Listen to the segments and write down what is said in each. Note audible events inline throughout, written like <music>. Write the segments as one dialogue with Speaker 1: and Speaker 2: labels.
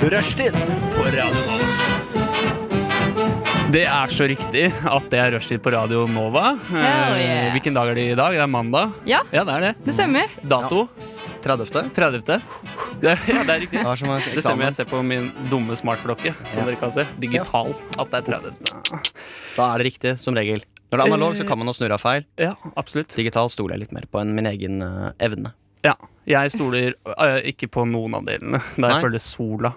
Speaker 1: Rushtid på Radio Nova.
Speaker 2: Det er så riktig at det er rushtid på Radio Nova.
Speaker 3: Hell yeah.
Speaker 2: Eh, Hvilken dag er det i dag? Det er mandag.
Speaker 3: Ja.
Speaker 2: ja det er det.
Speaker 3: Det stemmer.
Speaker 2: Dato
Speaker 1: 30.
Speaker 2: 30. Det, ja, det er riktig.
Speaker 1: Det var som en
Speaker 2: Det stemmer.
Speaker 1: eksamen.
Speaker 2: Jeg ser på min dumme smartklokke, som
Speaker 1: Ja.
Speaker 2: dere kan se. Digital. At det er 30.
Speaker 1: Da er det riktig, som regel. Når det er analog, så kan man jo snurre av feil.
Speaker 2: Ja, absolutt.
Speaker 1: Digital stoler jeg litt mer på enn min egen eh, evne.
Speaker 2: Ja. Jeg stoler eh, ikke på noen av delene, da
Speaker 1: Nei.
Speaker 2: jeg følger sola.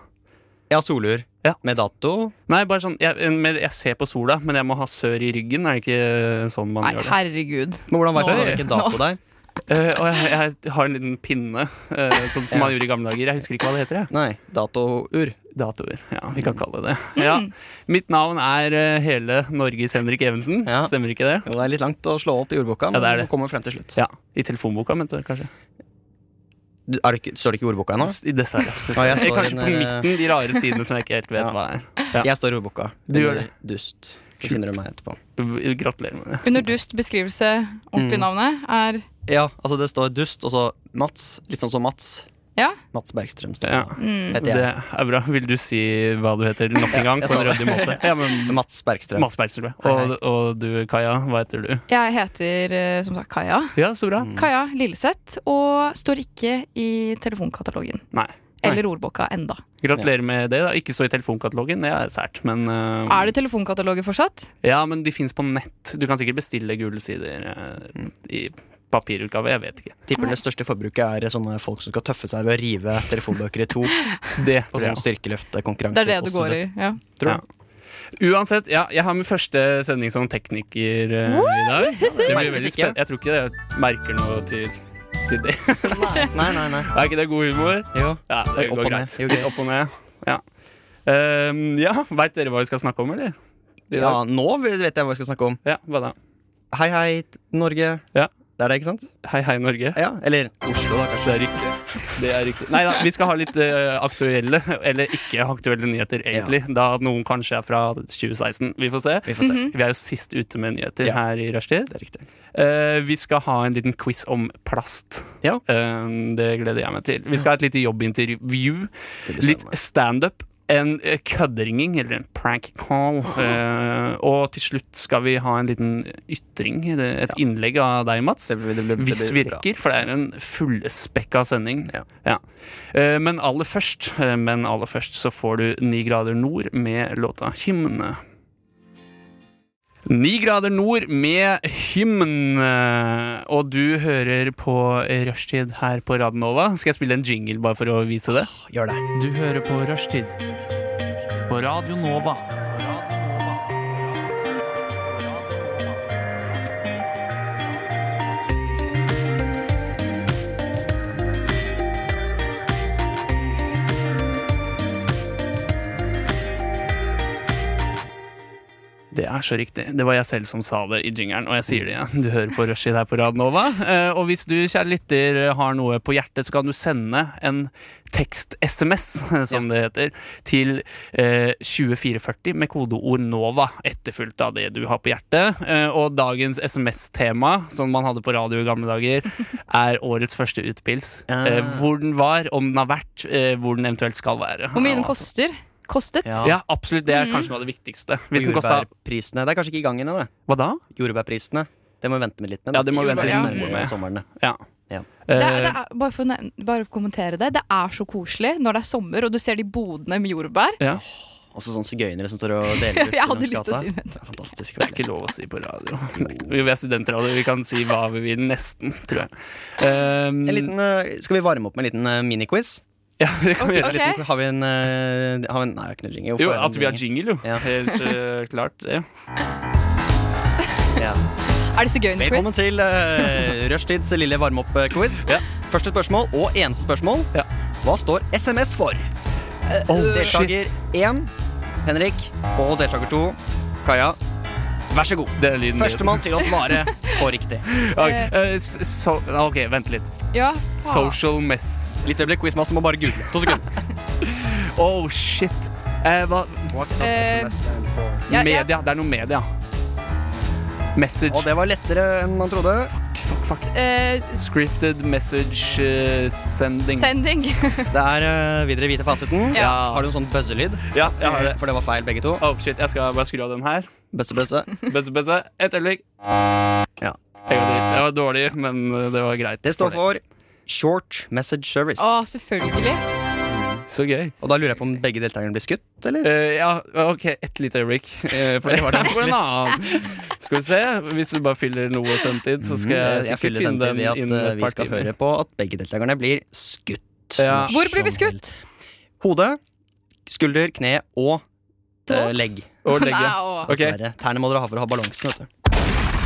Speaker 1: Jeg har solur
Speaker 2: Ja.
Speaker 1: med dato.
Speaker 2: Nei, bare sånn, jeg, men jeg ser på sola, men jeg må ha sør i ryggen. Er det ikke sånn man
Speaker 3: Nei,
Speaker 2: gjør det?
Speaker 3: herregud.
Speaker 1: Men hvordan vet du
Speaker 2: Nå.
Speaker 1: det er ikke dato der?
Speaker 2: Eh, og jeg, jeg har en liten pinne, eh, sånn som man gjorde i gamle dager. Jeg husker ikke hva det heter. jeg
Speaker 1: Nei, datour.
Speaker 2: Datoer. Ja, vi kan kalle det det. Ja. Mitt navn er eh, hele Norges Henrik Evensen.
Speaker 1: Ja.
Speaker 2: Stemmer ikke det?
Speaker 1: Jo, det er litt langt å slå opp i ordboka,
Speaker 2: Ja,
Speaker 1: men
Speaker 2: det er
Speaker 1: vi
Speaker 2: det.
Speaker 1: kommer frem til slutt.
Speaker 2: Ja, I telefonboka, mente du kanskje?
Speaker 1: Du- Er det ikke, står det ikke i ordboka ennå?
Speaker 2: S- i- Dessverre.
Speaker 1: Ja,
Speaker 2: dessverre.
Speaker 1: jeg står i
Speaker 2: kanskje
Speaker 1: den
Speaker 2: på
Speaker 1: der, eh,
Speaker 2: midten, de rare sidene som jeg ikke helt vet
Speaker 1: <laughs> Ja.
Speaker 2: hva er. Ja.
Speaker 1: Jeg står i ordboka.
Speaker 2: Du gjør
Speaker 1: Under Dust. Så finner du meg etterpå.
Speaker 2: V- Gratulerer med det.
Speaker 3: Under dust beskrivelse, ordentlig
Speaker 1: Mm.
Speaker 3: navnet, er
Speaker 1: Ja, altså det står Dust, og så Mats. Litt sånn som Mats.
Speaker 3: Ja.
Speaker 1: Mats Bergstrøm står
Speaker 2: Ja.
Speaker 1: det.
Speaker 3: mm.
Speaker 1: Heter
Speaker 2: Det
Speaker 1: jeg.
Speaker 2: er bra. Vil du si hva du heter nok en gang?
Speaker 1: jeg
Speaker 2: På en
Speaker 1: sa det.
Speaker 2: ryddig
Speaker 1: <laughs>
Speaker 2: måte. Ja, men
Speaker 1: Mats Bergstrøm.
Speaker 2: Mats Bergstrøm. ja.
Speaker 1: Hei,
Speaker 2: Og, og du, Kaja, hva heter du?
Speaker 3: Jeg heter eh, som sagt Kaja.
Speaker 2: Ja, så bra.
Speaker 1: Mm.
Speaker 3: Kaja Lilleseth, og står ikke i telefonkatalogen.
Speaker 2: Nei.
Speaker 3: Eller ordboka enda.
Speaker 2: Gratulerer med det. da Ikke så i telefonkatalogen, det er sært, men eh,
Speaker 3: Er det telefonkataloger fortsatt?
Speaker 2: Ja, men de fins på nett. Du kan sikkert bestille gule sider eh,
Speaker 1: Mm.
Speaker 2: i papirutgave. Jeg vet ikke.
Speaker 1: Tipper det største forbruket er sånne folk som skal tøffe seg ved å rive telefonbøker i to.
Speaker 2: Det
Speaker 1: På
Speaker 2: tror
Speaker 1: sånn
Speaker 2: jeg.
Speaker 1: styrkeløftkonkurranse.
Speaker 3: Det er det du går i. Ja.
Speaker 1: Tror du?
Speaker 2: Uansett, ja, jeg har min første sending som tekniker eh, i dag. Det blir
Speaker 1: merkes
Speaker 2: veldig
Speaker 1: ikke.
Speaker 2: spennende. Jeg tror ikke jeg merker noe til, til det.
Speaker 3: <laughs>
Speaker 1: Nei, nei, nei.
Speaker 2: Er ikke det god humor?
Speaker 1: Jo.
Speaker 2: Ja, det
Speaker 1: Opp
Speaker 2: går
Speaker 1: og ned.
Speaker 2: greit.
Speaker 1: Jo, greit.
Speaker 2: Litt opp og ned. Ja. Um, ja, Veit dere hva vi skal snakke om, eller? I
Speaker 1: Ja,
Speaker 2: dag?
Speaker 1: nå vet jeg hva jeg skal snakke om.
Speaker 2: Ja, hva da?
Speaker 1: Hei, hei, Norge.
Speaker 2: Ja.
Speaker 1: Det er det, ikke sant?
Speaker 2: Hei, hei, Norge.
Speaker 1: Ja, Eller Oslo, da, kanskje.
Speaker 2: Det er riktig. Det er riktig. Nei da, vi skal ha litt eh, aktuelle, eller ikke aktuelle nyheter, egentlig. Da noen kanskje er fra 2016. Vi får se.
Speaker 1: Vi får
Speaker 3: Mhm.
Speaker 1: se.
Speaker 2: Vi er jo sist ute med nyheter
Speaker 1: Ja.
Speaker 2: her i rushtid.
Speaker 1: Det er riktig.
Speaker 2: Eh, vi skal ha en liten quiz om plast.
Speaker 1: Ja.
Speaker 2: Eh, det gleder jeg meg til. Vi skal ha et lite jobbintervju.
Speaker 1: Det blir
Speaker 2: Litt
Speaker 1: spennende.
Speaker 2: standup. En eh, kødderinging, eller en prank call. Eh, og til slutt skal vi ha en liten ytring, et innlegg av deg, Mats.
Speaker 1: Det blir- det blir- det
Speaker 2: Hvis
Speaker 1: blir bra.
Speaker 2: virker, for det er en fullspekka sending.
Speaker 1: Ja.
Speaker 2: Ja. Eh, Men aller først eh, Men aller først så får du Ni grader nord med låta Hymne. Ni grader nord med hymne. Og du hører på Rushtid her på Radnova. Skal jeg spille en jingle bare for å vise det?
Speaker 1: Gjør det.
Speaker 2: Du hører på Rushtid på Radio Nova. Det er så riktig. Det var jeg selv som sa det i jingeren, og jeg sier det igjen. Du hører på Rushtid her på Radnova. Eh, Og hvis du, kjære lytter, har noe på hjertet, så kan du sende en tekst-SMS, eh, som det heter, til eh, 2440 med kodeord NOVA, etterfulgt av det du har på hjertet. Eh, og dagens SMS-tema, som man hadde på radio i gamle
Speaker 3: <laughs>
Speaker 2: dager, er årets første utpils. Eh, hvor den var, om den har vært, eh, hvor den eventuelt skal være.
Speaker 3: Hvor mye den
Speaker 2: Og-
Speaker 3: koster? Mm. Kostet?
Speaker 1: Ja.
Speaker 2: Ja, absolutt. Det er kanskje noe av det viktigste. Hvis den kosta
Speaker 1: Jordbærprisene. Det er kanskje ikke i gang ennå, det.
Speaker 2: Hva da?
Speaker 1: Jordbærprisene. Det må vi vente med litt med.
Speaker 2: Ja, det må vi
Speaker 3: Jordbær,
Speaker 2: vente
Speaker 3: ja.
Speaker 2: litt
Speaker 1: Nærmere
Speaker 2: med.
Speaker 1: sommeren, det.
Speaker 2: Ja.
Speaker 1: Ja.
Speaker 3: Det
Speaker 2: Eh,
Speaker 3: er, det er, bare for å nevne- bare å kommentere det. Det er så koselig når det er sommer og du ser de bodene med jordbær.
Speaker 2: ja.
Speaker 1: Også sånne sigøynere som står og
Speaker 3: <laughs>
Speaker 1: deler ut.
Speaker 3: Jeg hadde
Speaker 1: langs
Speaker 3: lyst til å
Speaker 1: gata.
Speaker 3: si det.
Speaker 1: er Fantastisk.
Speaker 2: Det er ikke lov å si
Speaker 3: <laughs>
Speaker 2: på radio. Vi er studentradio, vi kan si hva vi vil. Nesten, tror jeg. Um,
Speaker 1: En liten, eh, skal vi varme opp med en liten eh, miniquiz?
Speaker 2: Ja, <laughs> det kan vi gjøre.
Speaker 3: Ok.
Speaker 1: Liten- Har vi en, eh, har vi en Nei, jeg har ikke noe
Speaker 2: Jo,
Speaker 1: jingle. Hvorfor
Speaker 2: at vi
Speaker 1: det
Speaker 2: har jingle, jo.
Speaker 1: Ja.
Speaker 2: Helt eh, klart. det.
Speaker 1: en jingle? Ja.
Speaker 3: Er det
Speaker 1: Velkommen
Speaker 3: sigøynerquiz?
Speaker 1: til uh, Rushtids lille varme-opp-quiz.
Speaker 2: Ja.
Speaker 1: Første spørsmål, og eneste spørsmål.
Speaker 2: Ja.
Speaker 1: Hva står SMS for?
Speaker 2: Oh,
Speaker 1: Deltaker
Speaker 2: shit.
Speaker 1: 1, Henrik, og deltaker 2, Kaja. Vær så god.
Speaker 2: Det er lyden.
Speaker 1: Førstemann til å svare på riktig.
Speaker 2: Ok, eh, s- so, ok, vent litt.
Speaker 3: Ja, faen.
Speaker 2: Social mess.
Speaker 1: Litt øyeblikk, quizmaster må bare google. To sekunder.
Speaker 2: Oh, shit. Eh, hva?
Speaker 3: Eh,
Speaker 2: Media.
Speaker 3: jeg-
Speaker 2: Det er noe media. Message.
Speaker 1: Og det var lettere enn man trodde.
Speaker 4: eh,
Speaker 2: Scripted message eh, sending. <laughs>
Speaker 4: sending.
Speaker 1: Det er eh, Vil dere vite fasiten?
Speaker 2: Ja.
Speaker 1: Har du en sånn bøzzelyd?
Speaker 2: Ja, jeg har det.
Speaker 1: For det var feil, begge to.
Speaker 2: Oh, shit, jeg skal bare skru av den her.
Speaker 1: Bøsse, bøsse.
Speaker 2: Bøsse, bøsse. Et øyeblikk.
Speaker 1: Ja.
Speaker 2: Jeg var dritt. Det var dårlig, men eh, det var greit.
Speaker 1: Det står for Short Message Service.
Speaker 4: Å, selvfølgelig.
Speaker 2: Så gøy.
Speaker 1: Og da lurer jeg på om begge deltakerne blir skutt, eller?
Speaker 2: Eh, ja, OK, et lite øyeblikk. Eh, for det var det for en
Speaker 1: <laughs>
Speaker 2: annen. Skal vi se. Hvis du bare fyller noe sendtid, så skal jeg
Speaker 1: Mm, jeg
Speaker 2: sikkert
Speaker 1: fyller
Speaker 2: finne
Speaker 1: senteret
Speaker 2: den
Speaker 1: ved at
Speaker 2: innen
Speaker 1: eh,
Speaker 2: et
Speaker 1: vi
Speaker 2: par
Speaker 1: skal
Speaker 2: timer.
Speaker 1: høre på at begge deltakerne blir skutt.
Speaker 2: Ja.
Speaker 4: Hvor blir vi
Speaker 1: Som
Speaker 4: skutt?
Speaker 1: helst. Hode, skulder, kne og eh,
Speaker 4: Tå?
Speaker 1: legg.
Speaker 2: Og legge.
Speaker 4: Nei, å.
Speaker 2: Ok.
Speaker 1: Dessverre. Tærne må dere ha for å ha balansen, vet du.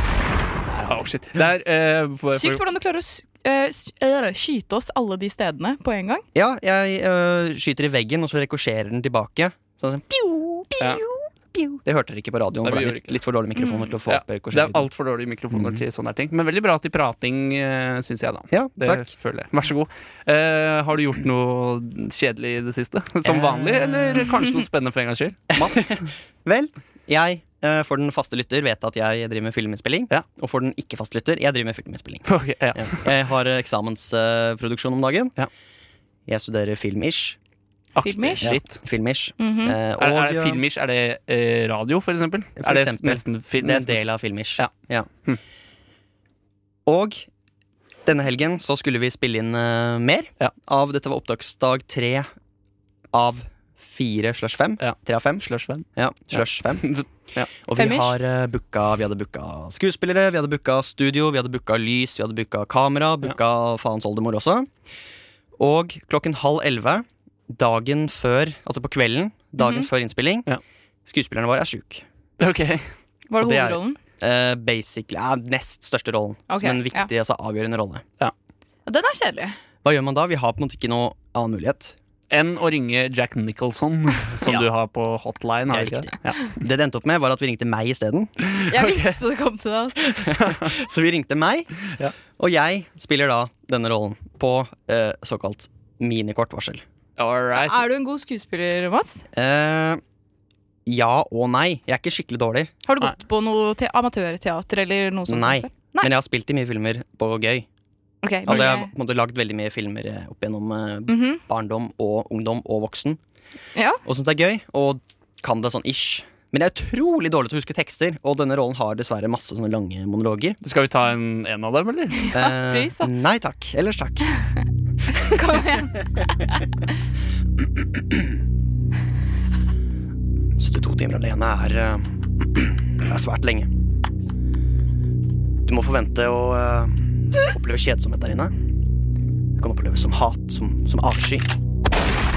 Speaker 1: Der har
Speaker 2: Oh,
Speaker 1: vi
Speaker 2: shit. Det er eh, for,
Speaker 4: Sykt
Speaker 2: for,
Speaker 4: hvordan du klarer å s- eh, s- øh, skyte oss alle de stedene på en gang.
Speaker 1: den. Ja, jeg eh, skyter i veggen, og så rekorserer den tilbake. Sånn, sånn, piu, piu,
Speaker 2: Ja.
Speaker 1: piu. Det hørte dere ikke på radioen.
Speaker 2: Nei,
Speaker 1: for
Speaker 2: vi gjorde ikke
Speaker 1: det er
Speaker 2: Mm.
Speaker 1: litt, litt for dårlig mikrofon til å få
Speaker 2: ja,
Speaker 1: opp
Speaker 2: det er
Speaker 1: rekorseringen.
Speaker 2: altfor dårlige mikrofoner til sånne her ting. Men veldig bra til prating, uh, syns jeg, da.
Speaker 1: Mm. Ja,
Speaker 2: Det
Speaker 1: takk.
Speaker 2: føler jeg. Vær så god. Eh, har du gjort noe kjedelig i det siste? Som
Speaker 1: Eh.
Speaker 2: vanlig, eller kanskje noe spennende for en gangs skyld? Mats?
Speaker 1: <laughs> Vel, jeg eh, for den faste lytter vet at jeg driver med filminnspilling.
Speaker 2: Ja.
Speaker 1: Og for den ikke-faste lytter, jeg driver med filminnspilling.
Speaker 2: Ok, ja.
Speaker 1: Ja. Jeg har eh, eksamensproduksjon om dagen.
Speaker 2: Ja.
Speaker 1: Jeg studerer film-ish.
Speaker 2: Aktig
Speaker 4: Filmish?
Speaker 2: Shit.
Speaker 1: Film-ish.
Speaker 4: Mhm.
Speaker 1: Eh,
Speaker 2: Er,
Speaker 1: og,
Speaker 2: er det
Speaker 1: eh,
Speaker 2: filmish? Er det eh, radio, for eksempel?
Speaker 1: For
Speaker 2: er det
Speaker 1: eksempel.
Speaker 2: nesten film?
Speaker 1: Det er en
Speaker 2: nesten-
Speaker 1: del av filmish.
Speaker 2: Ja. Hm.
Speaker 1: Og denne helgen så skulle vi spille inn eh, mer
Speaker 2: Ja.
Speaker 1: av Dette var opptaksdag tre av fire slash fem.
Speaker 2: Ja.
Speaker 1: Tre av fem.
Speaker 2: Slush, venn.
Speaker 1: Ja, slash fem.
Speaker 2: Ja.
Speaker 1: Og vi,
Speaker 4: Femish.
Speaker 1: har, eh, booka, vi hadde booka skuespillere, vi hadde booka studio, vi hadde booka lys, vi hadde booka kamera, booka faens oldemor også. Og klokken halv elleve, dagen før, altså på kvelden, dagen før innspilling,
Speaker 2: Mhm. Ja.
Speaker 1: skuespillerne våre er sjuke.
Speaker 2: <laughs> Ok.
Speaker 4: Var
Speaker 1: og
Speaker 4: det
Speaker 1: det er-
Speaker 4: hovedrollen?
Speaker 1: Eh, basically, ja, nest største rollen.
Speaker 4: Ok,
Speaker 1: som en viktig, altså avgjørende rolle.
Speaker 4: Ja, Den er kjedelig.
Speaker 1: Hva gjør man da? Vi har på en måte ikke noe annen mulighet.
Speaker 2: Enn å ringe Jack Nicholson, <laughs> som
Speaker 1: Ja.
Speaker 2: du har på hotline. Har du
Speaker 1: Det er
Speaker 2: ikke det? Ja.
Speaker 1: Det det endte opp med, var at vi ringte meg isteden.
Speaker 4: Jeg visste det kom til det. altså.
Speaker 1: <laughs> Så vi ringte meg,
Speaker 2: Ja.
Speaker 1: og jeg spiller da denne rollen på eh, såkalt minikort varsel.
Speaker 2: All right.
Speaker 4: Er du en god skuespiller, Mats?
Speaker 1: Eh, ja og nei. Jeg er ikke skikkelig dårlig,
Speaker 4: Har du gått på noe te amatørteater eller noe sånt?
Speaker 1: Nei.
Speaker 4: før? Nei.
Speaker 1: men jeg har spilt i mye filmer på gøy.
Speaker 4: Ok, men
Speaker 1: Altså Jeg har
Speaker 4: jeg-
Speaker 1: på en måte lagd veldig mye filmer eh, opp gjennom eh,
Speaker 4: Mhm.
Speaker 1: barndom og ungdom og voksen.
Speaker 4: Ja.
Speaker 1: Og syns det er gøy, og kan det sånn ish. Men jeg er utrolig dårlig til å huske tekster, og denne rollen har dessverre masse sånne lange monologer.
Speaker 2: Skal vi ta en, en av
Speaker 1: <laughs>
Speaker 2: dem, eller?
Speaker 1: Eh,
Speaker 4: pris, da.
Speaker 1: nei takk. Ellers takk.
Speaker 4: Kom igjen.
Speaker 1: 72 timer alene er eh, <clears throat> Det er svært lenge. Du må forvente å eh, oppleve kjedsomhet der inne. Det kan oppleves som hat, som, som avsky.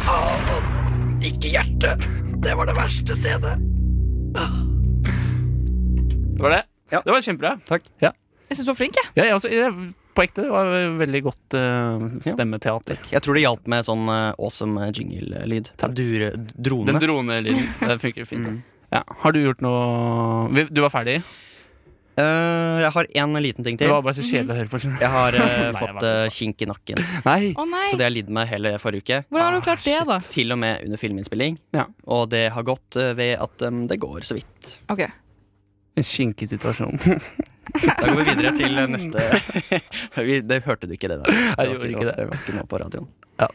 Speaker 1: Ah, og ikke hjertet. Det var det verste stedet.
Speaker 2: Det var det?
Speaker 1: Ja.
Speaker 2: Det var kjempebra.
Speaker 1: Takk.
Speaker 4: Jeg syns du var flink, jeg.
Speaker 2: Ja, jeg også, jeg, på ekte, det var veldig godt eh, stemmeteater.
Speaker 1: Jeg tror det hjalp med sånn eh, awesome jingle-lyd. Dure-
Speaker 2: Den
Speaker 1: Drone.
Speaker 2: <laughs> dronelyden. Det funker fint. da. Mm. Ja. Har du gjort noe Vi- Du var ferdig?
Speaker 1: Eh, jeg har én liten ting
Speaker 2: Det
Speaker 1: til.
Speaker 2: var bare så kjedelig å høre på. skjønner
Speaker 1: Jeg har eh,
Speaker 2: <laughs> Nei, jeg
Speaker 1: fått
Speaker 2: vet det,
Speaker 1: eh, kink i nakken.
Speaker 2: du. Nei.
Speaker 4: Å nei.
Speaker 1: Så det har jeg lidd med hele forrige uke.
Speaker 4: Hvordan har
Speaker 2: Ah,
Speaker 4: du klart det, da?
Speaker 1: Til og med under filminnspilling.
Speaker 2: Ja.
Speaker 1: Og det har gått eh, ved at eh, det går så vidt.
Speaker 4: Ok.
Speaker 2: En kinkig situasjon.
Speaker 1: Da går vi videre til neste <laughs> vi, Det hørte du ikke, det der. Det
Speaker 2: Jeg gjorde ikke det.
Speaker 1: var ikke noe på radioen.
Speaker 2: Ja.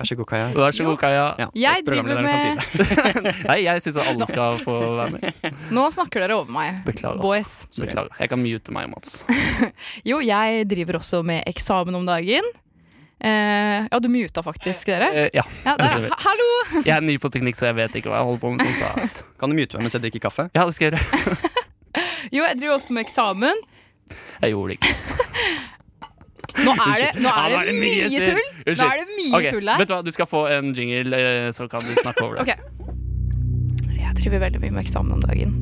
Speaker 1: Vær så god, Kaja.
Speaker 2: <laughs> Vær så god, Kaja.
Speaker 1: Ja,
Speaker 4: Jeg driver
Speaker 1: programlederen kan si
Speaker 4: med
Speaker 1: det.
Speaker 2: Nei, jeg syns alle skal få være med.
Speaker 4: Nå snakker dere over meg.
Speaker 2: Beklager.
Speaker 4: Boys.
Speaker 2: Beklager. Jeg kan mute meg,
Speaker 4: <laughs>
Speaker 2: Mats.
Speaker 4: Jo, jeg driver også med eksamen om dagen. Eh, ja, du muta faktisk dere.
Speaker 2: Eh, ja.
Speaker 4: Ja,
Speaker 2: det ser
Speaker 4: der.
Speaker 2: vi.
Speaker 4: Ha- Hallo!
Speaker 2: Jeg er ny på teknikk, så jeg vet ikke hva jeg holder på med. Sånn sagt.
Speaker 1: Kan du mute meg mens jeg drikker kaffe?
Speaker 2: Ja, det skal jeg gjøre.
Speaker 4: <laughs> Jo, jeg driver også med eksamen.
Speaker 2: Jeg gjorde det ikke.
Speaker 4: Nå er det, nå
Speaker 2: Ja,
Speaker 4: er det mye tull! Nå er
Speaker 2: Unnskyld.
Speaker 4: det mye
Speaker 2: Ok,
Speaker 4: tull her.
Speaker 2: Vet du hva, du skal få en jingle, eh, så kan du snakke over
Speaker 4: <laughs>
Speaker 2: det.
Speaker 4: Ok. Jeg driver veldig mye med eksamen om dagen.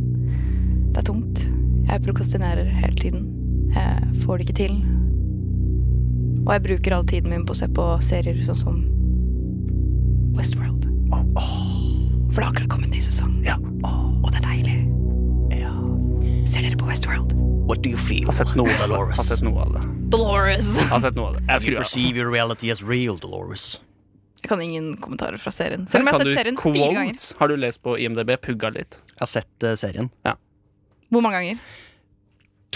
Speaker 4: Det er tungt. Jeg prokastinerer hele tiden. Jeg får det ikke til. Og jeg bruker all tiden min på å se på serier sånn som Westworld. For det har akkurat kommet ny sesong.
Speaker 2: Ja.
Speaker 4: Og det er deilig. Ser dere på Westworld?
Speaker 1: What do you feel?
Speaker 2: Altså, Jeg har sett noe av det. Jeg har sett noe av det.
Speaker 4: Dolores!
Speaker 2: Jeg har sett noe av det. Jeg skrur av.
Speaker 1: your reality as real, Dolores.
Speaker 4: Jeg kan ingen kommentarer fra serien. Selv om jeg har
Speaker 2: Kan
Speaker 4: sett
Speaker 2: du
Speaker 4: serien fire
Speaker 2: quote?
Speaker 4: ganger.
Speaker 2: Har du lest på IMDb? Pugga litt?
Speaker 1: Jeg har sett eh, serien.
Speaker 4: Hvor mange ganger?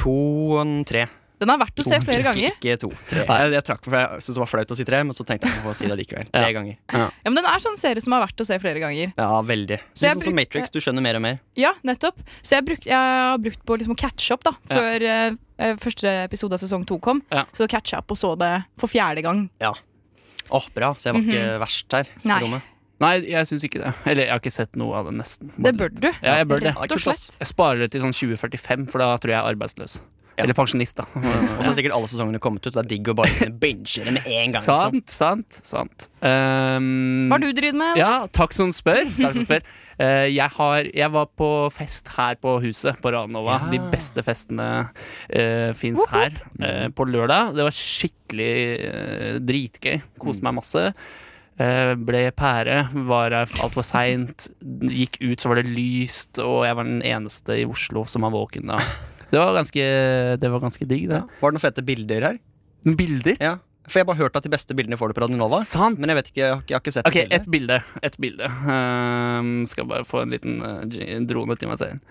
Speaker 1: To og en tre.
Speaker 4: Den er verdt å se flere ganger.
Speaker 1: Ikke to. Tre.
Speaker 2: Nei.
Speaker 1: Jeg, jeg trakk meg, for jeg syntes det var flaut å si tre, men så tenkte jeg på å si det likevel. Tre ganger. Ja,
Speaker 4: Ja, men den er sånn serie som er verdt å se flere ganger.
Speaker 1: veldig.
Speaker 4: Så jeg
Speaker 1: Litt sånn som
Speaker 4: brukte-
Speaker 1: Matrix, du skjønner mer og mer.
Speaker 4: Ja, nettopp. Så jeg, bruk, jeg har brukt på liksom å catche opp da,
Speaker 2: Ja.
Speaker 4: før eh, eh, første episode av sesong to kom.
Speaker 2: Ja.
Speaker 4: Så catcha jeg opp og så det for fjerde gang.
Speaker 1: Ja. Åh, bra. Så jeg var ikke verst her.
Speaker 4: Mhm. Nei.
Speaker 1: i rommet.
Speaker 2: Nei, jeg syns ikke det. Eller jeg har ikke sett noe av det, nesten.
Speaker 4: Det bør du.
Speaker 2: Ja, jeg bør det.
Speaker 1: Ja,
Speaker 4: Rett
Speaker 1: kult,
Speaker 4: og slett.
Speaker 1: ass.
Speaker 2: Jeg sparer det til sånn 2045, for da tror jeg jeg er arbeidsløs.
Speaker 1: Ja.
Speaker 2: Eller pensjonist, da.
Speaker 1: Og så er sikkert alle sesongene kommet ut. Det er digg å
Speaker 2: <laughs>
Speaker 1: bare kunne binge det med en gang. liksom.
Speaker 2: sant, sant, sant. Um,
Speaker 4: Hva har du drevet med?
Speaker 2: Ja, takk som spør. Takk som
Speaker 1: <laughs>
Speaker 2: spør. Eh, jeg, har, jeg var på fest her på huset, på Ranova.
Speaker 1: Ja.
Speaker 2: De beste festene uh, fins her eh, på lørdag. Det var skikkelig eh, dritgøy. Koste meg masse. Eh, ble pære, var her altfor seint. Gikk ut, så var det lyst, og jeg var den eneste i Oslo som var våken da. Det var ganske, det var ganske digg, det.
Speaker 1: Var det noen fete bilder her?
Speaker 2: Noen bilder?
Speaker 1: Ja. For jeg har bare hørt at de beste bildene får du på Radio Nova.
Speaker 2: Sant.
Speaker 1: Men jeg vet ikke, jeg har ikke, jeg har ikke sett
Speaker 2: Ok,
Speaker 1: det
Speaker 2: et bilde. Et bilde. Ehm, skal bare få en liten eh, dr- drone til meg selv.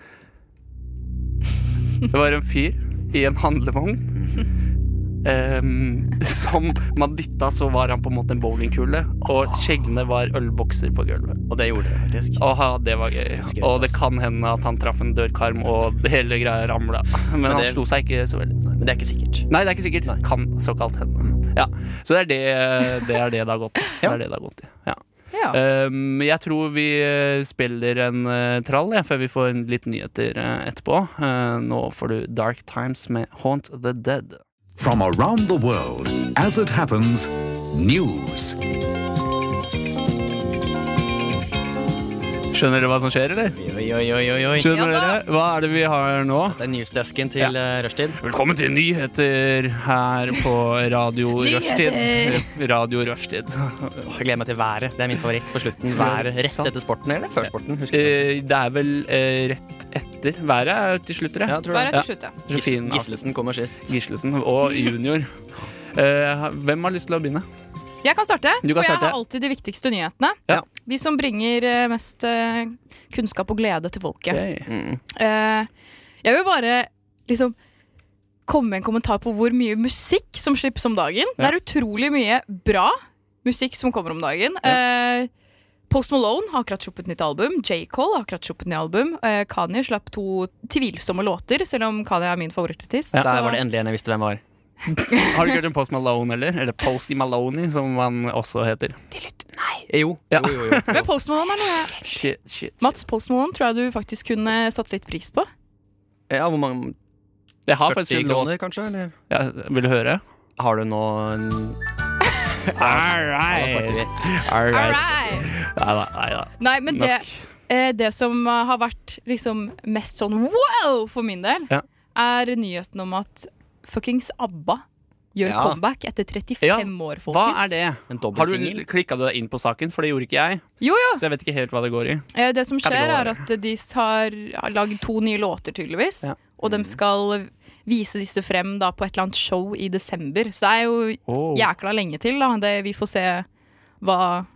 Speaker 2: Det var en fyr i en handlevogn
Speaker 1: Mhm.
Speaker 2: ehm, som man dytta, så var han på en måte en bowlingkule,
Speaker 1: Ah.
Speaker 2: og kjeglene var ølbokser på gulvet.
Speaker 1: Og det gjorde dere faktisk.
Speaker 2: Åha, det var gøy.
Speaker 1: Skøyt,
Speaker 2: Og det
Speaker 1: ass.
Speaker 2: kan hende at han traff en dørkarm, og hele greia ramla. Men han
Speaker 1: det-
Speaker 2: slo seg ikke så veldig.
Speaker 1: Nei, men det er ikke sikkert.
Speaker 2: Nei, det er ikke sikkert. Kan såkalt hende. Ja. Så det er det det er det det har gått i. Det
Speaker 1: Ja.
Speaker 2: er det det har gått i. Ja.
Speaker 4: Ja.
Speaker 2: Um, jeg tror vi eh, spiller en eh, trall jeg, før vi får en litt nyheter eh, etterpå. Eh, nå får du Dark Times med Haunt the Dead.
Speaker 5: From around the world, as it happens, news.
Speaker 2: Skjønner dere hva som skjer, eller?
Speaker 1: Oi, oi, oi, oi, oi.
Speaker 4: Ja
Speaker 2: Skjønner
Speaker 4: da.
Speaker 2: dere? Hva er det vi har nå?
Speaker 1: Det er newsdesken til
Speaker 2: Ja.
Speaker 1: eh, rushtid.
Speaker 2: Velkommen til nyheter her på Radio Rushtid.
Speaker 4: <laughs> Nyheter!
Speaker 2: Radio Rushtid. <laughs>
Speaker 1: Åh, Jeg gleder meg til været. Det er min favoritt på slutten. Været rett
Speaker 2: Sant.
Speaker 1: etter sporten, eller før sporten? Husker du?
Speaker 2: Eh, det er vel eh, rett etter. Været er til slutt, tror jeg.
Speaker 1: Ja, tror
Speaker 4: Bare
Speaker 1: jeg.
Speaker 4: til slutt, ja.
Speaker 2: Så
Speaker 1: Gis
Speaker 2: fin avslutning.
Speaker 1: Gislesen kommer sist.
Speaker 2: Gislesen
Speaker 4: <laughs>
Speaker 2: og junior. Eh, hvem har lyst til å begynne?
Speaker 4: Jeg kan starte,
Speaker 2: Du
Speaker 4: for
Speaker 2: kan
Speaker 4: jeg
Speaker 2: starte.
Speaker 4: har alltid de viktigste nyhetene.
Speaker 1: Ja.
Speaker 4: De som bringer eh, mest eh, kunnskap og glede til folket.
Speaker 2: Ok.
Speaker 1: Mm.
Speaker 4: Eh, jeg vil bare liksom komme med en kommentar på hvor mye musikk som slippes om dagen. Det er utrolig mye bra musikk som kommer om dagen. Eh, Post Malone har akkurat sluppet nytt album. J. Cole har akkurat sluppet nytt album. Eh, Kanye slapp to tvilsomme låter, selv om Kanye er min favorittartist.
Speaker 1: Der
Speaker 4: så-
Speaker 1: var det endelig en jeg visste hvem var.
Speaker 2: Har du ikke hørt om Post Malone, eller? Eller Posty Maloney, som han også heter.
Speaker 1: Eh, Jo,
Speaker 2: Ja.
Speaker 1: jo, jo. jo.
Speaker 4: Men Post Malone er noe
Speaker 2: Shit, shit, shit.
Speaker 4: Mats Post Malone tror jeg du faktisk kunne satt litt pris på.
Speaker 1: Ja, hvor mange?
Speaker 2: Jeg har faktisk
Speaker 1: 40
Speaker 2: en låt
Speaker 1: kroner, kanskje? Eller?
Speaker 2: ja, Vil du høre?
Speaker 1: Har du nå en
Speaker 2: All
Speaker 1: Da snakker vi.
Speaker 2: All right.
Speaker 4: Alright.
Speaker 2: Nei da. Nei da.
Speaker 4: Nei, men det,
Speaker 2: Nok.
Speaker 4: eh, det som eh, har vært liksom mest sånn wow for min del,
Speaker 2: Ja.
Speaker 4: er nyheten om at fuckings ABBA gjør
Speaker 1: Ja.
Speaker 4: comeback etter 35
Speaker 2: Ja,
Speaker 4: år, folkens.
Speaker 2: Hva er det?
Speaker 1: En dobbelt
Speaker 2: Har du
Speaker 1: singel?
Speaker 2: klikka deg inn på saken? For det gjorde ikke jeg.
Speaker 4: Jo, jo.
Speaker 2: Så jeg vet ikke helt hva det går i.
Speaker 4: Eh, det som
Speaker 2: det
Speaker 4: skjer,
Speaker 2: lov å
Speaker 4: er
Speaker 2: gjøre?
Speaker 4: at de har, har lagd to nye låter, tydeligvis.
Speaker 2: Ja. Mm.
Speaker 4: Og de skal vise disse frem da, på et eller annet show i desember. Så det er jo
Speaker 2: Oh.
Speaker 4: jækla lenge til. Da. Det, vi får se hva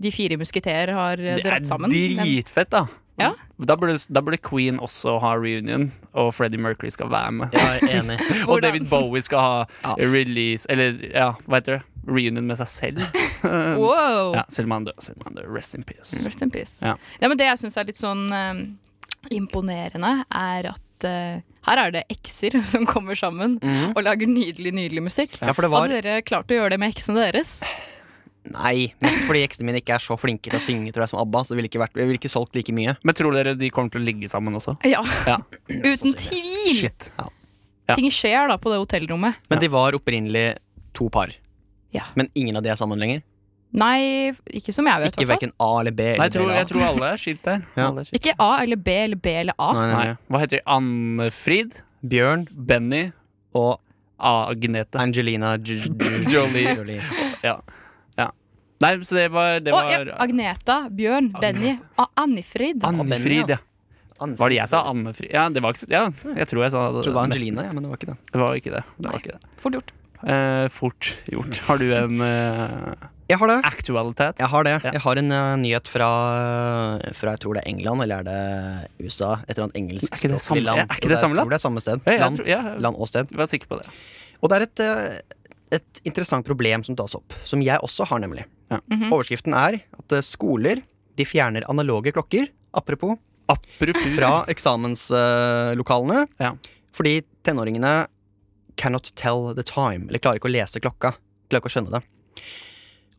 Speaker 4: de fire musketerer har eh,
Speaker 2: Det er
Speaker 4: dratt sammen. Men-
Speaker 2: dritfett, da.
Speaker 4: Ja.
Speaker 2: Da burde, da burde Queen også ha reunion, og Freddie Mercury skal være med.
Speaker 1: Jeg er enig.
Speaker 2: Og
Speaker 4: Hvordan?
Speaker 2: David Bowie skal ha
Speaker 1: Ja.
Speaker 2: release Eller ja, hva heter det? Reunion med seg selv.
Speaker 4: Wow!
Speaker 2: Ja, selv om han dør. Selv om han dør. Rest in peace.
Speaker 4: Rest in peace.
Speaker 2: Ja.
Speaker 4: Ja. men det jeg syns er litt sånn eh, imponerende, er at eh, her er det ekser <laughs> som kommer sammen og lager nydelig, nydelig musikk.
Speaker 1: Ja, for det var
Speaker 4: Hadde dere klart å gjøre det med eksene deres?
Speaker 1: Nei, mest fordi eksene mine ikke er så flinke til å synge tror jeg, som ABBA. Så det ville ikke, vært, jeg ville ikke solgt like mye.
Speaker 2: Men tror dere de kommer til å ligge sammen også?
Speaker 4: Ja,
Speaker 2: Ja.
Speaker 4: <clears throat> uten tvil!
Speaker 2: Shit. Ja.
Speaker 4: Ting skjer da på det hotellrommet.
Speaker 1: Men de var opprinnelig to par.
Speaker 4: Ja.
Speaker 1: Men ingen av de er sammen lenger.
Speaker 4: Nei, ikke som jeg vet.
Speaker 1: Ikke
Speaker 4: hvertfall.
Speaker 1: verken A eller B.
Speaker 2: Nei,
Speaker 1: Eller
Speaker 2: jeg tror,
Speaker 1: del av.
Speaker 2: jeg tror alle er skilt der.
Speaker 1: Ja.
Speaker 2: Alle er skilt.
Speaker 4: Ikke A eller B eller B eller A.
Speaker 1: Nei, nei,
Speaker 2: Nei. Hva heter de? Anne-Frid,
Speaker 1: nei. Bjørn
Speaker 2: Benny,
Speaker 1: og
Speaker 2: Agnete. <laughs>
Speaker 1: Angelina J J
Speaker 2: Jolie.
Speaker 1: Jolie.
Speaker 2: Ja. ja. Nei, så det var, det
Speaker 4: Å, ja,
Speaker 2: var
Speaker 4: Agneta, Bjørn, Benny, A- Annifrid.
Speaker 1: Benny,
Speaker 2: Anne-Frid,
Speaker 1: ja.
Speaker 2: ja. Var det jeg sa? Anne-Frid? Ja, det var ikke, ja, jeg tror jeg sa
Speaker 1: Jeg tror det var Angelina, ja, men det var ikke det.
Speaker 2: Det var ikke det. det, var ikke det.
Speaker 4: Fort gjort.
Speaker 2: Eh, fort gjort. Har du en eh,
Speaker 1: Jeg har det.
Speaker 2: actualitet?
Speaker 1: Jeg har det.
Speaker 2: Ja.
Speaker 1: Jeg har en eh, nyhet fra, fra jeg tror det er England, eller er det USA? Et eller annet engelsk
Speaker 2: Er ikke det
Speaker 1: språklig
Speaker 2: samme-
Speaker 1: land.
Speaker 2: er ikke
Speaker 1: Jo,
Speaker 2: det samme
Speaker 1: Jeg tror det er samme sted.
Speaker 2: Ja, jeg
Speaker 1: Land,
Speaker 2: tror- ja.
Speaker 1: land og sted.
Speaker 2: Jeg var sikker på det.
Speaker 1: Og det er et, eh, et interessant problem som tas opp, som jeg også har, nemlig.
Speaker 2: Ja.
Speaker 3: Mhm.
Speaker 1: Overskriften er at eh, skoler de fjerner analoge klokker, apropos,
Speaker 2: Apropos <laughs>
Speaker 1: fra eksamenslokalene.
Speaker 2: Ja.
Speaker 1: Fordi tenåringene cannot tell the time, eller klarer ikke å lese klokka. Klarer ikke å skjønne det.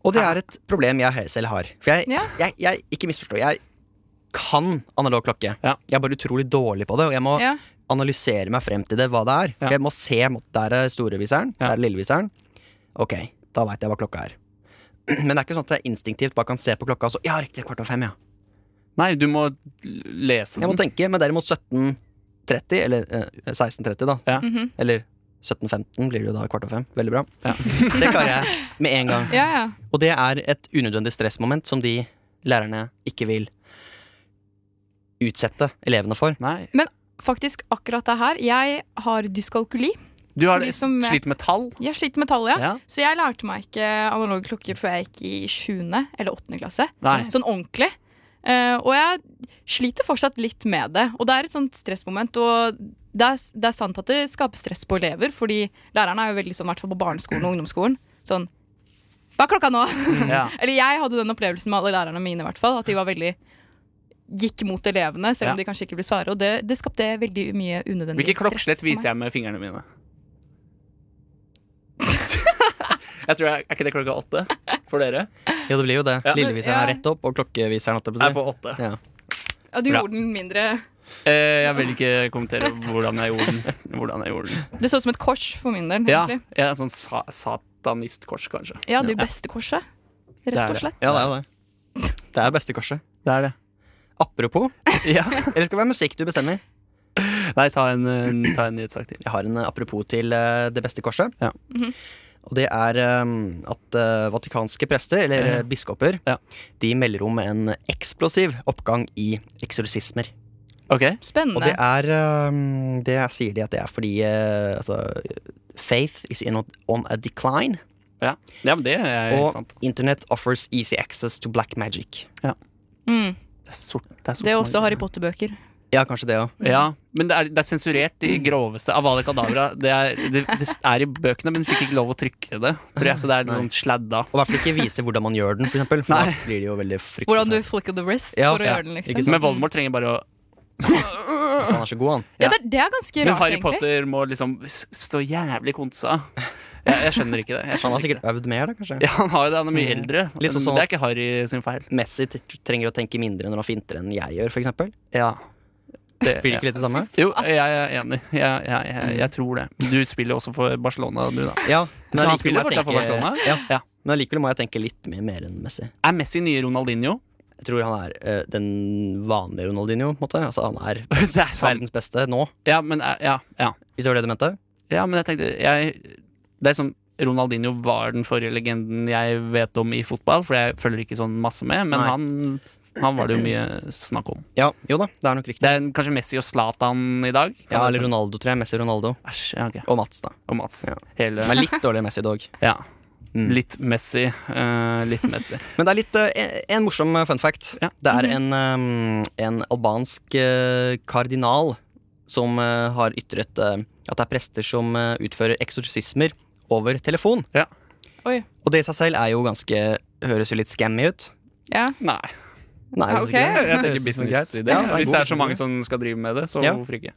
Speaker 1: Og det er et problem jeg selv har. For jeg,
Speaker 3: Ja.
Speaker 1: jeg, jeg ikke misforstå, jeg kan analog klokke.
Speaker 2: Ja.
Speaker 1: Jeg er bare utrolig dårlig på det, og jeg må
Speaker 3: Ja.
Speaker 1: analysere meg frem til det, hva det er.
Speaker 2: Ja.
Speaker 1: Jeg må se mot der er storeviseren,
Speaker 2: Ja.
Speaker 1: der er lilleviseren. Ok, da veit jeg hva klokka er. <clears throat> Men det er ikke sånn at jeg instinktivt bare kan se på klokka og så Ja, riktig, kvart over fem, ja.
Speaker 2: Nei, du må lese
Speaker 1: Jeg må
Speaker 2: den.
Speaker 1: tenke, men derimot 17.30, eller eh, 16.30, da.
Speaker 2: Ja.
Speaker 3: Mhm.
Speaker 1: Eller 17.15 blir det jo da kvart over fem. Veldig bra.
Speaker 2: Ja.
Speaker 1: <laughs> det klarer jeg med en gang.
Speaker 3: ja, ja.
Speaker 1: Og det er et unødvendig stressmoment som de lærerne ikke vil utsette elevene for.
Speaker 2: Nei.
Speaker 3: Faktisk akkurat det her. Jeg har dyskalkuli.
Speaker 2: Du har
Speaker 3: De som vet.
Speaker 2: slitt med tall?
Speaker 3: Jeg sliter med tall, ja.
Speaker 2: Ja.
Speaker 3: Så jeg lærte meg ikke analoge klokker før jeg gikk i 7. eller 8. klasse.
Speaker 2: Nei.
Speaker 3: Sånn ordentlig. Eh, og jeg sliter fortsatt litt med det. Og det er et sånt stressmoment. Og det er, det er sant at det skaper stress på elever, fordi lærerne er jo veldig sånn, i hvert fall på barneskolen og ungdomsskolen, sånn Hva er klokka nå?
Speaker 2: Mm.
Speaker 3: <laughs>
Speaker 2: Ja.
Speaker 3: Eller jeg hadde den opplevelsen med alle lærerne mine, i hvert fall. At de var veldig Gikk mot elevene, selv om
Speaker 2: Ja.
Speaker 3: de kanskje ikke ble svare. Og det, det skapte veldig mye unødvendig
Speaker 2: Hvilket klokkeslett viser jeg med fingrene mine? jeg tror jeg, Er ikke det klokka åtte for dere?
Speaker 1: Ja, det blir jo det.
Speaker 2: Ja.
Speaker 1: Lilleviseren er
Speaker 3: Ja.
Speaker 1: rett opp, og klokkeviseren holdt jeg
Speaker 2: Jeg er
Speaker 1: på å
Speaker 2: på åtte.
Speaker 1: si. Ja.
Speaker 3: jeg? Ja, du
Speaker 2: Bra.
Speaker 3: gjorde den mindre
Speaker 2: Eh, jeg vil ikke kommentere hvordan jeg gjorde den. Hvordan jeg gjorde den.
Speaker 3: Det så ut som et kors for min del.
Speaker 2: Ja,
Speaker 3: egentlig.
Speaker 2: jeg er sånn sa satanistkors, kanskje.
Speaker 3: Ja, det beste korset.
Speaker 2: Det
Speaker 3: Rett
Speaker 2: er
Speaker 3: og
Speaker 2: det.
Speaker 3: slett.
Speaker 1: ja, det er jo det. Det er beste korset.
Speaker 2: Det er det.
Speaker 1: Apropos,
Speaker 2: Ja.
Speaker 1: eller skal det være musikk du bestemmer?
Speaker 2: Nei, ta en, eh, ta en nyhetssak til.
Speaker 1: Jeg har en eh, apropos til eh, det beste korset.
Speaker 2: Ja.
Speaker 3: Mhm.
Speaker 1: Og det er eh, at eh, vatikanske prester, eller eh, biskoper,
Speaker 2: Ja.
Speaker 1: de melder om en eksplosiv oppgang i eksorsismer.
Speaker 2: Ok.
Speaker 1: Og
Speaker 3: Spennende.
Speaker 1: det er eh, Det er- sier de at det er fordi eh, altså, Faith is in on- on a decline.
Speaker 2: Ja, ja men det er ikke
Speaker 1: Og
Speaker 2: sant.
Speaker 1: internet offers easy access to black magic.
Speaker 3: mm.
Speaker 2: Det er sort. Det er, sort
Speaker 3: det er også
Speaker 2: Norge.
Speaker 3: Harry Potter-bøker.
Speaker 1: Ja, kanskje det òg.
Speaker 2: Ja, men det er, det er sensurert i groveste Avale Kadavra. Det er, det, det er i bøkene, men fikk ikke lov å trykke det. Tror jeg, så det er litt sånn sladda.
Speaker 1: Og i hvert fall ikke vise hvordan man gjør den, for eksempel. For
Speaker 2: Nei.
Speaker 1: da blir det jo veldig fryktelig.
Speaker 3: Hvordan du
Speaker 1: fælt.
Speaker 3: flicker the wrist
Speaker 1: Ja,
Speaker 3: for å
Speaker 1: ja,
Speaker 3: gjøre den, liksom.
Speaker 1: ikke sant?
Speaker 2: Men Voldemort trenger bare å
Speaker 1: Han er så god, han.
Speaker 3: Ja, det, er- det er ganske
Speaker 2: Men
Speaker 3: rart,
Speaker 2: Harry
Speaker 3: egentlig.
Speaker 2: Potter må liksom s- stå jævlig konsa. Jeg, jeg skjønner ikke det. Jeg
Speaker 1: Han har
Speaker 2: skjønner ikke
Speaker 1: sikkert
Speaker 2: det. <laughs>
Speaker 1: øvd mer, da, kanskje.
Speaker 2: Ja, han har jo det, han er mye eldre.
Speaker 1: Litt sånn
Speaker 2: Men Det er ikke Harry sin feil.
Speaker 1: Messi t- trenger å tenke mindre når han finter enn jeg gjør, for eksempel.
Speaker 2: Ja. Det,
Speaker 1: Blir det ikke litt det samme?
Speaker 2: Jo, jeg er enig. Jeg, jeg, jeg, jeg tror det. Du spiller jo også for Barcelona, du, da.
Speaker 1: Ja, men
Speaker 2: Så han
Speaker 1: allikevel
Speaker 2: spiller
Speaker 1: må jeg
Speaker 2: fortsatt for
Speaker 1: tenke-
Speaker 2: Barcelona?
Speaker 1: Ja,
Speaker 2: Ja.
Speaker 1: Men allikevel må jeg tenke litt mer, mer enn Messi.
Speaker 2: Er Messi nye Ronaldinho? <laughs>
Speaker 1: Jeg tror han er eh, den vanlige Ronaldinho, på en måte. Altså, han er
Speaker 2: Det er sant.
Speaker 1: verdens beste nå,
Speaker 2: Ja, men, er- ja, ja.
Speaker 1: hvis det var det du mente.
Speaker 2: ja, men jeg tenkte jeg, Det er sånn Ronaldinho var den forrige legenden jeg vet om i fotball, for jeg følger ikke sånn masse med, men
Speaker 1: Nei.
Speaker 2: han, han var det jo mye snakk om.
Speaker 1: Ja, jo da, det er nok
Speaker 2: Det
Speaker 1: riktig.
Speaker 2: er kanskje Messi og Zlatan i dag? Kan
Speaker 1: Ja,
Speaker 2: det
Speaker 1: eller
Speaker 2: stemme?
Speaker 1: Ronaldo, tror jeg. Messi Ronaldo.
Speaker 2: Æsj, ja, ok.
Speaker 1: Og Mats, da.
Speaker 2: Og Mats.
Speaker 1: Ja.
Speaker 2: Hele
Speaker 1: Men litt dårlig Messi, dog.
Speaker 2: Ja.
Speaker 1: Mm.
Speaker 2: Litt Messi. eh, litt Messi. <laughs>
Speaker 1: Men det er litt, eh, en morsom eh, fun fact.
Speaker 2: Ja. Mhm.
Speaker 1: Det er en, eh, en albansk eh, kardinal som eh, har ytret eh, at det er prester som eh, utfører eksorsismer over telefon.
Speaker 2: Ja.
Speaker 3: Oi.
Speaker 1: Og det i seg selv er jo ganske Høres jo litt scammy ut.
Speaker 3: Ja.
Speaker 2: Nei.
Speaker 1: Nei,
Speaker 3: Ja,
Speaker 1: jeg synes
Speaker 3: ok.
Speaker 1: ikke det.
Speaker 2: Jeg tenker
Speaker 1: Høres ut som
Speaker 2: business i
Speaker 1: greit.
Speaker 2: det.
Speaker 1: Ja, en
Speaker 2: Hvis det er så
Speaker 1: god business
Speaker 2: mange
Speaker 1: idé.
Speaker 2: som skal drive med det, så
Speaker 1: Ja.
Speaker 2: hvorfor ikke?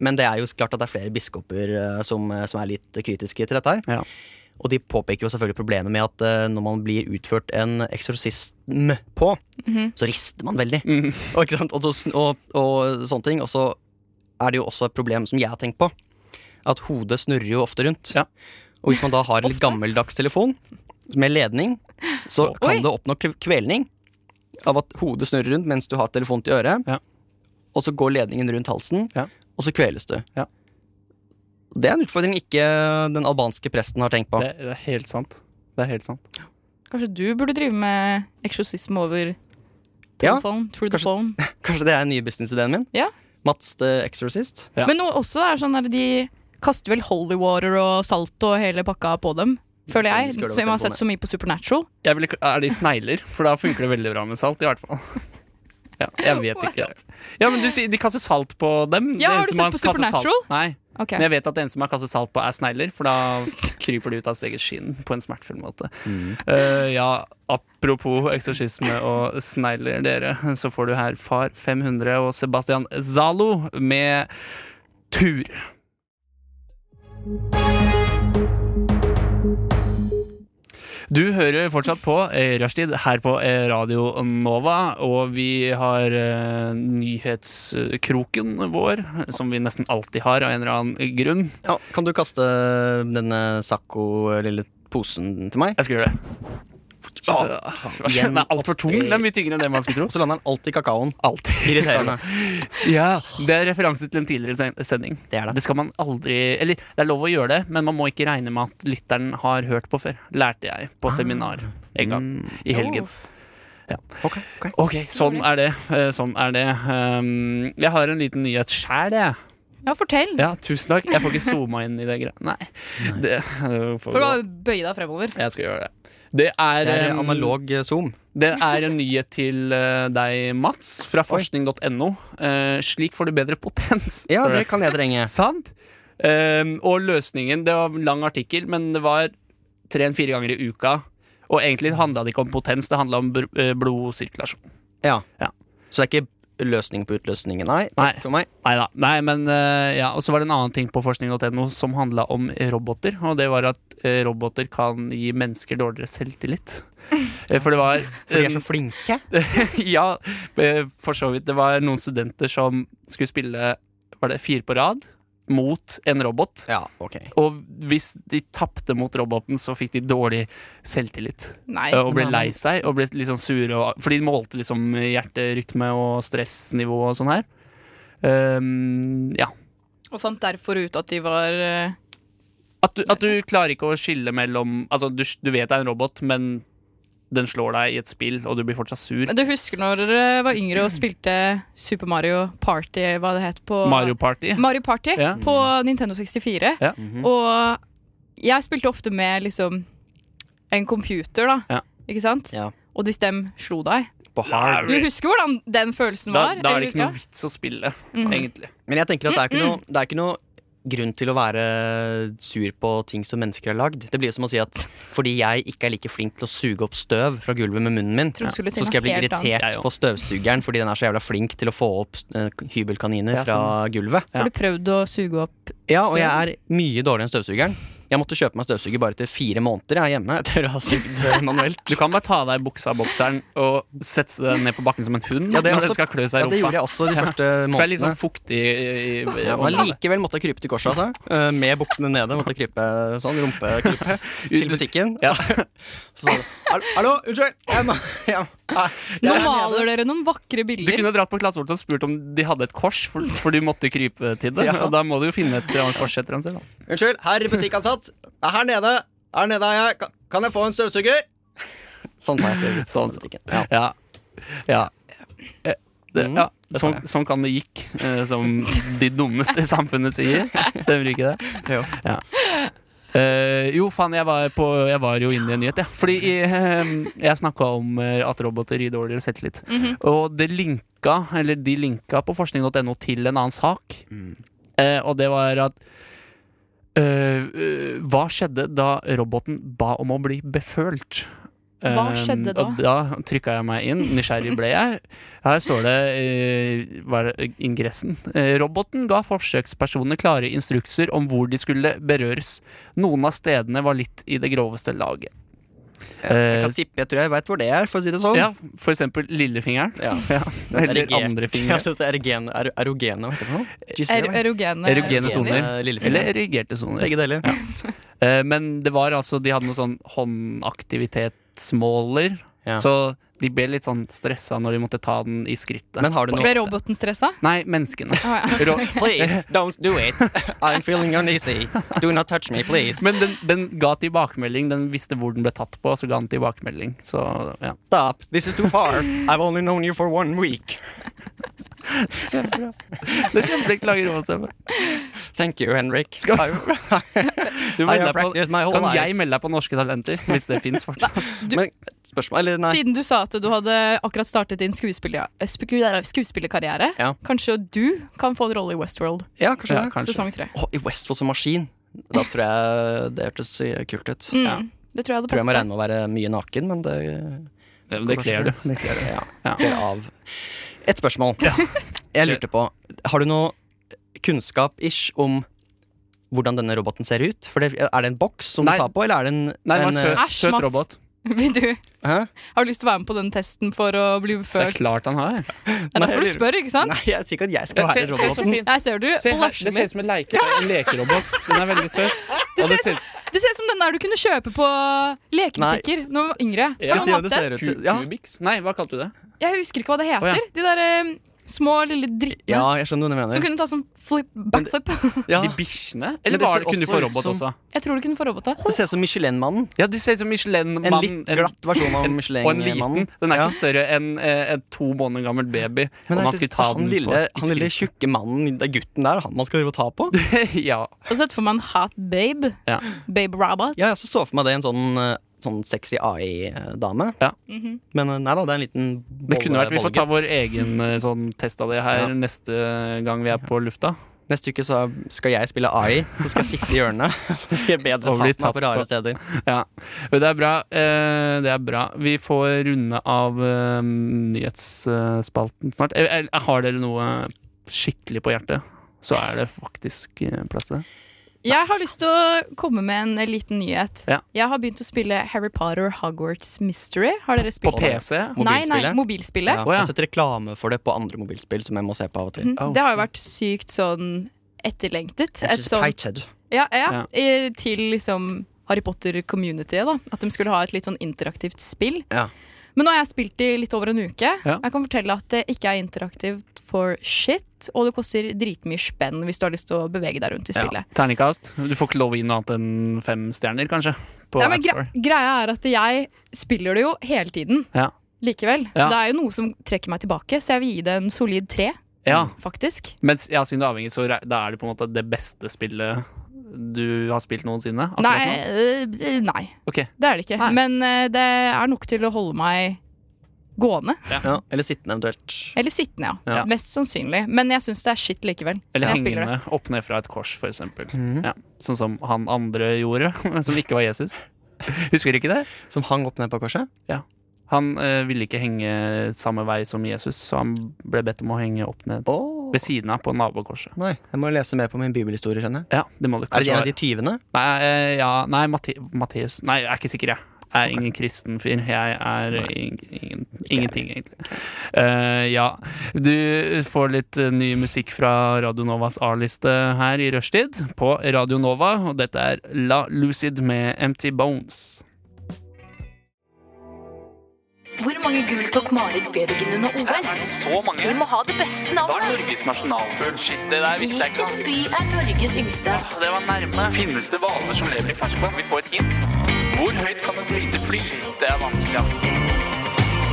Speaker 1: Men det er jo klart at det er flere biskoper eh, som, som er litt kritiske til dette her.
Speaker 2: Ja.
Speaker 1: Og de påpeker jo selvfølgelig problemet med at eh, når man blir utført en eksorsisme på, så rister man veldig.
Speaker 2: Mhm.
Speaker 1: Og, ikke sant? Og, så, sn- og, og sånne ting. Og så er det jo også et problem som jeg har tenkt på. At hodet snurrer jo ofte rundt.
Speaker 2: Ja.
Speaker 1: Og hvis man da har en litt gammeldags telefon med ledning, så
Speaker 2: Så-
Speaker 1: kan
Speaker 3: Oi.
Speaker 1: det oppnå kve- kvelning av at hodet snurrer rundt mens du har telefonen til øret.
Speaker 2: Ja.
Speaker 1: Og så går ledningen rundt halsen,
Speaker 2: Ja.
Speaker 1: og så kveles du.
Speaker 2: Ja.
Speaker 1: Det er en utfordring ikke den albanske presten har tenkt på.
Speaker 2: Det, det er helt sant. Det er helt sant.
Speaker 3: Kanskje du burde drive med eksorsisme over
Speaker 1: Ja,
Speaker 3: telefonen? through the
Speaker 1: kanskje-
Speaker 3: phone.
Speaker 1: Kanskje det er den nye businessideen min?
Speaker 3: Ja.
Speaker 1: Mats the Exorcist.
Speaker 2: Ja.
Speaker 3: Men noe også er sånn der de kaster vel holy water og salt og hele pakka på dem, føler jeg.
Speaker 1: Skal du ha
Speaker 3: Som jeg har
Speaker 1: telefonen?
Speaker 3: sett så mye på Supernatural.
Speaker 2: Jeg vil ikke, er de snegler? For da funker det veldig bra med salt, i hvert fall. <laughs> Ja, jeg vet ikke. Ja, men du sier De kaster salt på dem.
Speaker 3: Ja, har
Speaker 2: eneste
Speaker 3: du
Speaker 2: man
Speaker 3: sett på
Speaker 2: kaster salt-
Speaker 3: Supernatural?
Speaker 2: Nei.
Speaker 3: Ok.
Speaker 2: Men jeg vet at det eneste man kaster salt på, er snegler, for da kryper de ut av sitt eget skinn på en smertefull måte. Eh, ja, apropos eksorsisme og snegler, dere, så får du her Far 500 og Sebastian Zalo med Tur. Du hører fortsatt på eh, Rushtid her på eh, Radio Nova, og vi har eh, nyhetskroken vår, som vi nesten alltid har av en eller annen grunn.
Speaker 1: Ja, kan du kaste denne Sakko-lille posen til meg?
Speaker 2: Jeg skal gjøre det.
Speaker 1: igjen.
Speaker 2: <laughs> Den er altfor tung. Den er mye tyngre enn det man skulle
Speaker 1: Og
Speaker 2: tro.
Speaker 1: så lander den alltid i kakaoen.
Speaker 2: Alltid.
Speaker 1: Irriterende.
Speaker 2: <laughs> Ja, det er referanse til en tidligere sen- sending.
Speaker 1: Det er det.
Speaker 2: Det skal man aldri Eller det er lov å gjøre det, men man må ikke regne med at lytteren har hørt på før. Lærte jeg
Speaker 1: Ah.
Speaker 2: på seminar en gang
Speaker 1: Mm.
Speaker 2: i helgen.
Speaker 3: Uff.
Speaker 1: Ok, ok.
Speaker 2: Ok, sånn er det. eh, Sånn er det. Um, Jeg har en liten nyhet sjæl, jeg.
Speaker 3: Ja, fortell.
Speaker 2: Ja, tusen takk. Jeg får ikke zooma inn i det greia. Nei. Det, øh, får
Speaker 3: For
Speaker 2: gå.
Speaker 3: å bøye deg fremover.
Speaker 2: Jeg skal gjøre det. Det er,
Speaker 1: Det er
Speaker 2: um,
Speaker 1: analog eh, zoom.
Speaker 2: Det er en nyhet til eh, deg, Mats, fra forskning.no. Eh, slik får du bedre potens.
Speaker 1: Ja,
Speaker 2: står
Speaker 1: det kan jeg
Speaker 2: <laughs>
Speaker 1: trenge.
Speaker 2: Sant? Ehm, og løsningen Det var en lang artikkel, men det var tre-fire ganger i uka. Og egentlig handla det ikke om potens, det handla om br- eh, blodsirkulasjon.
Speaker 1: Ja.
Speaker 2: Ja.
Speaker 1: Så det er ikke løsning på utløsningen, nei.
Speaker 2: Nei. Um,
Speaker 1: Takk for meg.
Speaker 2: Neida. Nei men eh, ja. Og så var det en annen ting på forskning.no som handla om roboter. Og det var at eh, roboter kan gi mennesker dårligere selvtillit. Eh, For det
Speaker 1: <laughs>
Speaker 2: var
Speaker 1: For de er så flinke.
Speaker 2: <laughs> ja, eh, for så vidt. Det var noen studenter som skulle spille Var det fire på rad mot en robot.
Speaker 1: Ja, ok.
Speaker 2: Og hvis de tapte mot roboten, så fikk de dårlig selvtillit.
Speaker 3: Nei.
Speaker 2: eh, Og ble
Speaker 1: nei.
Speaker 2: lei seg og ble litt sånn sure. Og, for de målte liksom hjerterytme og stressnivå og sånn her. Um, ja.
Speaker 3: Og fant derfor ut at de var eh,
Speaker 2: At du, at du klarer ikke å skille mellom Altså, du, du vet det er en robot, men den slår deg i et spill, og du blir fortsatt sur.
Speaker 3: Du husker når dere var yngre og spilte Super Mario Party, hva det het på
Speaker 2: Mario Party.
Speaker 3: Mario Party
Speaker 2: Ja.
Speaker 3: på Nintendo 64.
Speaker 2: Ja.
Speaker 1: Mhm.
Speaker 3: Og jeg spilte ofte med liksom en computer, da.
Speaker 2: Ja.
Speaker 3: Ikke sant?
Speaker 1: Ja.
Speaker 3: Og hvis dem slo deg
Speaker 1: På hard.
Speaker 3: Du husker hvordan den følelsen
Speaker 2: Da,
Speaker 3: var?
Speaker 2: da er
Speaker 3: eller
Speaker 2: det ikke noe
Speaker 3: ja?
Speaker 2: vits å spille, egentlig.
Speaker 1: Men jeg tenker at det er ikke noe, det er ikke noe grunn til å være sur på ting som mennesker har lagd. Det blir jo som å si at fordi jeg ikke er like flink til å suge opp støv fra gulvet med munnen min,
Speaker 3: Tror du skulle si
Speaker 1: så skal jeg bli
Speaker 3: noe helt annet.
Speaker 1: irritert
Speaker 2: Jeg
Speaker 1: på støvsugeren fordi den er så jævla flink til å få opp eh, hybelkaniner
Speaker 2: Ja, sånn.
Speaker 1: fra gulvet.
Speaker 2: Ja.
Speaker 3: Har du prøvd å suge opp
Speaker 1: Ja, og jeg er mye dårligere enn støvsugeren. Jeg måtte kjøpe meg støvsuger bare til fire måneder jeg er hjemme etter å ha sugd eh, manuelt.
Speaker 2: Du kan bare ta av deg buksa av bokseren og sette deg ned på bakken som en hund
Speaker 1: Ja, det er
Speaker 2: når
Speaker 1: også-
Speaker 2: den skal klø seg i
Speaker 1: Ja,
Speaker 2: rumpa.
Speaker 1: det gjorde jeg også de første
Speaker 2: For det er litt sånn
Speaker 1: månedene.
Speaker 2: fuktig i, i, i
Speaker 1: Ja, men likevel måtte jeg krype til korset, altså. Eh, Med buksene nede. Måtte krype sånn,
Speaker 2: <laughs>
Speaker 1: rumpekrype til butikken.
Speaker 2: Ja.
Speaker 1: <laughs> Så sa du "Hall- Hallo, unnskyld! Jeg må, <laughs> jeg, må-
Speaker 3: Nå
Speaker 1: jeg er
Speaker 3: maler
Speaker 1: nede."
Speaker 3: dere noen vakre
Speaker 2: Du
Speaker 3: bilder.
Speaker 2: kunne dratt på Klasse Olsson og spurt om de hadde et kors, for, for de måtte krype til det.
Speaker 1: <laughs> Ja.
Speaker 2: Og da må du jo finne et Rams kors etter ham selv. da.
Speaker 1: Unnskyld, herr butikkansatt. Det er her nede. Her nede er jeg. Kan- Kan jeg få en støvsuger? Sånn sa jeg
Speaker 2: <laughs>
Speaker 1: til
Speaker 2: Sånn sa-
Speaker 1: butikken. Ja.
Speaker 2: Ja. Ja. Eh, Det,
Speaker 1: Mm,
Speaker 2: ja.
Speaker 1: det sa
Speaker 2: Sånn,
Speaker 1: jeg.
Speaker 2: sånn kan det gikk, eh, som de dummeste i samfunnet
Speaker 1: <laughs>
Speaker 2: sier. Stemmer ikke det?
Speaker 1: Jo.
Speaker 2: Eh, jo, faen, jeg var, på, jeg var jo inne i en nyhet, jeg. Fordi eh, jeg snakka om eh, at roboter gir dårligere selvtillit.
Speaker 1: Mhm.
Speaker 2: Og det linka, eller de linka på forskning.no til en annen sak. Eh, og det var at eh, eh, Hva skjedde da roboten ba om å bli befølt?
Speaker 3: Hva
Speaker 2: Eh,
Speaker 3: skjedde da?
Speaker 2: Og da trykka jeg meg inn. Nysgjerrig ble jeg. Her står det eh, hva er det, ingressen. Eh, roboten ga forsøkspersonene klare instrukser om hvor de skulle berøres. Noen av stedene var litt i det groveste laget.
Speaker 1: Jeg
Speaker 2: Eh,
Speaker 1: kan tippe, jeg tror jeg veit hvor det er, for å si det sånn.
Speaker 2: ja, for eksempel lillefingeren. <laughs>
Speaker 1: Ja.
Speaker 2: Ja. Eller
Speaker 1: Erogen- <laughs>
Speaker 2: andre
Speaker 1: Ja,
Speaker 2: fingre.
Speaker 1: det er erogen- er- Erogene, hva heter det for noe?
Speaker 3: Er,
Speaker 1: Giselle, hva heter det?
Speaker 3: erogene,
Speaker 2: Erogene soner.
Speaker 1: Eh, Lillefinger.
Speaker 2: Eller erigerte soner.
Speaker 1: Begge deler.
Speaker 2: Eh, Men det var altså De hadde noe sånn håndaktivitetsmåler,
Speaker 1: Ja.
Speaker 2: så de ble litt sånn stressa når de måtte ta den i skrittet.
Speaker 1: Men har du noe
Speaker 3: Ble roboten stressa?
Speaker 2: Nei, menneskene.
Speaker 1: <laughs>
Speaker 3: Ah, ja.
Speaker 2: Ro
Speaker 1: Please,
Speaker 2: <laughs>
Speaker 1: don't do it. I'm feeling uneasy. Do not touch me, please.
Speaker 2: men den, den ga tilbakemelding. Den visste hvor den ble tatt på, så ga den tilbakemelding. Så ja
Speaker 1: Stop, this is too far. I've only known you for one week.
Speaker 2: Kjempebra. Det er kjempeflink lager rådstemme.
Speaker 1: Thank you, Henrik.
Speaker 2: Skal-
Speaker 1: I,
Speaker 2: Du
Speaker 1: I
Speaker 2: melde
Speaker 1: have
Speaker 2: deg på,
Speaker 1: practiced my whole
Speaker 2: kan
Speaker 1: life.
Speaker 2: jeg melde deg på Norske Talenter, hvis det fins fortsatt?
Speaker 4: Du-
Speaker 1: Men <laughs> spørsmål Eller nei.
Speaker 4: Siden du sa at du hadde akkurat startet din skuespiller- eh, sku- eh, skuespillerkarriere,
Speaker 1: Ja.
Speaker 4: kanskje du kan få en rolle i Westworld
Speaker 1: Ja, kanskje
Speaker 2: Ja,
Speaker 1: det.
Speaker 2: kanskje.
Speaker 4: sesong tre.
Speaker 1: Å, I Westfold som maskin. Da tror jeg det hørtes eh, kult ut.
Speaker 4: Mm.
Speaker 2: Ja.
Speaker 4: Det tror jeg hadde
Speaker 1: Tror jeg må
Speaker 4: passet.
Speaker 1: regne med å være mye naken, men det
Speaker 2: Det, det kler du. Det kler du.
Speaker 1: ja,
Speaker 2: Ja.
Speaker 1: kler av. Et spørsmål. Jeg lurte på Har du noe kunnskap-ish om hvordan denne roboten ser ut? For det, er det en boks som
Speaker 2: Nei.
Speaker 1: du tar på, eller er det en,
Speaker 2: Nei, det var
Speaker 1: en
Speaker 2: en
Speaker 1: eh,
Speaker 2: søt,
Speaker 4: Æsj,
Speaker 2: søt
Speaker 4: Mats.
Speaker 2: robot.
Speaker 4: <laughs> Vil du,
Speaker 1: Hæ?
Speaker 4: har du lyst til å være med på den testen for å bli
Speaker 2: Det er
Speaker 4: befølt?
Speaker 2: klart han har.
Speaker 4: Det er derfor du
Speaker 1: Nei,
Speaker 4: spør, ikke sant?
Speaker 1: Nei, jeg sier ikke at jeg
Speaker 2: Se,
Speaker 1: skal være
Speaker 2: se så
Speaker 1: roboten.
Speaker 2: fin.
Speaker 4: Nei, ser du?
Speaker 2: Se her,
Speaker 4: Blæsjen
Speaker 2: det ser
Speaker 4: min.
Speaker 2: ut som en, leike, en lekerobot. Den er veldig søt. Og det ser
Speaker 4: Det ser ut som den der du kunne kjøpe på lekebutikker da du var yngre. Hva
Speaker 2: Ja.
Speaker 1: Skal jeg si hva
Speaker 4: kalte
Speaker 1: det ser ut
Speaker 2: ut
Speaker 1: til? Ja.
Speaker 2: Kubix? Nei, hva kalte du det?
Speaker 4: Jeg husker ikke hva det heter.
Speaker 2: Å, ja.
Speaker 4: De der eh, små, lille drittene
Speaker 1: ja, jeg skjønner hva
Speaker 4: som
Speaker 1: du mener.
Speaker 4: kunne ta sånn flip, backflip.
Speaker 1: Ja.
Speaker 2: De bikkjene? Eller
Speaker 1: Men det
Speaker 2: var
Speaker 1: ser
Speaker 2: det, kunne du
Speaker 1: også
Speaker 2: få
Speaker 1: ut
Speaker 2: robot
Speaker 1: som-
Speaker 2: også?
Speaker 4: <laughs> Jeg tror du kunne få roboter.
Speaker 1: Det ser ut som Michelin-mannen.
Speaker 2: Ja, de ser ut som Michelin-mann.
Speaker 1: En litt glatt versjon av
Speaker 2: Og en liten.
Speaker 1: Michelin-mannen.
Speaker 2: Den er
Speaker 1: Ja.
Speaker 2: ikke større enn eh, en to måneder gammel baby.
Speaker 1: Men
Speaker 2: og
Speaker 1: det er
Speaker 2: man
Speaker 1: ikke,
Speaker 2: skulle ta
Speaker 1: han,
Speaker 2: den
Speaker 1: lille,
Speaker 2: på
Speaker 1: han lille tjukke mannen, det er gutten der, han man skal drive og ta på?
Speaker 2: <laughs> ja.
Speaker 4: Og sett for meg en hot babe.
Speaker 2: Ja.
Speaker 4: Babe robot.
Speaker 1: Ja, jeg også så for meg det en sånn, eh, sånn sexy AI-dame.
Speaker 2: Ja.
Speaker 4: Mhm.
Speaker 1: Men eh, nei da, det er en liten
Speaker 2: Det kunne
Speaker 1: bolle-
Speaker 2: vært Vi får ta
Speaker 1: bollegutt.
Speaker 2: vår egen eh, sånn test av det her
Speaker 1: Ja.
Speaker 2: neste gang vi er på lufta.
Speaker 1: Neste uke så skal jeg spille AI, så skal jeg sitte i hjørnet. <laughs> Det er bedre å
Speaker 2: Og
Speaker 1: ta
Speaker 2: bli
Speaker 1: meg på
Speaker 2: tatt
Speaker 1: rare
Speaker 2: på.
Speaker 1: steder.
Speaker 2: Ja. Men det er bra. eh, Det er bra. Vi får runde av eh, nyhetsspalten snart. Eh, eh, Har dere noe skikkelig på hjertet, så er det faktisk eh, plass til det.
Speaker 4: Jeg har lyst til å komme med en liten nyhet.
Speaker 2: Ja.
Speaker 4: Jeg har begynt å spille Harry Potter Hogwarts Mystery. Har dere
Speaker 2: På
Speaker 4: spilt det?
Speaker 2: PC?
Speaker 4: Nei, nei,
Speaker 1: Mobilspillet?
Speaker 4: mobilspillet.
Speaker 2: Å,
Speaker 1: Ja,
Speaker 2: ja.
Speaker 1: jeg har sett reklame for det på andre mobilspill som jeg må se på av og til.
Speaker 4: Mm,
Speaker 2: Oh,
Speaker 4: det har jo vært sykt sånn etterlengtet.
Speaker 1: Jeg er
Speaker 4: Et
Speaker 1: ikke så
Speaker 4: sånt
Speaker 1: peited.
Speaker 4: ja, ja, eh, til liksom Harry Potter-communityet. da At de skulle ha et litt sånn interaktivt spill.
Speaker 1: Ja.
Speaker 4: Men nå har jeg spilt i litt over en uke.
Speaker 2: Ja.
Speaker 4: Jeg kan fortelle at det ikke er interaktivt for shit, og det koster dritmye spenn hvis du har lyst til å bevege deg rundt i
Speaker 1: Ja.
Speaker 4: spillet.
Speaker 2: Terningkast. Du får ikke lov å gi noe annet enn fem stjerner, kanskje? På
Speaker 4: Nei, men
Speaker 2: App Store.
Speaker 4: gre greia er at jeg spiller det jo hele tiden.
Speaker 2: Ja.
Speaker 4: Likevel. Så
Speaker 2: Ja.
Speaker 4: det er jo noe som trekker meg tilbake, så jeg vil gi det en solid tre,
Speaker 2: Ja.
Speaker 4: faktisk.
Speaker 2: Men s- ja, siden du er avhengig, så re- da er det på en måte det beste spillet du har spilt noensinne? akkurat
Speaker 4: Nei,
Speaker 2: nå?
Speaker 4: øh, nei,
Speaker 2: Ok.
Speaker 4: det er det ikke.
Speaker 2: Nei.
Speaker 4: Men øh, det er nok til å holde meg gående.
Speaker 1: Ja, eller sittende eventuelt.
Speaker 4: Eller sittende, ja.
Speaker 2: Ja.
Speaker 4: Mest sannsynlig. Men jeg syns det er shit likevel.
Speaker 2: Eller
Speaker 4: når jeg spiller det.
Speaker 2: hengende opp ned fra et kors, for eksempel.
Speaker 1: Mhm.
Speaker 2: ja. Sånn som han andre gjorde, <laughs> som ikke var Jesus. Husker du ikke det?
Speaker 1: Som hang opp ned på korset.
Speaker 2: Han eh, ville ikke henge samme vei som Jesus, så han ble bedt om å henge opp ned
Speaker 1: Åh.
Speaker 2: ved siden av på nabokorset.
Speaker 1: Nei, jeg må lese mer på min bibelhistorie, skjønner jeg.
Speaker 2: Ja, det må du
Speaker 1: Er
Speaker 2: kanskje
Speaker 1: det en
Speaker 2: være.
Speaker 1: av de tyvene?
Speaker 2: Nei, eh, ja, nei Matti- Matteus Nei, jeg er ikke sikker, jeg. Jeg er ingen kristen fyr. Jeg er ing, ingen, ingenting, egentlig. Eh, ja. Du får litt eh, ny musikk fra Radio Novas A-liste her i rushtid på Radio Nova, og dette er La Lucid med Empty Bones.
Speaker 6: Hvor mange gul tok Marit Bjørgen under OL?
Speaker 2: Så mange!
Speaker 6: Vi må ha det beste navnet.
Speaker 2: Norges nasjonalfugl? Shit, det der
Speaker 6: Hvilken by er Norges yngste?
Speaker 2: Det var nærme. Finnes det hvaler som lever i ferskvann? Vi får et hint. Hvor høyt kan et lite fly? Det er vanskelig, ass.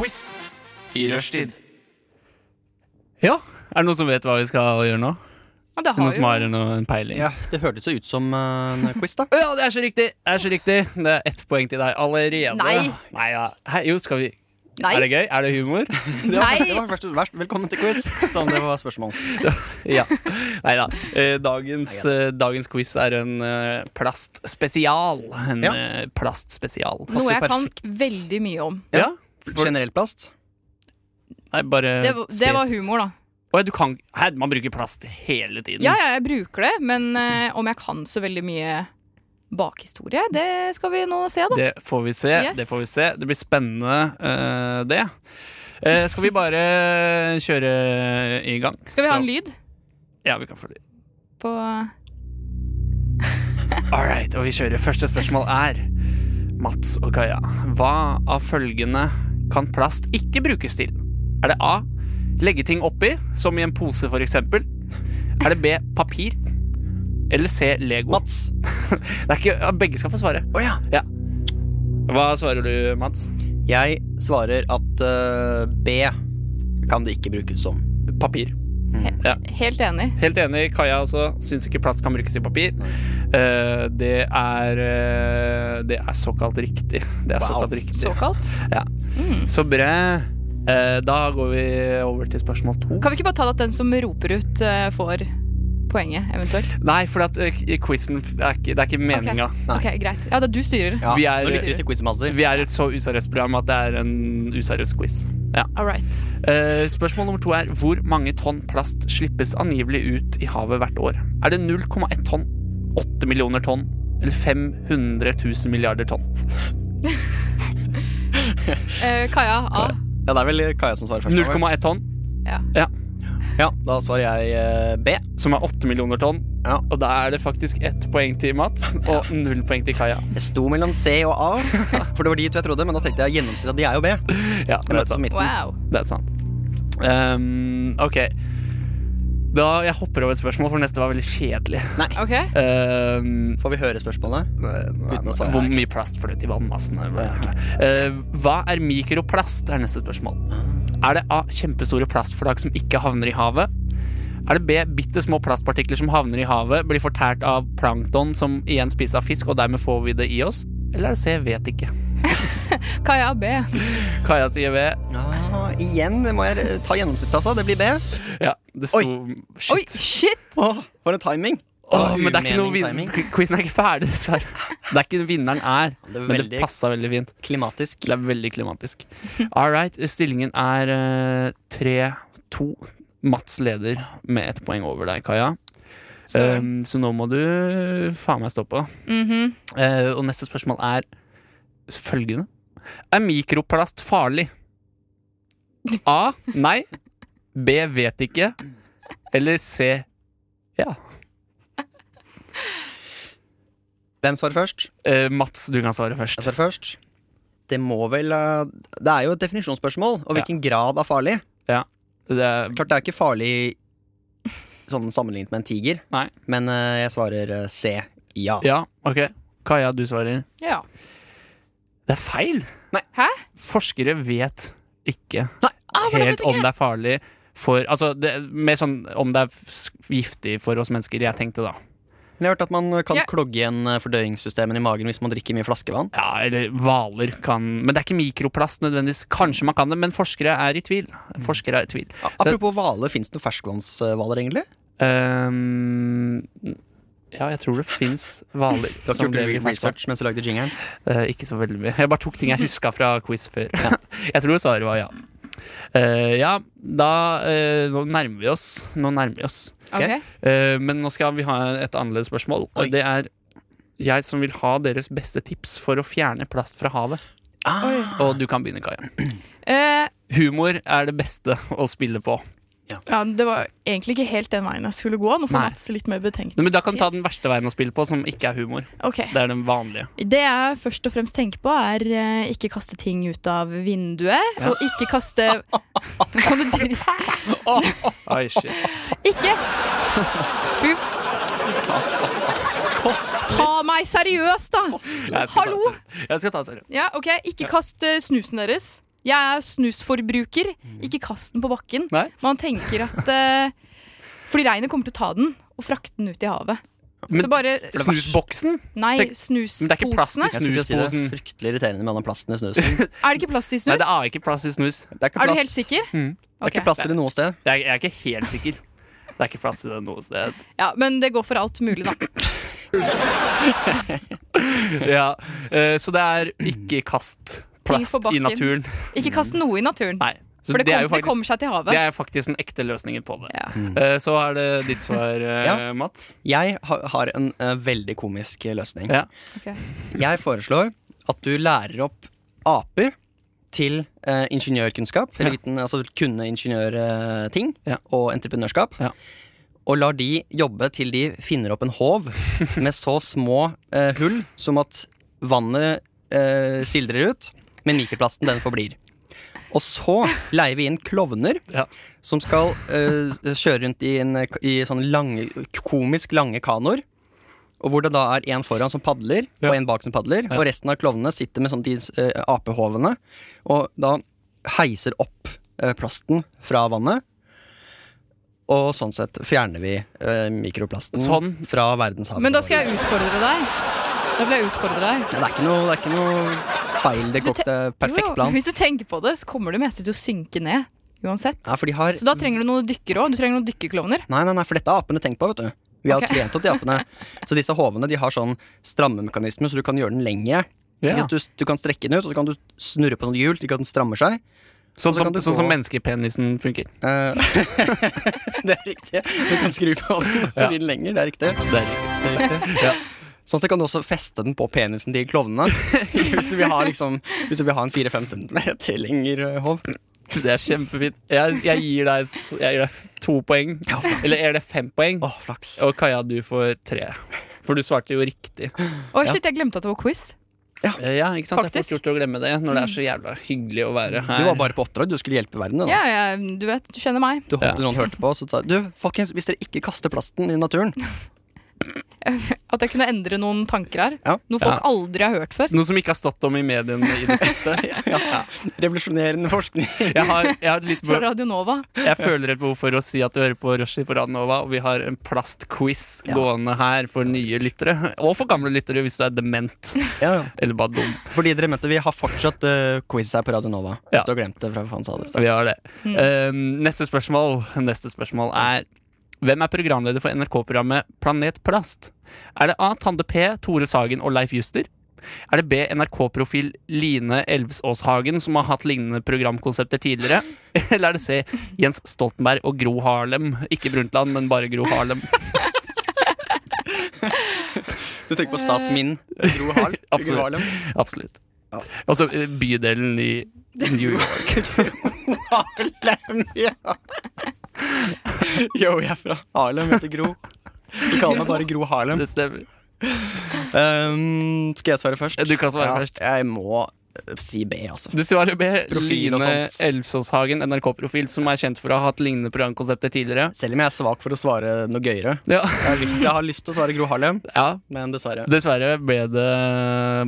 Speaker 2: Quiz i rushtid. Ja. Er det noen som vet hva vi skal gjøre nå?
Speaker 4: Ja, det
Speaker 2: Noen
Speaker 4: har
Speaker 2: som
Speaker 4: jo.
Speaker 2: har noe- en peiling?
Speaker 1: Ja, det hørtes jo ut som eh, en quiz, da.
Speaker 2: Ja, det er så riktig! Det er så riktig Det er ett poeng til deg allerede.
Speaker 4: Nei.
Speaker 2: Nei ja. Hei, jo, skal vi
Speaker 4: Nei.
Speaker 2: Er det gøy? Er det
Speaker 4: <laughs>
Speaker 2: humor?
Speaker 1: Det
Speaker 4: <laughs>
Speaker 1: var,
Speaker 4: Nei.
Speaker 1: det var verst, verst, velkommen til quiz. Sånn, det var spørsmål.
Speaker 2: ja. Nei da. Eh, Dagens, eh, dagens quiz er en eh, plastspesial. En
Speaker 1: Ja.
Speaker 2: eh, plastspesial.
Speaker 4: Noe jeg kan
Speaker 1: perfekt.
Speaker 4: veldig mye om.
Speaker 2: Ja. For,
Speaker 1: Generell plast.
Speaker 2: nei, bare
Speaker 4: Det, var- det var
Speaker 2: spes- Mm.
Speaker 4: humor, da.
Speaker 2: Å, ja, du kan Hæ, man bruker plast hele tiden?
Speaker 4: Ja, ja, jeg bruker det, men eh, om jeg kan så veldig mye bakhistorie, det skal vi nå se, da.
Speaker 2: Det får vi se.
Speaker 4: Yes.
Speaker 2: Det får vi se Det blir spennende, eh, det. Eh, skal vi bare kjøre i gang?
Speaker 4: Skal vi ha en lyd
Speaker 2: Ja, vi kan få lyd.
Speaker 4: på
Speaker 2: Alright, og vi kjører. Første spørsmål er Mats og Kaja. Hva av følgende kan plast ikke brukes til? Er det A. Legge ting oppi, som i en pose, for eksempel. Er det B. Papir? Eller C. Lego? <laughs>
Speaker 1: Mats!
Speaker 2: Det er ikke, begge skal få svare.
Speaker 1: Å ja.
Speaker 2: Hva svarer du, Mats?
Speaker 1: Jeg svarer at eh, B kan det ikke brukes som.
Speaker 2: Papir.
Speaker 4: Helt enig.
Speaker 2: Helt enig. Kaja også syns ikke plast kan brukes i papir. Eh, det er eh, Det er såkalt riktig. Det er
Speaker 1: Wow.
Speaker 2: såkalt riktig.
Speaker 4: Såkalt.
Speaker 2: Så bra. Eh, da går vi over til spørsmål to.
Speaker 4: Kan vi ikke bare ta det at den som roper ut, eh, får poenget, eventuelt?
Speaker 2: Nei, for at eh, quizen er ikke, det er ikke meninga.
Speaker 1: Nei.
Speaker 4: Ok, Greit. Ja, da du styrer.
Speaker 1: Ja,
Speaker 2: Vi er-
Speaker 1: Nå lytter vi til Quizmaster.
Speaker 2: Vi er et så useriøst program at det er en useriøs quiz. Ja.
Speaker 4: All right.
Speaker 2: Eh, spørsmål nummer to er hvor mange tonn plast slippes angivelig ut i havet hvert år? Er det 0,1 tonn, 8 millioner tonn eller 500 000 milliarder tonn?
Speaker 4: Eh, Kaja A.
Speaker 1: Ja, det er vel Kaja som svarer først.
Speaker 2: 0,1 tonn,
Speaker 1: Ja, Da svarer jeg eh, B.
Speaker 2: som er 8 millioner tonn.
Speaker 1: Ja.
Speaker 2: Og da er det faktisk ett poeng til <laughs> Mats og null poeng til Kaja.
Speaker 1: Jeg sto mellom C og
Speaker 2: <laughs>
Speaker 1: A, for det var de to jeg trodde, men da tenkte jeg gjennomsnittet av de er jo B. Jeg
Speaker 2: Ja, det er
Speaker 1: møtes
Speaker 2: sant.
Speaker 1: på midten.
Speaker 4: Wow.
Speaker 2: Det er sant. Ehm, ok. Da, jeg hopper over et spørsmål, for neste var veldig kjedelig.
Speaker 4: Ok.
Speaker 2: Ehm,
Speaker 1: Får vi høre spørsmålet? Uten å svare.
Speaker 2: hvor mye plast får du til vannmassen? Ehm, hva er mikroplast? er neste spørsmål. Er det A. Kjempestore plastflak som ikke havner i havet? Er det B. Bitte små plastpartikler som havner i havet, blir fortært av plankton, som igjen spiser av fisk, og dermed får vi det i oss? Eller er det C. Vet ikke.
Speaker 4: Kaja B.
Speaker 2: Kaja sier V.
Speaker 1: Ah, igjen må jeg eh, ta gjennomsnittet, altså. Det blir B.
Speaker 2: Ja, det sto
Speaker 4: Oi,
Speaker 2: Shit.
Speaker 4: shit!
Speaker 1: Åh, for en timing!
Speaker 2: Åh,
Speaker 1: Åh,
Speaker 2: men det er ikke noe
Speaker 1: umening
Speaker 2: vin- Quizen er ikke ferdig, dessverre. Det er ikke vinneren er,
Speaker 1: Det er
Speaker 2: men det
Speaker 1: veldig-
Speaker 2: passa veldig fint.
Speaker 1: Klimatisk.
Speaker 2: Det er veldig klimatisk. All right, stillingen er eh, 3-2. Mats leder med ett poeng over deg, Kaja. Så,
Speaker 4: Søren.
Speaker 2: så nå må du faen meg stoppe.
Speaker 4: Mhm.
Speaker 2: Eh, og neste spørsmål er følgende. Er mikroplast farlig? A. Nei. B. Vet ikke. Eller C. Ja.
Speaker 1: Hvem svarer først?
Speaker 2: Eh, Mats, du kan svare først.
Speaker 1: Jeg svarer først. Det må vel eh, Det er jo et definisjonsspørsmål, og hvilken grad av farlig.
Speaker 2: Det er,
Speaker 1: Klart det er ikke farlig sånn sammenlignet med en tiger,
Speaker 2: Nei.
Speaker 1: men eh, jeg svarer eh, C. Ja.
Speaker 2: ja, ok. Kaja, du svarer.
Speaker 4: Ja.
Speaker 2: Det er feil!
Speaker 1: Nei.
Speaker 4: Hæ?
Speaker 2: Forskere vet ikke
Speaker 1: Ah,
Speaker 4: men de
Speaker 2: helt om det er farlig for Altså, det, mer sånn om det er s- giftig for oss mennesker, jeg tenkte da.
Speaker 1: Men jeg har hørt at man kan
Speaker 4: Ja.
Speaker 1: klogge igjen eh, fordøyingssystemene i magen hvis man drikker mye flaskevann.
Speaker 2: Ja, eller hvaler kan Men det er ikke mikroplast nødvendigvis. Kanskje man kan det, men forskere er i tvil.
Speaker 1: Mm.
Speaker 2: Forskere er i tvil.
Speaker 1: A- Apropos hvaler, fins det noen ferskvannshvaler, egentlig?
Speaker 2: Ehm, ja, jeg tror det fins hvaler
Speaker 1: Du har ikke
Speaker 2: som
Speaker 1: gjort
Speaker 2: lever i
Speaker 1: re-
Speaker 2: ferskvann.
Speaker 1: research mens du lagde jingeren?
Speaker 2: Eh, ikke så veldig mye. Jeg bare tok ting jeg huska fra quiz før. jeg tror svaret var ja. Eh, ja, da eh, Nå nærmer vi oss. Nå nærmer vi oss.
Speaker 4: Ok.
Speaker 2: Eh, men nå skal vi ha et annerledes spørsmål. Og det er jeg som vil ha deres beste tips for å fjerne plast fra havet. Og du kan begynne, Kaja.
Speaker 4: Eh,
Speaker 2: Humor er det beste å spille på.
Speaker 4: ja, det var egentlig ikke helt den veien jeg skulle gå. Nå får
Speaker 2: Nei.
Speaker 4: Mats litt mer betenkt.
Speaker 2: Nei, Men Da kan du ta den verste veien å spille på, som ikke er humor.
Speaker 4: Ok.
Speaker 2: Det er den vanlige.
Speaker 4: Det jeg først og fremst tenker på, er eh, ikke kaste ting ut av vinduet. Og ikke kaste <laughs> Kan du dri-
Speaker 2: Oi, shit.
Speaker 4: Ikke! Fy f- Ta meg seriøst, da!
Speaker 2: Jeg skal ta det
Speaker 4: Hallo!
Speaker 2: seriøst. Jeg skal ta det seriøst.
Speaker 4: Ja, ok, Ikke kast eh, snusen deres. Jeg er snusforbruker. Ikke kast den på bakken.
Speaker 2: Mm. Nei.
Speaker 4: Man tenker at eh, Fordi regnet kommer til å ta den og frakte den ut i havet.
Speaker 2: Men
Speaker 4: Så bare
Speaker 2: snusboksen?
Speaker 4: Nei,
Speaker 2: tenk- Men det er ikke plast i
Speaker 4: snusposene.
Speaker 1: Jeg skulle til å si det.
Speaker 2: Snusposen.
Speaker 1: Fryktelig irriterende med all den plasten i <laughs> snusen.
Speaker 4: Er det ikke plast i snus?
Speaker 2: Nei, det er ikke plass Mm. i snus.
Speaker 1: Det er ikke
Speaker 4: er du
Speaker 1: plass,
Speaker 4: helt sikker?
Speaker 1: det er
Speaker 4: Ok.
Speaker 1: ikke plass til det noe sted.
Speaker 2: Jeg, jeg er ikke helt sikker. Det er ikke plass til det noe sted.
Speaker 4: Ja, men det går for alt mulig, da.
Speaker 2: Ja, eh, Så det er ikke kast
Speaker 4: Ting på
Speaker 2: plast i
Speaker 4: bakken.
Speaker 2: naturen.
Speaker 4: Ikke kast noe i naturen.
Speaker 2: Mm. Nei. Så
Speaker 4: For det, kom,
Speaker 2: er jo
Speaker 4: det kommer
Speaker 2: faktisk,
Speaker 4: seg til havet.
Speaker 2: det er faktisk den ekte løsningen på det.
Speaker 4: Ja.
Speaker 2: Eh, Så er det ditt svar, eh,
Speaker 1: Ja.
Speaker 2: Mats.
Speaker 1: Jeg ha- har en eh, veldig komisk eh, løsning.
Speaker 2: Ja.
Speaker 4: Ok.
Speaker 1: Jeg foreslår at du lærer opp aper til eh, ingeniørkunnskap. Eller viten, altså kunne ingeniørting
Speaker 2: Ja.
Speaker 1: og entreprenørskap.
Speaker 2: Ja.
Speaker 1: Og lar de jobbe til de finner opp
Speaker 2: <laughs>
Speaker 1: en håv med så små eh, hull som at vannet eh, sildrer ut, men mikroplasten den forblir. Og så leier vi inn klovner
Speaker 2: Ja.
Speaker 1: som skal eh, kjøre rundt i, en, eh, i sånne lange, komisk lange kanoer. Og hvor det da er en foran som padler,
Speaker 2: Ja.
Speaker 1: og en bak som padler. Og resten av klovnene sitter med sånne de, eh, apehovene og da heiser opp eh, plasten fra vannet. Og sånn sett fjerner vi eh, mikroplasten
Speaker 2: Sånn.
Speaker 1: fra verdenshavet.
Speaker 4: Men da skal jeg utfordre deg. Da vil jeg utfordre deg.
Speaker 1: Det er ikke noe, det er ikke noe feil
Speaker 4: Du te-
Speaker 1: dekokte
Speaker 4: Jo,
Speaker 1: perfekt
Speaker 4: jo,
Speaker 1: plan.
Speaker 4: Hvis du tenker på det, så kommer det meste til å synke ned. Uansett.
Speaker 1: Ja, for de har
Speaker 4: Så da trenger du noen dykkere òg. Du trenger noen dykkerklovner.
Speaker 1: Nei, nei, nei, for dette har apene tenkt på, vet du. Vi har
Speaker 4: Ok.
Speaker 1: trent opp de apene. Så disse hovene de har sånn strammemekanisme, så du kan gjøre den lengre. Ikke
Speaker 2: Ja.
Speaker 1: at Du, du kan strekke den ut, og så kan du snurre på noen hjul til at den strammer seg. <laughs>
Speaker 2: Sånn,
Speaker 1: så
Speaker 2: som,
Speaker 1: kan du
Speaker 2: sånn
Speaker 1: gå-
Speaker 2: som menneskepenisen funker.
Speaker 1: Eh, det er riktig. Du kan skru på den
Speaker 2: Ja.
Speaker 1: ja. litt lenger, det er riktig.
Speaker 2: Det er riktig.
Speaker 1: Det er <laughs> riktig.
Speaker 2: Ja.
Speaker 1: Sånn sett kan du også feste den på penisen til klovnene. Hvis du vil ha, liksom, hvis du vil ha en 4-5 cm lengre hov.
Speaker 2: Det er kjempefint. Jeg, jeg, gir deg, s- jeg gir deg f- to poeng. Eller er det fem poeng?
Speaker 1: Å, flaks.
Speaker 2: Og Kaja, du får tre. For du svarte jo riktig.
Speaker 4: Å, shit, jeg glemte at det var quiz.
Speaker 2: Eh, Ja, ikke sant? Det er fort
Speaker 4: Faktisk.
Speaker 2: gjort å glemme det når det er så jævla hyggelig å være
Speaker 1: Du var
Speaker 2: her.
Speaker 1: bare på oppdrag, du skulle hjelpe verden. du, Da.
Speaker 4: Ja, ja, du vet, du kjenner meg.
Speaker 1: Du håpet noen hørte på, så sa jeg, du, folkens, hvis dere ikke kaster plasten i naturen
Speaker 4: At jeg kunne endre noen tanker her.
Speaker 1: Ja.
Speaker 4: Noe folk aldri har hørt før.
Speaker 2: Noe som ikke har stått om i mediene i det siste.
Speaker 1: <laughs> ja. Revolusjonerende forskning.
Speaker 2: Jeg har, jeg har et litt
Speaker 4: Fra Radio Nova.
Speaker 2: Jeg føler et behov for å si at du hører på Rushdie på Radnova, og vi har en plastquiz gående her for nye lyttere. Og for gamle lyttere, hvis du er dement
Speaker 1: <laughs> Ja,
Speaker 2: eller bare dum.
Speaker 1: fordi dere mente vi har fortsatt eh, quiz her på Radio Nova.
Speaker 2: Ja.
Speaker 1: Hvis du har glemt det fra hva faen sa det.
Speaker 2: Vi
Speaker 1: i stad.
Speaker 2: har det. Eh, neste, spørsmål, neste spørsmål er hvem er programleder for NRK-programmet Planet Plast? Er det A. Tande P, Tore Sagen og Leif Juster? Er det B. NRK-profil Line Elvsåshagen, som har hatt lignende programkonsepter tidligere? <laughs> Eller er det C. Jens Stoltenberg og Gro Harlem? Ikke Brundtland, men bare Gro Harlem. <laughs>
Speaker 1: Du tenker på statsmin Eh, Gro Harl? <laughs>
Speaker 2: Absolutt.
Speaker 1: Gro Harlem.
Speaker 2: Absolutt. Altså eh, bydelen i New
Speaker 1: <laughs>
Speaker 2: York.
Speaker 1: Harlem, ja. Yo, jeg er fra Harlem, heter Gro. Du kaller meg bare Gro <laughs> Harlem.
Speaker 2: Det stemmer.
Speaker 1: Um, skal jeg svare først?
Speaker 2: Du kan svare først.
Speaker 1: Jeg må eh, si B, altså.
Speaker 2: Du svarer B.
Speaker 1: Profil og
Speaker 2: Line
Speaker 1: sånt.
Speaker 2: Elvsåshagen, NRK-profil, som er kjent for å ha hatt lignende programkonsepter tidligere.
Speaker 1: Selv om jeg er svak for å svare noe gøyere.
Speaker 2: Ja,
Speaker 1: Jeg har lyst, jeg har lyst til å svare Gro Harlem,
Speaker 2: ja
Speaker 1: men dessverre.
Speaker 2: dessverre ble det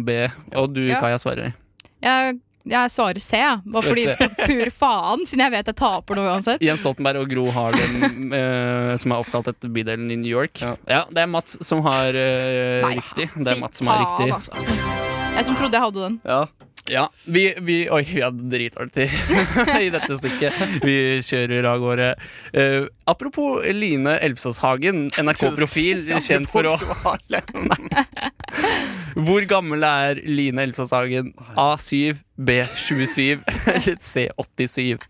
Speaker 2: B. Og du,
Speaker 4: Ja.
Speaker 2: Kaja, svarer.
Speaker 4: Jeg, jeg svarer C, jeg. bare
Speaker 2: Svarer
Speaker 4: fordi <laughs> pur faen, siden jeg vet jeg taper noe uansett.
Speaker 2: Jens Stoltenberg og Gro
Speaker 4: <laughs>
Speaker 2: Harlem, eh, som er oppkalt etter bydelen i New York. Ja,
Speaker 1: Ja.
Speaker 2: det er Mats som har eh, riktig. Det
Speaker 4: si
Speaker 2: er Mats som har
Speaker 4: faen,
Speaker 2: riktig.
Speaker 4: altså. Jeg som trodde jeg hadde den.
Speaker 1: Ja.
Speaker 2: Ja, vi, vi Oi, vi hadde dritdårlig tid <laughs> i dette stykket. Vi kjører av gårde. Eh, apropos Line Elvsåshagen, NRK-profil, kjent for å
Speaker 1: Gro Harlem.
Speaker 2: Hvor gammel er Line Elvsåshagen? A7, B27 eller C87?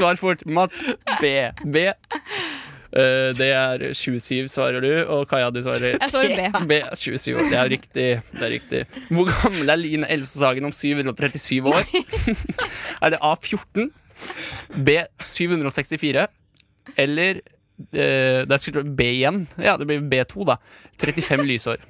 Speaker 2: Svar fort. Mats,
Speaker 1: B.
Speaker 2: B. Eh, det er 27, svarer du. Og Kaja, du svarer
Speaker 4: Jeg svarer B.
Speaker 2: B. 27 år. Det er riktig. det er riktig Hvor gammel er Line Elvsåshagen om 737 år? <laughs> er det A14, B764 eller eh, Det er sikkert B igjen. Ja, det blir B2, da. 35 lysår.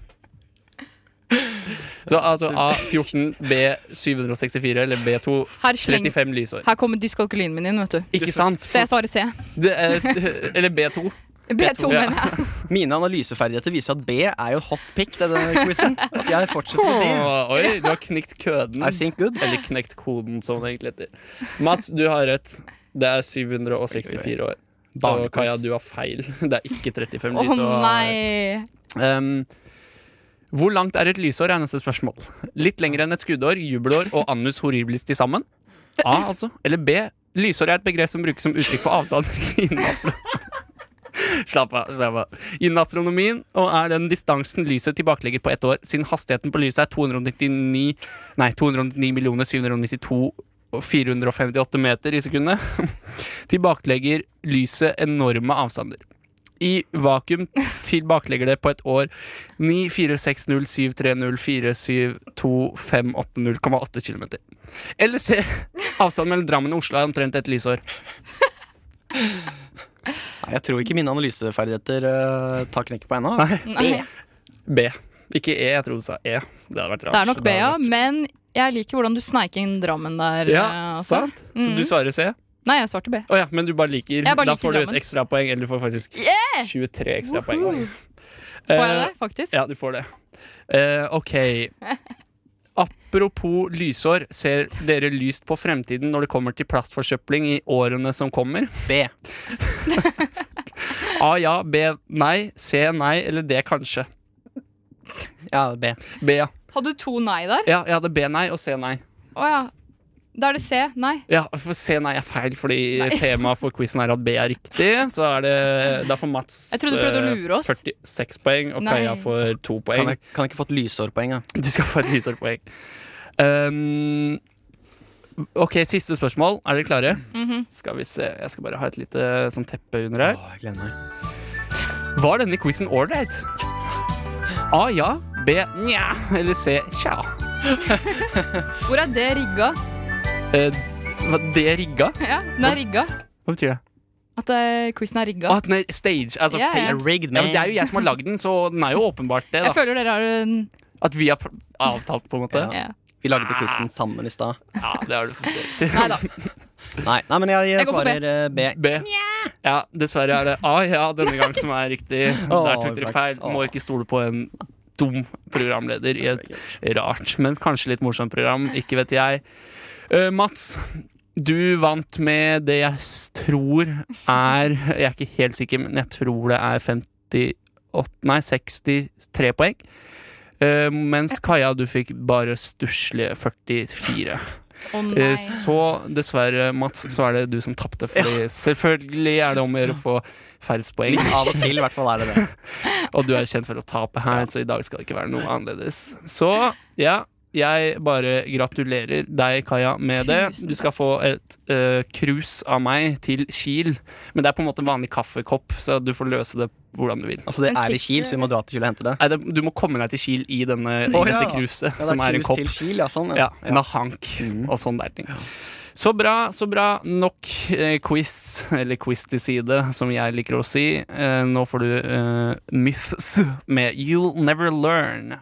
Speaker 2: Så altså A14, B764 eller B2.
Speaker 4: Her, sleng,
Speaker 2: 35 lysår.
Speaker 4: her kommer dyskalkulien min inn, vet du.
Speaker 2: Ikke sant?
Speaker 4: Så jeg svarer C.
Speaker 2: Det er, <laughs> eller B2.
Speaker 4: B2,
Speaker 2: Ja.
Speaker 4: mener jeg.
Speaker 1: Mine analyseferdigheter viser at B er jo hot pick, denne quizen. At jeg fortsetter med
Speaker 2: Åh, oi, du har knekt køden.
Speaker 1: B. I think good.
Speaker 2: Eller knekt koden, som det egentlig heter. Mats, du har rett. Det er 764 år. Og
Speaker 1: Barnequiz.
Speaker 2: Kaja, du har feil. <laughs> Det er ikke 35
Speaker 4: Å
Speaker 2: lysår.
Speaker 4: nei.
Speaker 2: Ehm, hvor langt er et lysår, er neste spørsmål. Litt lengre enn et skuddår, jubelår og annus horribilis til sammen? A, altså. Eller B. Lysår er et begrep som brukes som uttrykk for avstand innen astro... <laughs> Slapp av. slapp av Innen astronomien og er den distansen lyset tilbakelegger på ett år, siden hastigheten på lyset er 299 Nei, 299 792 458 meter i sekundet, <laughs> tilbakelegger lyset enorme avstander. I vakuum tilbakelegger det på et år 9460730472580,8 km. Eller se avstanden mellom Drammen og Oslo er omtrent et lysår.
Speaker 1: Nei, jeg tror ikke mine analyseferdigheter eh, tar knekken på ennå.
Speaker 2: Nei. B. Ikke E, jeg trodde du sa E. Det hadde vært rart.
Speaker 4: Det er nok
Speaker 2: Det
Speaker 4: B, ja.
Speaker 2: hadde vært-
Speaker 4: Men jeg liker hvordan du sneik inn Drammen der. eh,
Speaker 2: Ja,
Speaker 4: altså.
Speaker 2: sant? Så du
Speaker 4: Mhm.
Speaker 2: svarer C?
Speaker 4: Nei, jeg svarte B.
Speaker 2: Å ja, men du bare liker.
Speaker 4: Jeg bare
Speaker 2: da
Speaker 4: liker
Speaker 2: får du et
Speaker 4: Drammen.
Speaker 2: ekstrapoeng, eller du får faktisk 23 ekstrapoeng.
Speaker 4: Woho! Får jeg det, faktisk?
Speaker 2: Eh, Ja, du får det. Eh, ok. Apropos lysår, ser dere lyst på fremtiden når det kommer til plastforsøpling i årene som kommer?
Speaker 1: B.
Speaker 2: A ja, B nei, C nei, eller D kanskje.
Speaker 1: Ja, B.
Speaker 2: B ja.
Speaker 4: Hadde du to nei der?
Speaker 2: Ja, jeg hadde B nei og C nei.
Speaker 4: Å ja. Da er det C. Nei.
Speaker 2: Ja, for C nei er feil, fordi
Speaker 4: <laughs>
Speaker 2: temaet for quizen er at B er riktig. Så er det Da får Mats
Speaker 4: Jeg trodde du prøvde å
Speaker 2: eh,
Speaker 4: lure oss.
Speaker 2: 46 poeng, og
Speaker 4: Nei.
Speaker 2: Kaja får to
Speaker 1: Kan
Speaker 2: poeng.
Speaker 1: jeg, kan jeg ikke fått lysårpoeng, da?
Speaker 2: Du skal få et lysårpoeng. Um, ok, siste spørsmål. Er dere klare?
Speaker 4: Mhm.
Speaker 2: Skal vi se, Jeg skal bare ha et lite sånn teppe under her.
Speaker 1: Å, jeg gleder meg.
Speaker 2: Var denne quizen ålreit? A ja, B nja, eller C tja.
Speaker 4: Hvor er det rigga?
Speaker 2: Eh, Hva, det rigga?
Speaker 4: <laughs> Ja, den er rigga.
Speaker 2: Hva betyr det?
Speaker 4: At eh, quizen er rigga.
Speaker 2: At den er stage, altså
Speaker 4: Ja, ja.
Speaker 2: fake.
Speaker 1: Jeg er rigged,
Speaker 2: Ja,
Speaker 1: man.
Speaker 2: men det er jo jeg som har lagd den, så den er jo åpenbart det.
Speaker 4: Jeg
Speaker 2: da
Speaker 4: føler dere har en
Speaker 2: At vi har pr- avtalt, på en måte.
Speaker 1: Ja.
Speaker 4: ja.
Speaker 1: Vi lagde
Speaker 2: Ah.
Speaker 1: quizen sammen i stad.
Speaker 2: Ja, det har du fått rett i.
Speaker 4: Nei da.
Speaker 1: Nei, nei, men jeg, jeg,
Speaker 4: Jeg går for B.
Speaker 1: svarer eh, B.
Speaker 2: B. Ja, dessverre er det A ja denne gang som er riktig. Der tok dere
Speaker 1: flaks.
Speaker 2: feil. Må ikke stole på en dum programleder i et rart, men kanskje litt morsomt program. Ikke vet jeg. Eh, Mats, du vant med det jeg s- tror er Jeg er ikke helt sikker, men jeg tror det er 58 Nei, 63 poeng. Eh, mens Kaja, du fikk bare stusslige 44.
Speaker 4: Å
Speaker 2: Eh,
Speaker 4: nei.
Speaker 2: Så dessverre, Mats, så er det du som tapte. Fordi selvfølgelig er det om å gjøre å få færrest poeng.
Speaker 1: Litt av og til, i hvert fall er det det.
Speaker 2: Og du er kjent for å tape her, så i dag skal det ikke være noe annerledes. Så ja, jeg bare gratulerer deg, Kaja, med det.
Speaker 4: Tusen
Speaker 2: Du skal få et eh, krus av meg til Kiel. Men det er på en måte en vanlig kaffekopp, så du får løse det hvordan du vil.
Speaker 1: Altså, det
Speaker 4: Men
Speaker 1: er i
Speaker 4: fikk du-
Speaker 1: Kiel, så vi må dra til Kiel og hente det.
Speaker 2: Nei, det, du må komme deg til Kiel i denne,
Speaker 1: Å,
Speaker 2: i
Speaker 1: ja.
Speaker 2: dette kruset,
Speaker 1: Ja, det
Speaker 2: som er en
Speaker 1: cruise
Speaker 2: kopp.
Speaker 1: Til Kiel, ja, sånn,
Speaker 2: Ja,
Speaker 1: ja. Mm.
Speaker 2: med hank og sånn der ting. Så bra, så bra. Nok eh, quiz, eller quiz til side, som jeg liker å si. Eh, nå får du eh, Myths med You'll Never Learn.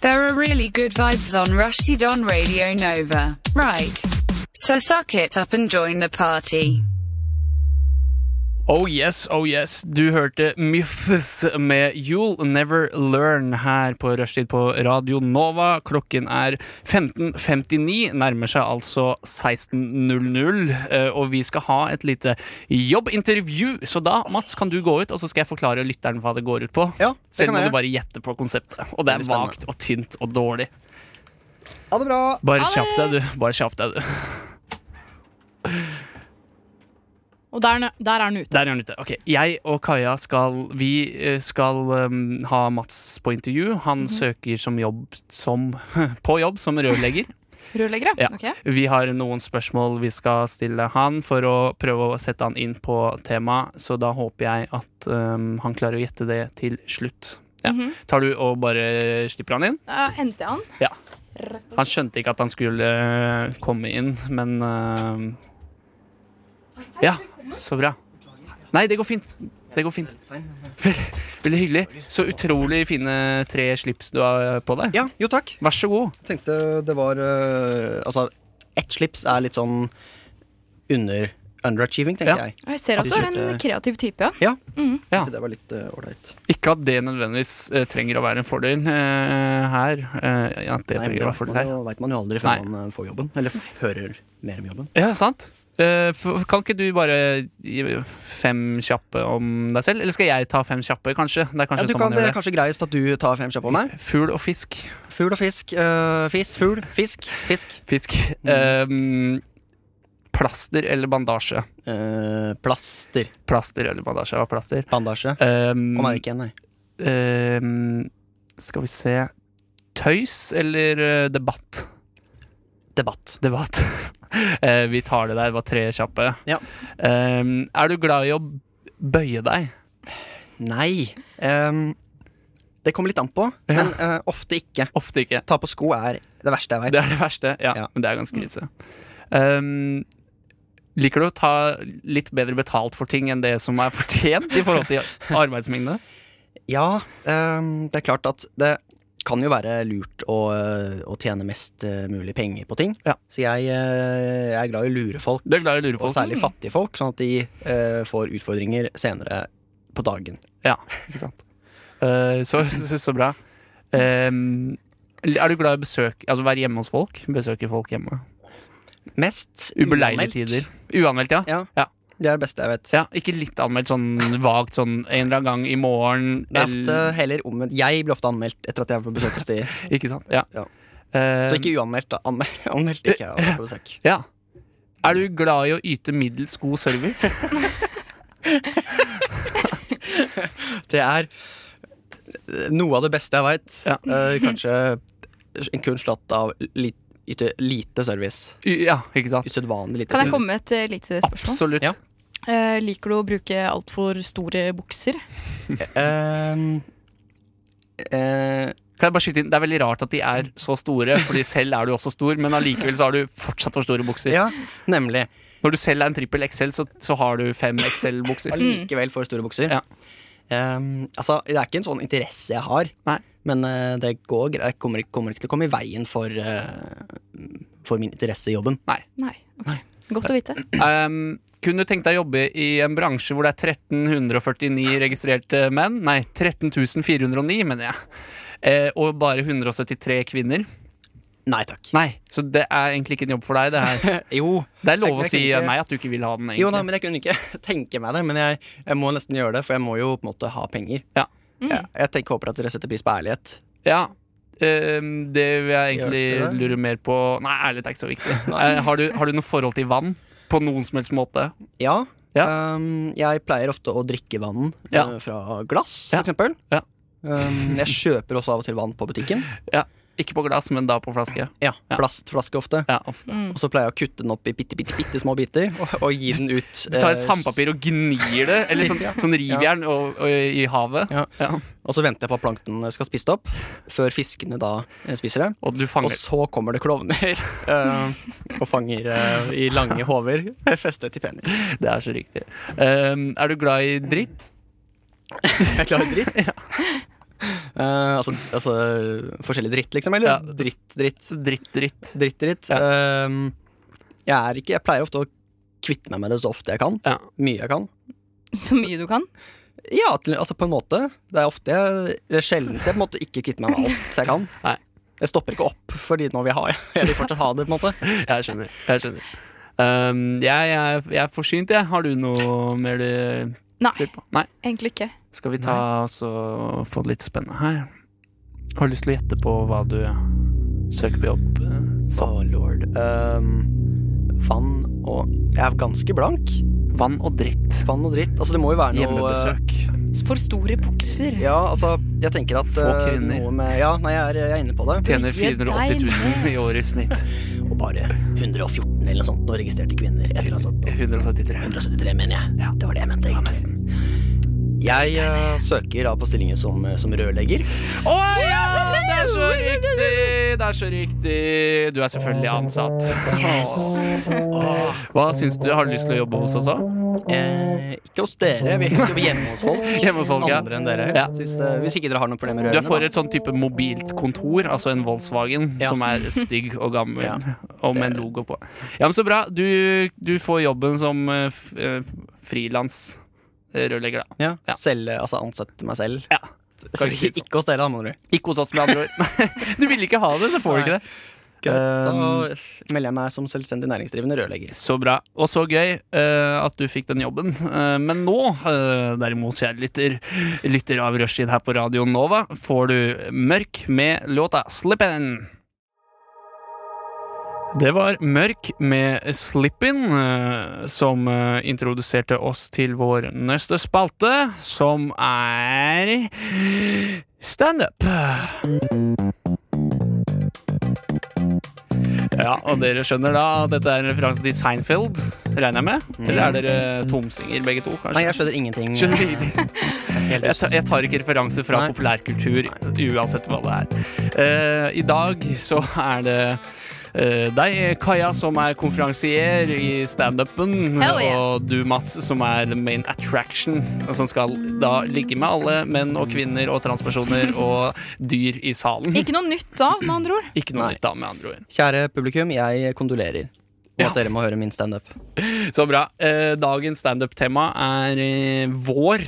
Speaker 7: There are really good vibes on Rushdie on Radio Nova, right? So suck it up and join the party.
Speaker 2: Oh yes, oh yes. Du hørte Myths med You'll Never Learn her på Rushtid på Radio Nova. Klokken er 15.59, nærmer seg altså 16.00. eh, Og vi skal ha et lite jobbintervju, så da, Mats, kan du gå ut, og så skal jeg forklare lytteren hva det går ut på.
Speaker 1: Ja, det
Speaker 2: Selv
Speaker 1: kan
Speaker 2: må
Speaker 1: jeg
Speaker 2: du bare gjette på konseptet. Og det er
Speaker 1: Veldig spennende.
Speaker 2: vagt og tynt og dårlig.
Speaker 1: Ha det bra!
Speaker 2: Bare kjapp deg, du. Bare kjapp deg, du.
Speaker 4: Og der, er den- der er den ute.
Speaker 2: Der er han ute. Ok, Jeg og Kaja skal Vi eh, skal um, ha Mats på intervju. Han søker som jobb som <laughs> På jobb som rørlegger.
Speaker 4: Rørleggere?
Speaker 2: Ja.
Speaker 4: Ok.
Speaker 2: Vi har noen spørsmål vi skal stille han for å prøve å sette han inn på temaet, så da håper jeg at um, han klarer å gjette det til slutt. Ja. Tar du og bare slipper han inn?
Speaker 4: Da henter jeg han.
Speaker 2: Ja. Han skjønte ikke at han skulle eh, komme inn, men eh, Ja, så bra. Nei, det går fint. Det går fint. Veldig, veldig hyggelig. Så utrolig fine tre slips du har på deg.
Speaker 1: Ja, jo takk.
Speaker 2: Vær så god.
Speaker 1: Jeg tenkte det var eh, Altså, ett slips er litt sånn under underachieving, tenker
Speaker 2: Ja.
Speaker 1: jeg.
Speaker 4: Og jeg ser at du er en kreativ type, ja.
Speaker 1: Ja.
Speaker 2: Ja.
Speaker 1: Det var litt eh, ålreit.
Speaker 2: Ikke at det nødvendigvis eh, trenger å være en fordel eh, her. Eh, at det
Speaker 1: Nei, men
Speaker 2: trenger
Speaker 1: det
Speaker 2: å være en
Speaker 1: vet
Speaker 2: fordel
Speaker 1: man,
Speaker 2: her.
Speaker 1: jo- vet man jo aldri
Speaker 2: Nei.
Speaker 1: før man eh, får jobben. Eller f- hører mer om jobben.
Speaker 2: Ja, sant? Eh, f- kan ikke du bare gi fem kjappe om deg selv? Eller skal jeg ta fem kjappe, kanskje? Det er kanskje
Speaker 1: Ja, du
Speaker 2: sånn
Speaker 1: kan,
Speaker 2: man
Speaker 1: eh,
Speaker 2: gjør
Speaker 1: det er
Speaker 2: det.
Speaker 1: kanskje greiest at du tar fem kjappe om meg.
Speaker 2: Fugl og fisk.
Speaker 1: Fugl og fisk. eh, fis, fugl, fisk, fisk.
Speaker 2: Fisk.
Speaker 1: Mm.
Speaker 2: Ehm, plaster eller bandasje?
Speaker 1: Eh, plaster.
Speaker 2: Plaster eller bandasje, hva er plaster?
Speaker 1: Bandasje.
Speaker 2: Ehm,
Speaker 1: Å nei, ikke en, nei.
Speaker 2: ehm, skal vi se Tøys eller eh, debatt?
Speaker 1: Debatt.
Speaker 2: Debatt. <laughs> Eh, vi tar det der, det var tre kjappe.
Speaker 1: Ja.
Speaker 2: Ehm, er du glad i å bøye deg?
Speaker 1: Nei. ehm, det kommer litt an på, men eh, ofte ikke.
Speaker 2: Ofte ikke.
Speaker 1: Ta på sko er det verste jeg
Speaker 2: Det
Speaker 1: veit.
Speaker 2: er det verste. Ja,
Speaker 1: Ja. Mm.
Speaker 2: men det er ganske krise. Ehm, liker du å
Speaker 1: <laughs>
Speaker 2: ta litt bedre betalt for ting enn det som er fortjent i forhold til arbeidsmengde?
Speaker 1: Ja, ehm, det er klart at det kan jo være lurt å, eh, å tjene mest eh, mulig penger på ting.
Speaker 2: Ja.
Speaker 1: Så jeg, eh, jeg er glad i å lure folk,
Speaker 2: Du er glad i å lure
Speaker 1: og
Speaker 2: folk.
Speaker 1: særlig fattige folk, sånn at de eh, får utfordringer senere på dagen.
Speaker 2: Ja, ikke sant. Eh, så, så, så bra. Eh, er du glad i å besøke Altså være hjemme hos folk? Besøke folk hjemme?
Speaker 1: Mest
Speaker 2: Ubeleilige
Speaker 1: uanmeldt.
Speaker 2: tider. Uanmeldt, ja.
Speaker 1: Ja.
Speaker 2: Ja.
Speaker 1: Det er det beste jeg vet.
Speaker 2: ja. Ikke litt anmeldt sånn vagt sånn en eller annen gang i morgen.
Speaker 1: Det er
Speaker 2: eller-
Speaker 1: ofte heller omvendt. Jeg blir ofte anmeldt etter at jeg er på besøk
Speaker 2: <laughs>
Speaker 1: hos de.
Speaker 2: Ikke sant? Ja.
Speaker 1: Ja.
Speaker 2: Eh,
Speaker 1: Så ikke uanmeldt, da. Anmel <laughs> anmeldt ikke jeg er på besøk.
Speaker 2: ja. Er du glad i å yte middels god
Speaker 1: <laughs>
Speaker 2: service?
Speaker 1: Det er noe av det beste jeg veit.
Speaker 2: Ja.
Speaker 1: Eh, kanskje en kun slått av li yte, lite service.
Speaker 2: ja, ikke sant?
Speaker 1: Usedvanlig lite
Speaker 4: Kan jeg
Speaker 1: service.
Speaker 4: komme med et eh, lite spørsmål?
Speaker 2: Absolutt.
Speaker 1: Ja.
Speaker 4: Eh, liker du å bruke altfor store bukser?
Speaker 1: Ehm, eh,
Speaker 2: Kan jeg bare skyte inn? Det er veldig rart at de er så store, Fordi selv er du også stor, men allikevel så har du fortsatt for store bukser.
Speaker 1: ja, nemlig.
Speaker 2: Når du selv er en trippel XL, så, så har du fem XL-bukser.
Speaker 1: Allikevel for store bukser.
Speaker 2: Ja.
Speaker 1: Ehm, altså, det er ikke en sånn interesse jeg har,
Speaker 2: Nei.
Speaker 1: men eh, det går greit. Jeg kommer, ikke- kommer ikke til å komme i veien for, eh, for min interesse i jobben.
Speaker 4: Nei. ok. Godt å vite. <clears throat>
Speaker 2: Um, kunne du tenkt deg å jobbe i en bransje hvor det er 1349 registrerte menn? Nei, 13409, mener jeg. Eh, og bare 173 kvinner?
Speaker 1: Nei takk.
Speaker 2: Nei, så det er egentlig ikke en jobb for deg. Det
Speaker 1: <laughs>
Speaker 2: her.
Speaker 1: Jo,
Speaker 2: Det er lov å
Speaker 1: Jeg- jeg
Speaker 2: si eh,
Speaker 1: kunne ikke-
Speaker 2: nei at du ikke vil ha den. egentlig
Speaker 1: jo da, men jeg kunne ikke <laughs> tenke meg det. Men jeg, jeg må nesten gjøre det, for jeg må jo på en måte ha penger.
Speaker 2: Ja.
Speaker 1: Jeg, jeg tenker, håper at dere setter pris på ærlighet.
Speaker 2: Ja. ehm, det vil jeg
Speaker 1: Gjør
Speaker 2: egentlig
Speaker 1: du det?
Speaker 2: lure mer på. Nei, ærlighet er ikke så viktig.
Speaker 1: <laughs> Nei.
Speaker 2: Eh, har, du, har du noe forhold til vann? På noen som helst måte?
Speaker 1: Ja.
Speaker 2: Ja.
Speaker 1: ehm, jeg pleier ofte å drikke vann
Speaker 2: Ja.
Speaker 1: eh, fra glass,
Speaker 2: Ja.
Speaker 1: for eksempel.
Speaker 2: Ja.
Speaker 1: Ehm, jeg kjøper også av og til vann på butikken.
Speaker 2: Ikke på glass, men da på flaske.
Speaker 1: Ja,
Speaker 2: Ja. Mm.
Speaker 1: Plastflaske ofte.
Speaker 2: Ja, ofte.
Speaker 1: Og så pleier jeg å kutte den opp i bitte, bitte, bitte små biter og, og gi den ut.
Speaker 2: Du tar
Speaker 1: eh,
Speaker 2: et sandpapir og gnir det, eller
Speaker 1: <laughs>
Speaker 2: sånn, sånn rivjern og, og, i havet.
Speaker 1: Ja.
Speaker 2: Ja.
Speaker 1: Og så venter jeg på at plankton skal spise det opp, før fiskene da eh, spiser det.
Speaker 2: Og du
Speaker 1: Og
Speaker 2: fanger
Speaker 1: så kommer det klovner <laughs> eh, og fanger eh, i lange håver <laughs> festet til penis.
Speaker 2: Det er så riktig. Ehm, er du glad i dritt?
Speaker 1: Jeg klarer <laughs> dritt. Eh, altså, altså forskjellig dritt, liksom? Eller
Speaker 2: Ja.
Speaker 1: dritt, dritt,
Speaker 2: Dritt, dritt.
Speaker 1: dritt, dritt.
Speaker 2: Ja.
Speaker 1: Eh, jeg, er ikke, jeg pleier ofte å kvitte meg med det så ofte jeg kan.
Speaker 2: Ja.
Speaker 1: Mye jeg kan.
Speaker 4: Så mye du kan.
Speaker 1: Ja, til, altså på en måte. Det er ofte jeg, det er sjelden jeg på en måte ikke kvitter meg med alt jeg kan.
Speaker 2: Nei.
Speaker 1: Jeg stopper ikke opp, fordi nå vil jeg ha <laughs> Jeg vil fortsatt ha det, på en måte.
Speaker 2: Jeg skjønner. Jeg skjønner. Ehm, jeg, jeg, jeg er forsynt, jeg. Har du noe mer du
Speaker 4: Nei,
Speaker 2: lurer på? Nei?
Speaker 4: egentlig ikke.
Speaker 2: Skal vi ta oss og få det litt spennende her? Har du lyst til å gjette på hva du søker på jobb? eh,
Speaker 1: Så lord. Ehm, vann og Jeg er ganske blank.
Speaker 2: Vann og dritt.
Speaker 1: Vann og dritt. Altså, det må jo være noe
Speaker 2: Hjemmebesøk.
Speaker 4: For store bukser.
Speaker 1: Ja, altså, jeg tenker at
Speaker 2: Få
Speaker 1: eh,
Speaker 2: kvinner.
Speaker 1: noe med Ja, nei, jeg er, jeg er inne på det.
Speaker 2: Tjener 480 000 i året i snitt.
Speaker 1: Og bare 114 eller noe sånt nå registrerte kvinner. Et eller annet sånt.
Speaker 2: 173.
Speaker 1: 173, mener jeg.
Speaker 2: Ja.
Speaker 1: Det var det jeg mente. egentlig. Jeg eh, søker da på stillinger som, eh, som rørlegger.
Speaker 2: Å ja! Det er så riktig! Det er så riktig. Du er selvfølgelig ansatt. Åh. Hva syns du? Har du lyst til å jobbe hos oss òg?
Speaker 1: Eh, ikke hos dere. Vi jobber hjemme hos folk.
Speaker 2: <laughs> Hjemme hos folk, ja.
Speaker 1: Andre enn dere helst.
Speaker 2: Ja.
Speaker 1: Hvis, eh, hvis ikke dere har noen problemer
Speaker 2: Du
Speaker 1: med
Speaker 2: er
Speaker 1: rørene.
Speaker 2: for
Speaker 1: da.
Speaker 2: et sånn type mobilt kontor, altså en Volkswagen,
Speaker 1: Ja.
Speaker 2: som er stygg og gammel,
Speaker 1: Ja.
Speaker 2: og med en logo på. Ja, men Så bra. Du, du får jobben som eh, f- eh, frilans eh, rørlegger, da.
Speaker 1: Ja.
Speaker 2: Ja.
Speaker 1: Selv, eh, altså ansette meg selv.
Speaker 2: Ja.
Speaker 1: Så
Speaker 2: ikke si sånn. det
Speaker 1: ikke, ikke hos dere, da, med andre ord.
Speaker 2: Ikke hos oss, med andre ord. <laughs> Nei, du ville ikke ha det, så får du ikke det. Um,
Speaker 1: Da melder jeg meg som selvstendig næringsdrivende rørlegger.
Speaker 2: Så bra. Og så gøy eh, at du fikk den jobben. Eh, men nå, eh, derimot, kjære lytter, lytter av Rushtid her på Radio Nova, får du Mørk med låta Slippin'. Det var Mørk med Slippin', eh, som eh, introduserte oss til vår neste spalte, som er standup. Ja, og dere skjønner da at dette er en referanse til Seinfeld, regner jeg med? Eller er dere tomsinger begge to, kanskje?
Speaker 1: Nei, jeg skjønner ingenting.
Speaker 2: Skjønner
Speaker 1: <laughs>
Speaker 2: ingenting.
Speaker 1: Helt
Speaker 2: Jeg, ta, jeg tar ikke referanser fra
Speaker 1: Nei.
Speaker 2: populærkultur, uansett hva det er. Eh, I dag så er det eh, deg, Kaja, som er konferansier i standupen,
Speaker 4: Hell yeah.
Speaker 2: og du, Mats, som er the main attraction, og som skal da ligge med alle menn og kvinner og transpersoner
Speaker 4: <laughs>
Speaker 2: og dyr i salen.
Speaker 4: Ikke noe nytt da, med andre ord.
Speaker 2: Ikke noe
Speaker 1: Nei.
Speaker 2: nytt, da, med andre ord.
Speaker 1: Kjære publikum, jeg kondolerer. Og
Speaker 2: Ja.
Speaker 1: at dere må høre min standup.
Speaker 2: Så bra. Eh, Dagens standup-tema er eh, vår.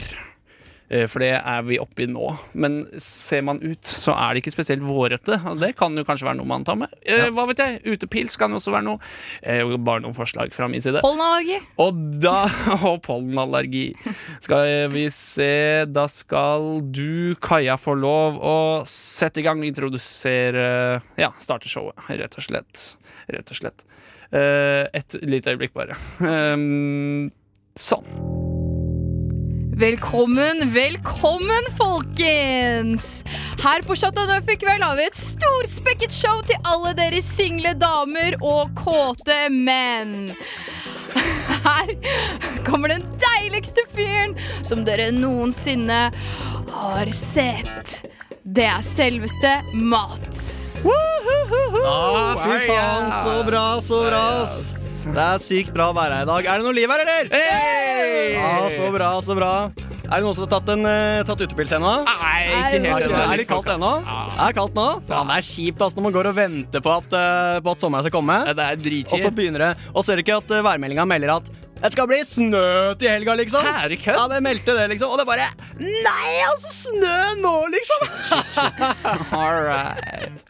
Speaker 2: Eh, For det er vi oppe i nå. Men ser man ut, så er det ikke spesielt vårete. Og det kan jo kanskje være noe man tar med. Eh, Hva vet jeg? Utepils kan jo også være noe. Eh, Bare noen forslag fra min side.
Speaker 4: Pollenallergi.
Speaker 2: Og da <laughs> Og pollenallergi. Skal vi se Da skal du, Kaja, få lov å sette i gang og introdusere Ja, starte showet, rett og slett. Rett og slett. Eh, et lite øyeblikk, bare. Ehm, sånn.
Speaker 4: Velkommen, velkommen, folkens! Her på Chateau Neuf i kveld har vi et storspekket show til alle dere single damer og kåte menn. <laughs> Her kommer den deiligste fyren som dere noensinne har sett. Det er selveste Mats.
Speaker 1: Ah, fy faen, så bra, så bra. ass. Det er sykt bra å være her i dag. Er det noe liv her, eller?
Speaker 2: Hey!
Speaker 1: Ja, så bra, så bra. Er det noen som har tatt, en, eh, tatt utepils ennå?
Speaker 2: Nei, ikke
Speaker 1: Er
Speaker 2: helt
Speaker 1: det er det kaldt ennå?
Speaker 2: Ah.
Speaker 1: Er det kaldt nå? Faen, det er kjipt ass, når man går og venter på at, eh, på at sommeren skal komme.
Speaker 2: Ja, Det er
Speaker 1: Og så
Speaker 2: dritkjipt.
Speaker 1: begynner det Og ser du ikke at eh, værmeldinga melder at det skal bli snø til helga, liksom.
Speaker 2: Hæ, er det kødd?
Speaker 1: ja, det meldte det, liksom. Og det bare Nei, altså! Snø nå, liksom!
Speaker 2: All right.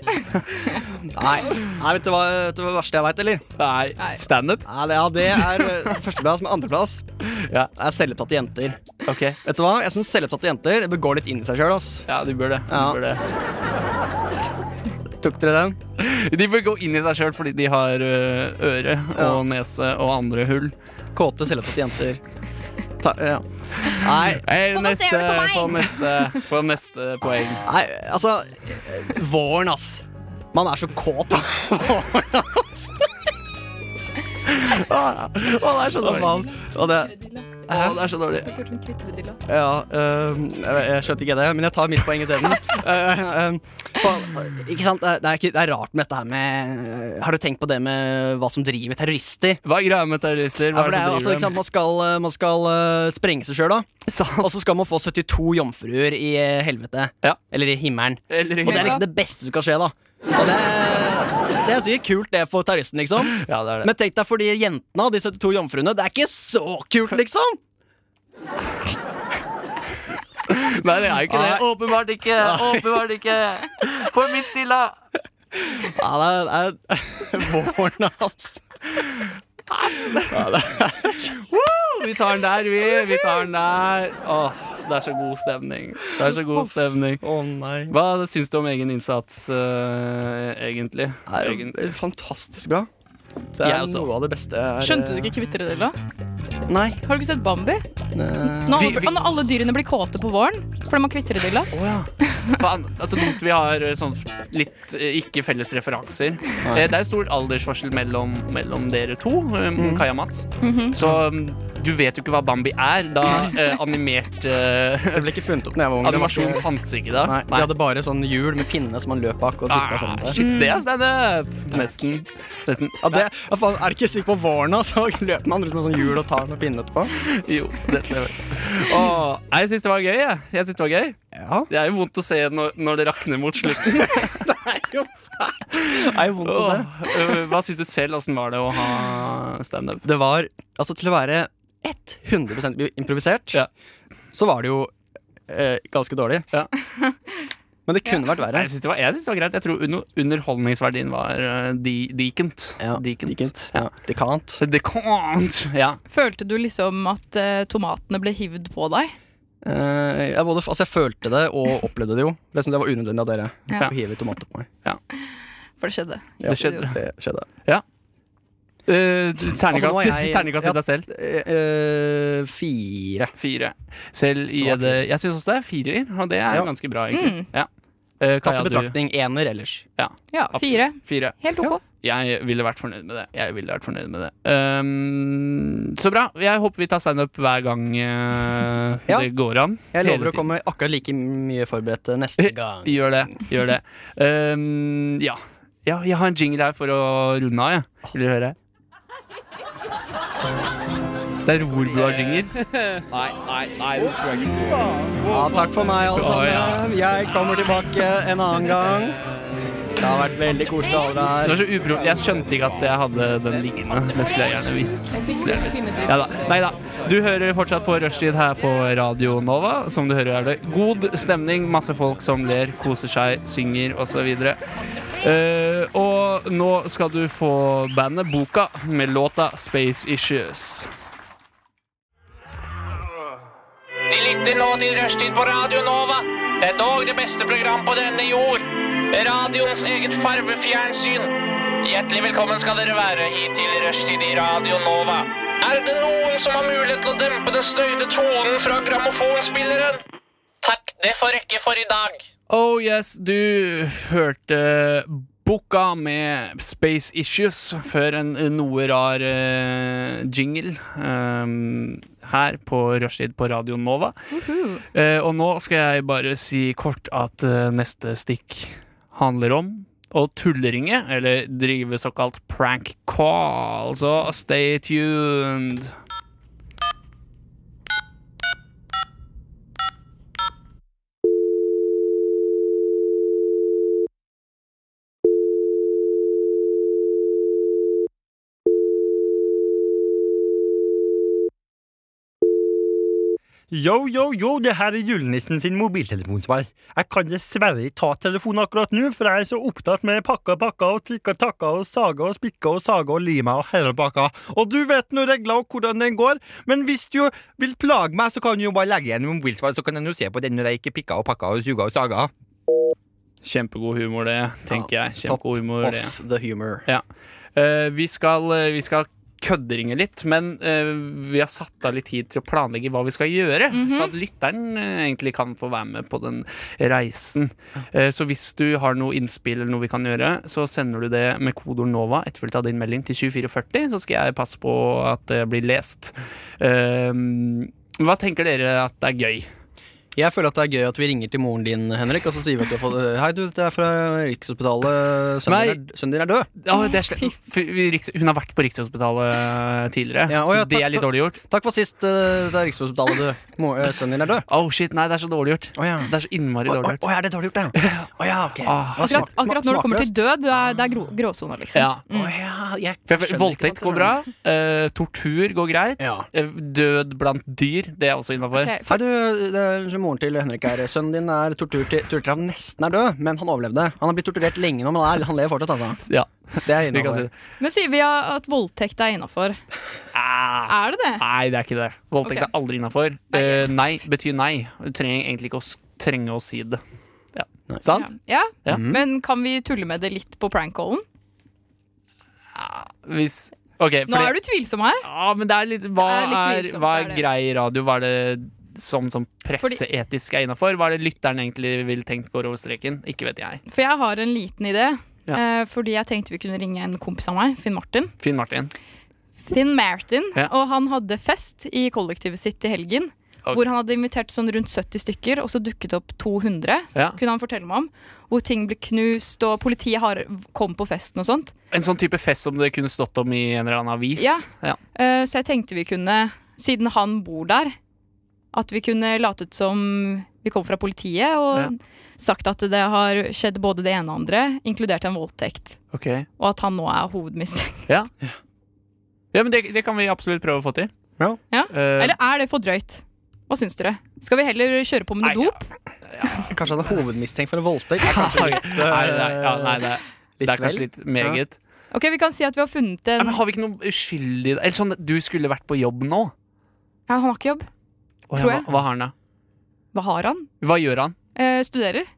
Speaker 1: Nei, Nei vet, du hva, vet du hva det verste jeg veit, eller?
Speaker 2: Det er standup.
Speaker 1: Nei, det, ja, det er eh, førsteplass med andreplass.
Speaker 2: Ja,
Speaker 1: Det er selvopptatte jenter.
Speaker 2: OK.
Speaker 1: Vet du hva? Jeg syns selvopptatte jenter bør gå litt inn i seg sjøl.
Speaker 2: Ja, du bør det. Du
Speaker 1: Ja.
Speaker 2: bør det.
Speaker 1: Tok dere den?
Speaker 2: De bør gå inn i seg sjøl fordi de har ø, øre og nese og andre hull.
Speaker 1: Kåte, selvopptatte jenter. Ta, ja. Nei,
Speaker 2: Hey,
Speaker 4: Hvorfor
Speaker 2: neste,
Speaker 4: ser du på meg?
Speaker 2: få neste, få neste poeng.
Speaker 1: Nei, altså Våren, ass. Man er så
Speaker 2: <laughs>
Speaker 1: kåt. da. <laughs>
Speaker 2: Å, det er så
Speaker 1: Hva faen? Og det
Speaker 2: Å, det er så dårlig.
Speaker 1: Ja, øhm, jeg, jeg skjønte ikke det, men jeg tar mitt
Speaker 2: <laughs>
Speaker 1: poeng isteden. Uh, faen, ikke sant? Det er- Det er, ikke, det er rart med dette her med Har du tenkt på det med hva som driver terrorister?
Speaker 2: Hva er greia med terrorister?
Speaker 1: Ja,
Speaker 2: Hva
Speaker 1: for det er,
Speaker 2: er det
Speaker 1: altså,
Speaker 2: som
Speaker 1: ikke
Speaker 2: driver dem?
Speaker 1: sant? Man skal, øh, man skal øh, sprenge seg sjøl, da.
Speaker 2: Sant.
Speaker 1: Og så skal man få 72 jomfruer i eh, helvete.
Speaker 2: Ja.
Speaker 1: Eller i himmelen.
Speaker 2: Eller
Speaker 1: Og det
Speaker 2: ikke.
Speaker 1: er liksom det beste som kan skje, da. Og det, det er sikkert kult, det, for terroristen, liksom.
Speaker 2: <laughs> Ja, det er det.
Speaker 1: Men tenk deg for de jentene og de 72 jomfruene. Det er ikke så kult, liksom!
Speaker 2: Nei, det er jo ikke det.
Speaker 1: Nei.
Speaker 2: Åpenbart ikke. Åpenbart ikke. For min stilla.
Speaker 1: Ja, det er, det er <laughs> våren, altså.
Speaker 2: Woo! Vi tar den der, vi. Vi tar den der. Åh, det er så god stemning. Det er så god stemning.
Speaker 1: Å nei.
Speaker 2: Hva syns du om egen innsats, ø, egentlig?
Speaker 1: Det er
Speaker 2: Egen-
Speaker 1: jo fantastisk bra. Det
Speaker 2: Jeg
Speaker 1: er
Speaker 2: også.
Speaker 1: noe av det beste jeg er-
Speaker 4: Skjønte du ikke kvitteredilla?
Speaker 1: Nei.
Speaker 4: Har du ikke sett Bambi?
Speaker 1: eh,
Speaker 4: Når
Speaker 2: Vi-
Speaker 4: alle,
Speaker 2: vi-
Speaker 4: når alle dyrene blir kåte på våren fordi man kvitter i dilla.
Speaker 2: Å ja. Faen. Altså dumt vi har eh, sånn f- litt eh, ikke felles referanser. Eh, Det er jo stor aldersforskjell mellom, mellom dere to, eh,
Speaker 1: Mhm.
Speaker 2: Kaja og Mats. Så mm, du vet jo ikke hva Bambi er, da eh, animert eh,
Speaker 1: Det ble ikke funnet opp når jeg var ung. Det var
Speaker 2: animasjon
Speaker 1: ikke-
Speaker 2: fantes ikke da.
Speaker 1: Nei, Vi hadde bare sånn hjul med pinne som man løp bak og putta
Speaker 2: Ah,
Speaker 1: foran seg.
Speaker 2: shit, det er standup! Nesten. Nesten.
Speaker 1: Ja, det, ja, faen, er du ikke syk på våren, <laughs> altså? Løper man rundt med sånn hjul og tar med pinne etterpå?
Speaker 2: Jo, det stemmer. Åh, nei, jeg syns det var gøy. Jeg. jeg synes Det var gøy
Speaker 1: Ja.
Speaker 2: Det er jo vondt å se når, når det rakner mot slutten.
Speaker 1: Det er jo vondt å se.
Speaker 2: Åh, øh, Hva syns du selv? Åssen var det å ha standup?
Speaker 1: det var Altså til å være 100 improvisert,
Speaker 2: Ja.
Speaker 1: så var det jo eh, ganske dårlig.
Speaker 2: Ja.
Speaker 1: Men det kunne vært verre.
Speaker 2: Nei, Jeg syns det, var- jeg synes det var greit. Jeg tror under, underholdningsverdien var eh, di, dikent.
Speaker 1: Ja,
Speaker 2: Dikent.
Speaker 1: Dikent.
Speaker 2: Ja.
Speaker 1: Ja. Dikant.
Speaker 2: Dekant. Ja.
Speaker 4: Følte du liksom at eh, tomatene ble hivd på deg?
Speaker 1: Eh, jeg, både, altså, jeg følte det og opplevde det jo. Det, som det var unødvendig av dere
Speaker 4: Ja.
Speaker 1: å hive tomater på meg.
Speaker 4: For det skjedde.
Speaker 1: Ja,
Speaker 2: Det skjedde.
Speaker 1: Det skjedde.
Speaker 2: Eh,
Speaker 1: Altså,
Speaker 2: terningkast
Speaker 1: nå er jeg-
Speaker 2: <laughs> terningkast til
Speaker 1: ja.
Speaker 2: deg selv.
Speaker 1: Eh, eh, fire.
Speaker 2: Fire. Selv i
Speaker 1: Svak.
Speaker 2: det Jeg syns også det er firer, og det er
Speaker 1: Ja.
Speaker 2: ganske bra, egentlig. Ja. Eh,
Speaker 1: Tatt
Speaker 2: Kaja,
Speaker 1: i
Speaker 2: du-
Speaker 1: betraktning ener ellers.
Speaker 2: Ja,
Speaker 4: Ja,
Speaker 2: absolutt.
Speaker 4: fire.
Speaker 2: fire.
Speaker 4: Helt ok.
Speaker 2: Jeg ville vært fornøyd med det. Jeg ville vært fornøyd med det. Um, så bra. Jeg håper vi tar standup hver gang eh,
Speaker 1: Ja.
Speaker 2: det går an.
Speaker 1: Jeg
Speaker 2: Hele
Speaker 1: lover å
Speaker 2: tiden. Eh,
Speaker 1: komme akkurat like mye forberedt neste gang.
Speaker 2: Gjør det. Gjør det. Um, ja. Ja, jeg har en jingle her for å runde av, jeg. Vil du høre? Det er Rorbua-jingle.
Speaker 8: Nei, nei, nei, det tror jeg ikke.
Speaker 1: Ja, takk for meg, alle
Speaker 2: Å, ja.
Speaker 1: sammen. Jeg kommer tilbake en annen gang. Det har vært veldig koselig å ha dere
Speaker 2: Det
Speaker 1: her.
Speaker 2: var så upro... Jeg skjønte ikke at jeg hadde den liggende. Det skulle jeg gjerne visst. Det Skulle jeg gjerne visst. Ja da. Nei da. Du hører fortsatt på Rushtid her på Radio Nova. Som du hører, er det god stemning. Masse folk som ler, koser seg, synger osv. Uh, og nå skal du få bandet Boka med låta Space Issues.
Speaker 9: De lytter nå til Rushtid på Radio Nova. Det er dog det beste program på denne jord. Radioens eget farvefjernsyn. Hjertelig velkommen skal dere være hit til Rushtid i Radio Nova. Er det noen som har mulighet til å dempe den støyte tonen fra grammofonspilleren? Takk, det får rekke for i dag.
Speaker 2: Oh yes, du hørte Boka med Space Issues før en noe rar eh, jingle ehm, her på Rushtid på Radio Nova. Eh, og nå skal jeg bare si kort at eh, neste stikk handler om å tulleringe, eller drive såkalt prank call. Så stay tuned.
Speaker 10: Yo, yo, yo, det her er julenissen sin mobiltelefonsvar. Jeg kan dessverre ikke ta telefonen akkurat nå, for jeg er så opptatt med pakka, pakka og tikka, takka og saga og spikka og saga og lima og hele pakka. Og du vet nå regler og hvordan den går, men hvis du vil plage meg, så kan du jo bare legge igjen mobilsvar, så kan jeg nå se på den når jeg ikke pikka og pakka og suga og saga.
Speaker 2: Kjempegod humor, det, tenker jeg.
Speaker 1: Top
Speaker 2: Kjempegod humor, det.
Speaker 1: Off the humor.
Speaker 2: Ja. Eh, vi, skal, eh, vi skal kødderinge litt, men eh, vi har satt av litt tid til å planlegge hva vi skal gjøre, så at lytteren eh, egentlig kan få være med på den reisen. Eh, så hvis du har noe innspill eller noe vi kan gjøre, så sender du det med kodeord NOVA etterfulgt av din melding til 2440, så skal jeg passe på at det blir lest. Eh, hva tenker dere at er gøy?
Speaker 1: Jeg føler at det er gøy at vi ringer til moren din, Henrik, og så sier vi at du har fått Hei, du, det er fra Rikshospitalet. Sønnen din er- sønnen din er død.
Speaker 2: Ja, det er sle- Fy- Riks- Hun har vært på Rikshospitalet tidligere,
Speaker 1: Ja, å ja,
Speaker 2: så det
Speaker 1: takk,
Speaker 2: er litt
Speaker 1: takk.
Speaker 2: dårlig gjort.
Speaker 1: Takk for sist. eh, Det er Rikshospitalet, <laughs> du. Mo- eh, Sønnen din er død.
Speaker 2: Oh shit, nei, det er så dårlig gjort.
Speaker 1: Å ja.
Speaker 2: Det er så innmari
Speaker 1: Å
Speaker 2: dårlig
Speaker 1: å-
Speaker 2: gjort.
Speaker 1: å, ja, det er dårlig gjort, det. ja. Å ja, ok.
Speaker 2: Ah.
Speaker 1: Hva smak-
Speaker 4: Akkurat, akkurat når det kommer til
Speaker 1: smakløst?
Speaker 4: død, det er, det er gro, gråsona, liksom.
Speaker 2: Ja.
Speaker 1: Å ja, jeg
Speaker 2: For jeg,
Speaker 1: skjønner
Speaker 2: voldtekt
Speaker 1: ikke
Speaker 2: går
Speaker 1: sant,
Speaker 2: bra. eh, tortur går greit.
Speaker 1: Ja.
Speaker 2: eh, Død blant dyr, det er også innafor.
Speaker 4: Ok,
Speaker 1: Hei, du, det er moren til Henrik her. Sønnen din er tortur til, tortur til han nesten er død, men han overlevde. Han har blitt torturert lenge nå, men han, er, han lever fortsatt, altså.
Speaker 2: Ja,
Speaker 1: Det er
Speaker 2: vi kan si
Speaker 1: innholdet.
Speaker 2: det.
Speaker 4: Men sier vi at voldtekt er innafor?
Speaker 2: Ah,
Speaker 4: Er det det?
Speaker 2: nei, det er ikke det. Voldtekt
Speaker 4: Ok.
Speaker 2: er aldri innafor. nei betyr nei. Du trenger egentlig ikke å s- trenge å si det. Ja. Sant?
Speaker 4: Ja.
Speaker 2: Ja.
Speaker 4: Men kan vi tulle med det litt på prank-callen?
Speaker 2: Hvis OK,
Speaker 4: Nå
Speaker 2: fordi
Speaker 4: er du tvilsom her.
Speaker 2: Ja, men det er litt Hva
Speaker 4: Det er litt
Speaker 2: er,
Speaker 4: tvilsomt, det
Speaker 2: hva er
Speaker 4: er det.
Speaker 2: grei radio? Hva er det som, som presseetisk er innafor? Hva er det lytteren egentlig vil tenkt går over streken? Ikke vet jeg.
Speaker 4: For jeg har en liten idé.
Speaker 2: Ja.
Speaker 4: Eh, fordi jeg tenkte vi kunne ringe en kompis av meg, Finn Martin.
Speaker 2: Finn Martin.
Speaker 4: Finn Martin,
Speaker 2: Ja.
Speaker 4: og han hadde fest i kollektivet sitt i helgen.
Speaker 2: Ok.
Speaker 4: Hvor han hadde invitert sånn rundt 70 stykker, og så dukket opp 200.
Speaker 2: Ja.
Speaker 4: Kunne han fortelle meg om Hvor ting ble knust, og politiet har, kom på festen og sånt.
Speaker 2: En sånn type fest som det kunne stått om i en eller annen avis?
Speaker 4: Ja.
Speaker 2: ja.
Speaker 4: Eh, så jeg tenkte vi kunne, siden han bor der, at vi kunne latet som vi kom fra politiet, og
Speaker 2: Ja.
Speaker 4: sagt at det har skjedd både det ene og andre, inkludert en voldtekt.
Speaker 2: Ok.
Speaker 4: Og at han nå er hovedmistenkt.
Speaker 2: Ja, men det, det kan vi absolutt prøve å få til.
Speaker 1: Ja.
Speaker 4: Ja.
Speaker 2: Eh,
Speaker 4: Eller er det for drøyt? Hva syns dere? Skal vi heller kjøre på med
Speaker 2: nei,
Speaker 4: noe dop?
Speaker 1: Kanskje han er hovedmistenkt for
Speaker 2: <laughs>
Speaker 1: en voldtekt. Det er
Speaker 2: <laughs>
Speaker 1: kanskje <laughs>
Speaker 2: Nei, nei, nei, ja, nei det,
Speaker 1: litt
Speaker 2: det er kanskje
Speaker 1: vel.
Speaker 2: litt meget.
Speaker 4: Ok, vi kan si at vi har funnet
Speaker 2: Nei,
Speaker 4: en
Speaker 2: men har vi ikke noe uskyldig Eller sånn, du skulle vært på jobb nå.
Speaker 4: Ja, han har ikke jobb.
Speaker 2: Å,
Speaker 4: Tror
Speaker 2: ja,
Speaker 4: jeg.
Speaker 2: Hva, hva har han da?
Speaker 4: Hva har han?
Speaker 2: Hva gjør han?
Speaker 4: Eh, studerer.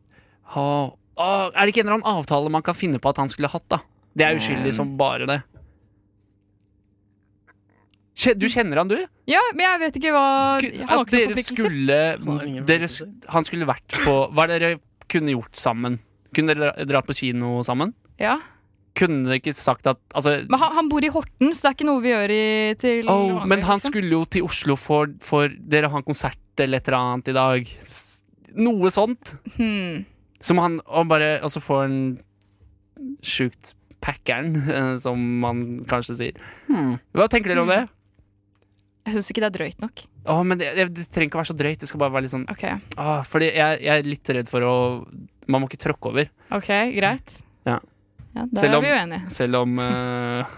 Speaker 2: Ha, å, er det ikke en eller annen avtale man kan finne på at han skulle hatt, da? Det er uskyldig
Speaker 1: Mm.
Speaker 2: som bare det. Kje- Du kjenner han, du?
Speaker 4: Ja, men jeg vet ikke hva
Speaker 2: Gud,
Speaker 4: Han har ikke
Speaker 2: At
Speaker 4: noen
Speaker 2: dere
Speaker 4: forpliktelser.
Speaker 1: Han har ingen
Speaker 2: skulle dere, sk- Han skulle vært på Hva er det dere kunne gjort sammen? Kunne dere dratt på kino sammen?
Speaker 4: Ja.
Speaker 2: Kunne dere ikke sagt at altså,
Speaker 4: Men han, han bor i Horten, så det er ikke noe vi gjør i, til
Speaker 2: oh, Men
Speaker 4: vanlig,
Speaker 2: han
Speaker 4: liksom.
Speaker 2: skulle jo til Oslo for, for Dere har en konsert eller et eller annet i dag. S- Noe sånt.
Speaker 4: hmm.
Speaker 2: Som han og bare Og så får han sjukt packeren, eh, som man kanskje sier.
Speaker 4: Hmm.
Speaker 2: Hva tenker dere om det?
Speaker 4: Jeg syns ikke det er drøyt nok.
Speaker 2: Å, men det, det, det trenger ikke å være så drøyt. Det skal bare være litt sånn
Speaker 4: Ok,
Speaker 2: ah, Fordi jeg, jeg er litt redd for å Man må ikke tråkke over.
Speaker 4: ok, greit.
Speaker 2: Ja.
Speaker 4: Ja, da
Speaker 2: Selv
Speaker 4: er
Speaker 2: om-
Speaker 4: vi uenige.
Speaker 2: Selv om eh,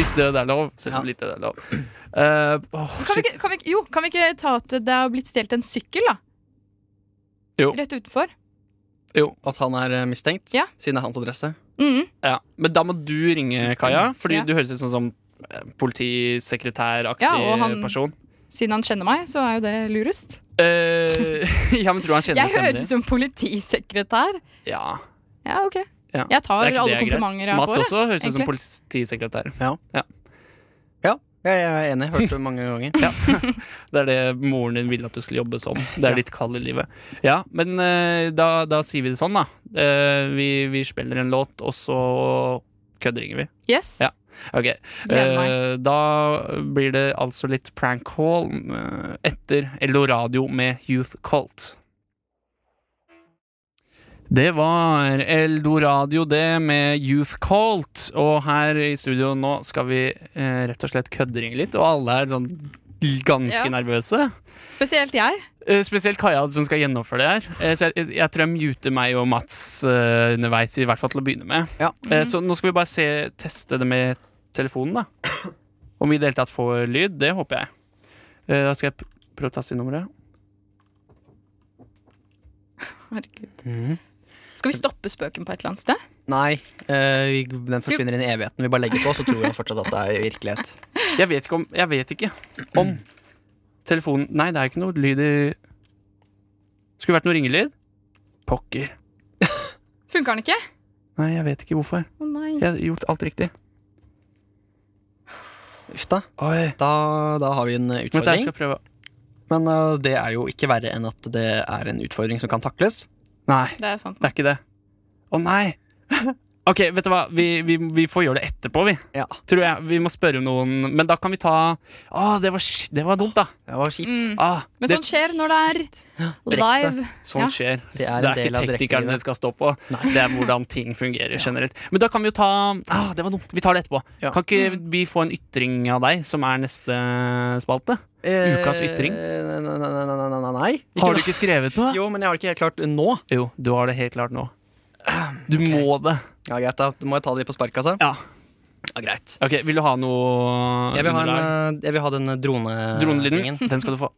Speaker 2: Litt død er lov. Selv om litt død er lov. Eh, åh,
Speaker 4: Kan vi,
Speaker 2: shit.
Speaker 4: ikke, kan vi, ikke- jo, kan vi ikke ta at det har blitt stjålet en sykkel, da?
Speaker 2: Jo.
Speaker 4: Rett utenfor.
Speaker 1: Jo. At han er eh, mistenkt?
Speaker 4: Ja.
Speaker 1: Siden det er hans adresse?
Speaker 4: Mhm.
Speaker 2: Ja, men da må du ringe Kaja, fordi
Speaker 4: Ja.
Speaker 2: du høres ut sånn som eh, politisekretæraktig
Speaker 4: Ja, og han-
Speaker 2: person.
Speaker 4: Siden han kjenner meg, så er jo det lurest.
Speaker 2: Eh, <laughs> ja, men tror du han kjenner
Speaker 4: Jeg høres ut
Speaker 2: stemmen din?
Speaker 4: som politisekretær.
Speaker 2: Ja.
Speaker 4: Ja, ok.
Speaker 2: Ja.
Speaker 4: Jeg tar
Speaker 2: Det er ikke
Speaker 4: alle
Speaker 2: det er greit.
Speaker 4: komplimenter jeg
Speaker 2: Mats
Speaker 4: får.
Speaker 2: også høres ut som
Speaker 4: egentlig.
Speaker 2: politisekretær.
Speaker 1: Ja.
Speaker 2: Ja.
Speaker 1: Ja, jeg er enig. Hørt det mange ganger.
Speaker 2: <laughs> Det er det moren din ville at du skulle jobbe som. Det
Speaker 1: Ja.
Speaker 2: er ditt kall i livet. Ja, men eh, da, da sier vi det sånn, da. Eh, vi, vi spiller en låt, og så kødderinger vi.
Speaker 4: Yes.
Speaker 2: Ja. Ok.
Speaker 4: Gleder
Speaker 2: Eh, da blir det altså litt prank call eh, etter Eldoradio med Youth Cult. Det var Eldoradio, det, med Youth Cult. Og her i studio nå skal vi eh, rett og slett kødderinge litt, og alle er sånn ganske
Speaker 4: Ja.
Speaker 2: nervøse.
Speaker 4: Spesielt jeg.
Speaker 2: Eh, Spesielt Kaja som skal gjennomføre det her. Eh, Så jeg, jeg tror jeg muter meg og Mats eh, underveis, i hvert fall til å begynne med.
Speaker 1: Ja.
Speaker 2: Eh, Så nå skal vi bare se, teste det med telefonen, da. Om vi i det hele tatt får lyd. Det håper jeg. Eh, Da skal jeg pr- prøve å taste inn nummeret.
Speaker 4: Herregud.
Speaker 1: <laughs> Mhm.
Speaker 4: Skal vi stoppe spøken på et eller annet sted?
Speaker 1: Nei, eh, vi- den forsvinner inn i evigheten. Vi bare legger på, så tror han fortsatt at det er virkelighet.
Speaker 2: Jeg vet ikke om Jeg vet ikke om telefonen Nei, det er ikke noe lyd i Skulle vært noe ringelyd. Pokker.
Speaker 4: Funker den ikke?
Speaker 2: Nei, jeg vet ikke hvorfor.
Speaker 4: Å nei.
Speaker 2: Jeg har gjort alt riktig.
Speaker 1: Uff da.
Speaker 2: Oi.
Speaker 1: Da, da har vi en eh,
Speaker 2: Vent, da, jeg
Speaker 1: utfordring.
Speaker 2: skal prøve.
Speaker 1: Men eh, det er jo ikke verre enn at det er en utfordring som kan takles.
Speaker 2: Nei.
Speaker 4: Det er sant.
Speaker 2: Det er ikke det. Å nei! <laughs> Ok, vet du hva? Vi, vi, vi får gjøre det etterpå, vi.
Speaker 1: Ja.
Speaker 2: Tror jeg. Vi må spørre noen. Men da kan vi ta Å, det var, sk- det var dumt, da.
Speaker 1: Det var kjipt.
Speaker 4: Mm.
Speaker 2: Ah,
Speaker 4: Men
Speaker 2: det,
Speaker 4: sånn skjer når det er
Speaker 1: direkte.
Speaker 4: live.
Speaker 2: sånn
Speaker 4: ja.
Speaker 2: skjer. Det
Speaker 1: Det er
Speaker 2: er,
Speaker 1: en del
Speaker 2: ikke
Speaker 1: av direktelivet.
Speaker 2: teknikerne det skal stå på. Det er hvordan ting fungerer generelt. Men da kan vi jo ta ah, Det var dumt. Vi tar det etterpå.
Speaker 1: Ja.
Speaker 2: Kan ikke vi få en ytring av deg, som er neste spalte?
Speaker 1: Eh,
Speaker 2: Ukas ytring.
Speaker 1: Nei, nei, nei, nei, nei, nei, nei. Ikke
Speaker 2: Har du
Speaker 1: nå.
Speaker 2: ikke skrevet noe?
Speaker 1: Jo, men jeg har det ikke helt klart nå.
Speaker 2: Jo, du har det helt klart nå. Du må det.
Speaker 1: Ja, Greit, da må jeg ta det på sparket, altså.
Speaker 2: Ja.
Speaker 1: Ja, greit.
Speaker 2: Ok, Vil du ha noe
Speaker 1: Jeg vil ha, en,
Speaker 2: underlag?
Speaker 1: eh, jeg vil ha den drone...
Speaker 2: Dronelyden, Eh, den skal du få.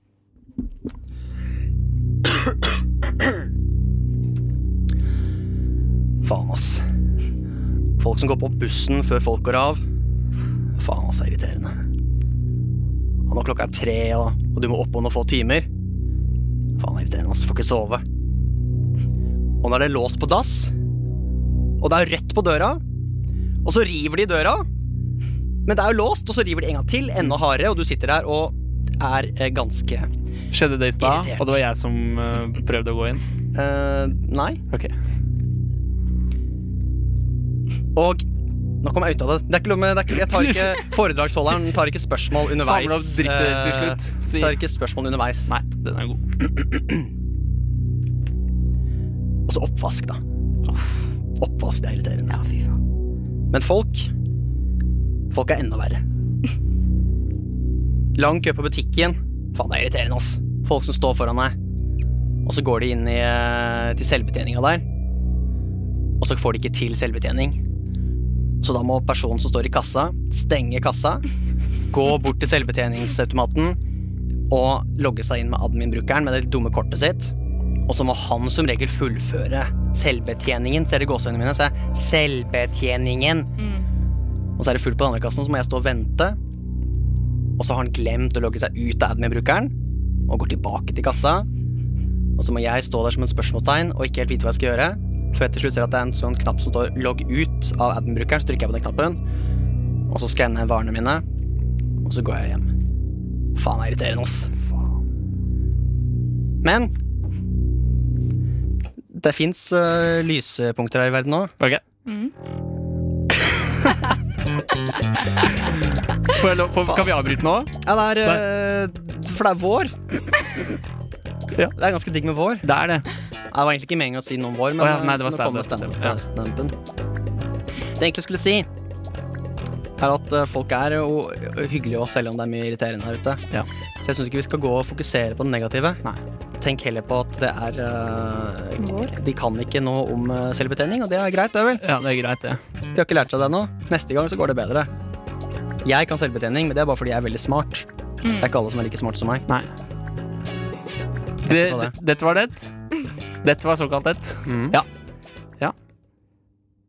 Speaker 1: Faen, ass. Folk som går på bussen før folk går av. Faen, ass, det er irriterende. Og når klokka er tre, og, og du må opp om noen få timer Faen, det er irriterende, ass. Får ikke sove. Og nå er det låst på dass, og det er rødt på døra, og så river de i døra. Men det er jo låst, og så river de en gang til, enda hardere, og du sitter der og er eh, ganske
Speaker 2: Skjedde det i stad,
Speaker 1: Irritert.
Speaker 2: og det var jeg som eh, prøvde å gå inn.
Speaker 1: eh, Nei.
Speaker 2: Ok
Speaker 1: Og nå kom jeg ut av det. Det er ikke lov med, det er ikke, jeg tar
Speaker 2: <laughs>
Speaker 1: ikke, Foredragsholderen tar ikke spørsmål underveis.
Speaker 2: Samle opp drittet til
Speaker 1: Eh,
Speaker 2: slutt. Si
Speaker 1: Tar ikke spørsmål underveis.
Speaker 2: Nei, den er god.
Speaker 1: Og så oppvask, da. Oppvask, det er irriterende.
Speaker 4: Ja, fy faen.
Speaker 1: Men folk Folk er enda
Speaker 4: <laughs>
Speaker 1: verre. Lang kø på butikken. Faen, det er irriterende, ass. Folk som står foran deg. Og så går de inn i, eh, til selvbetjeninga der. Og så får de ikke til selvbetjening. Så da må personen som står i kassa, stenge kassa, gå bort til selvbetjeningsautomaten og logge seg inn med admin-brukeren med det dumme kortet sitt. Og så må han som regel fullføre selvbetjeningen. Ser du gåsehudene mine? Se. Selvbetjeningen. Og så er det fullt på den andre kassen, så må jeg stå og vente. Og så har han glemt å logge seg ut av admin-brukeren og går tilbake til kassa. Og så må jeg stå der som en spørsmålstegn og ikke helt vite hva jeg skal gjøre. Før jeg til slutt ser at det er en sånn knapp som står 'logg ut' av admin-brukeren, så trykker jeg på den knappen. Og så skanner jeg varene mine, og så går jeg hjem. Faen, det er irriterende, ass. Men det fins
Speaker 2: eh,
Speaker 1: lysepunkter her i verden òg.
Speaker 2: Ok.
Speaker 4: Mm.
Speaker 2: <laughs> Får jeg lov, får, kan vi avbryte nå?
Speaker 1: Ja, det
Speaker 2: <coughs>
Speaker 1: er eh, For det er vår. Det er ganske digg med vår.
Speaker 2: Det er det.
Speaker 1: Det Det var egentlig ikke meningen å si noe om vår, men
Speaker 2: Å ja, nei, det var
Speaker 1: nå kommer
Speaker 2: standup.
Speaker 1: standup-
Speaker 2: Ja.
Speaker 1: standupen. Det jeg egentlig skulle si, er at eh, folk er jo hyggelige også, selv om det er mye irriterende her ute.
Speaker 2: Ja.
Speaker 1: Så jeg syns ikke vi skal gå og fokusere på det negative. Tenk heller på at det er eh, De kan ikke noe om eh, selvbetjening, og det er greit, det, vel?
Speaker 2: Ja, det er greit, det.
Speaker 1: De har ikke lært seg det ennå. Neste gang så går det bedre. Jeg kan selvbetjening, men det er bare fordi jeg er veldig smart. Det er ikke alle som er like smart som meg.
Speaker 2: Nei. Det,
Speaker 1: på det.
Speaker 2: det- dette var det. Dette var såkalt det.
Speaker 1: Mm.
Speaker 2: Ja. ja.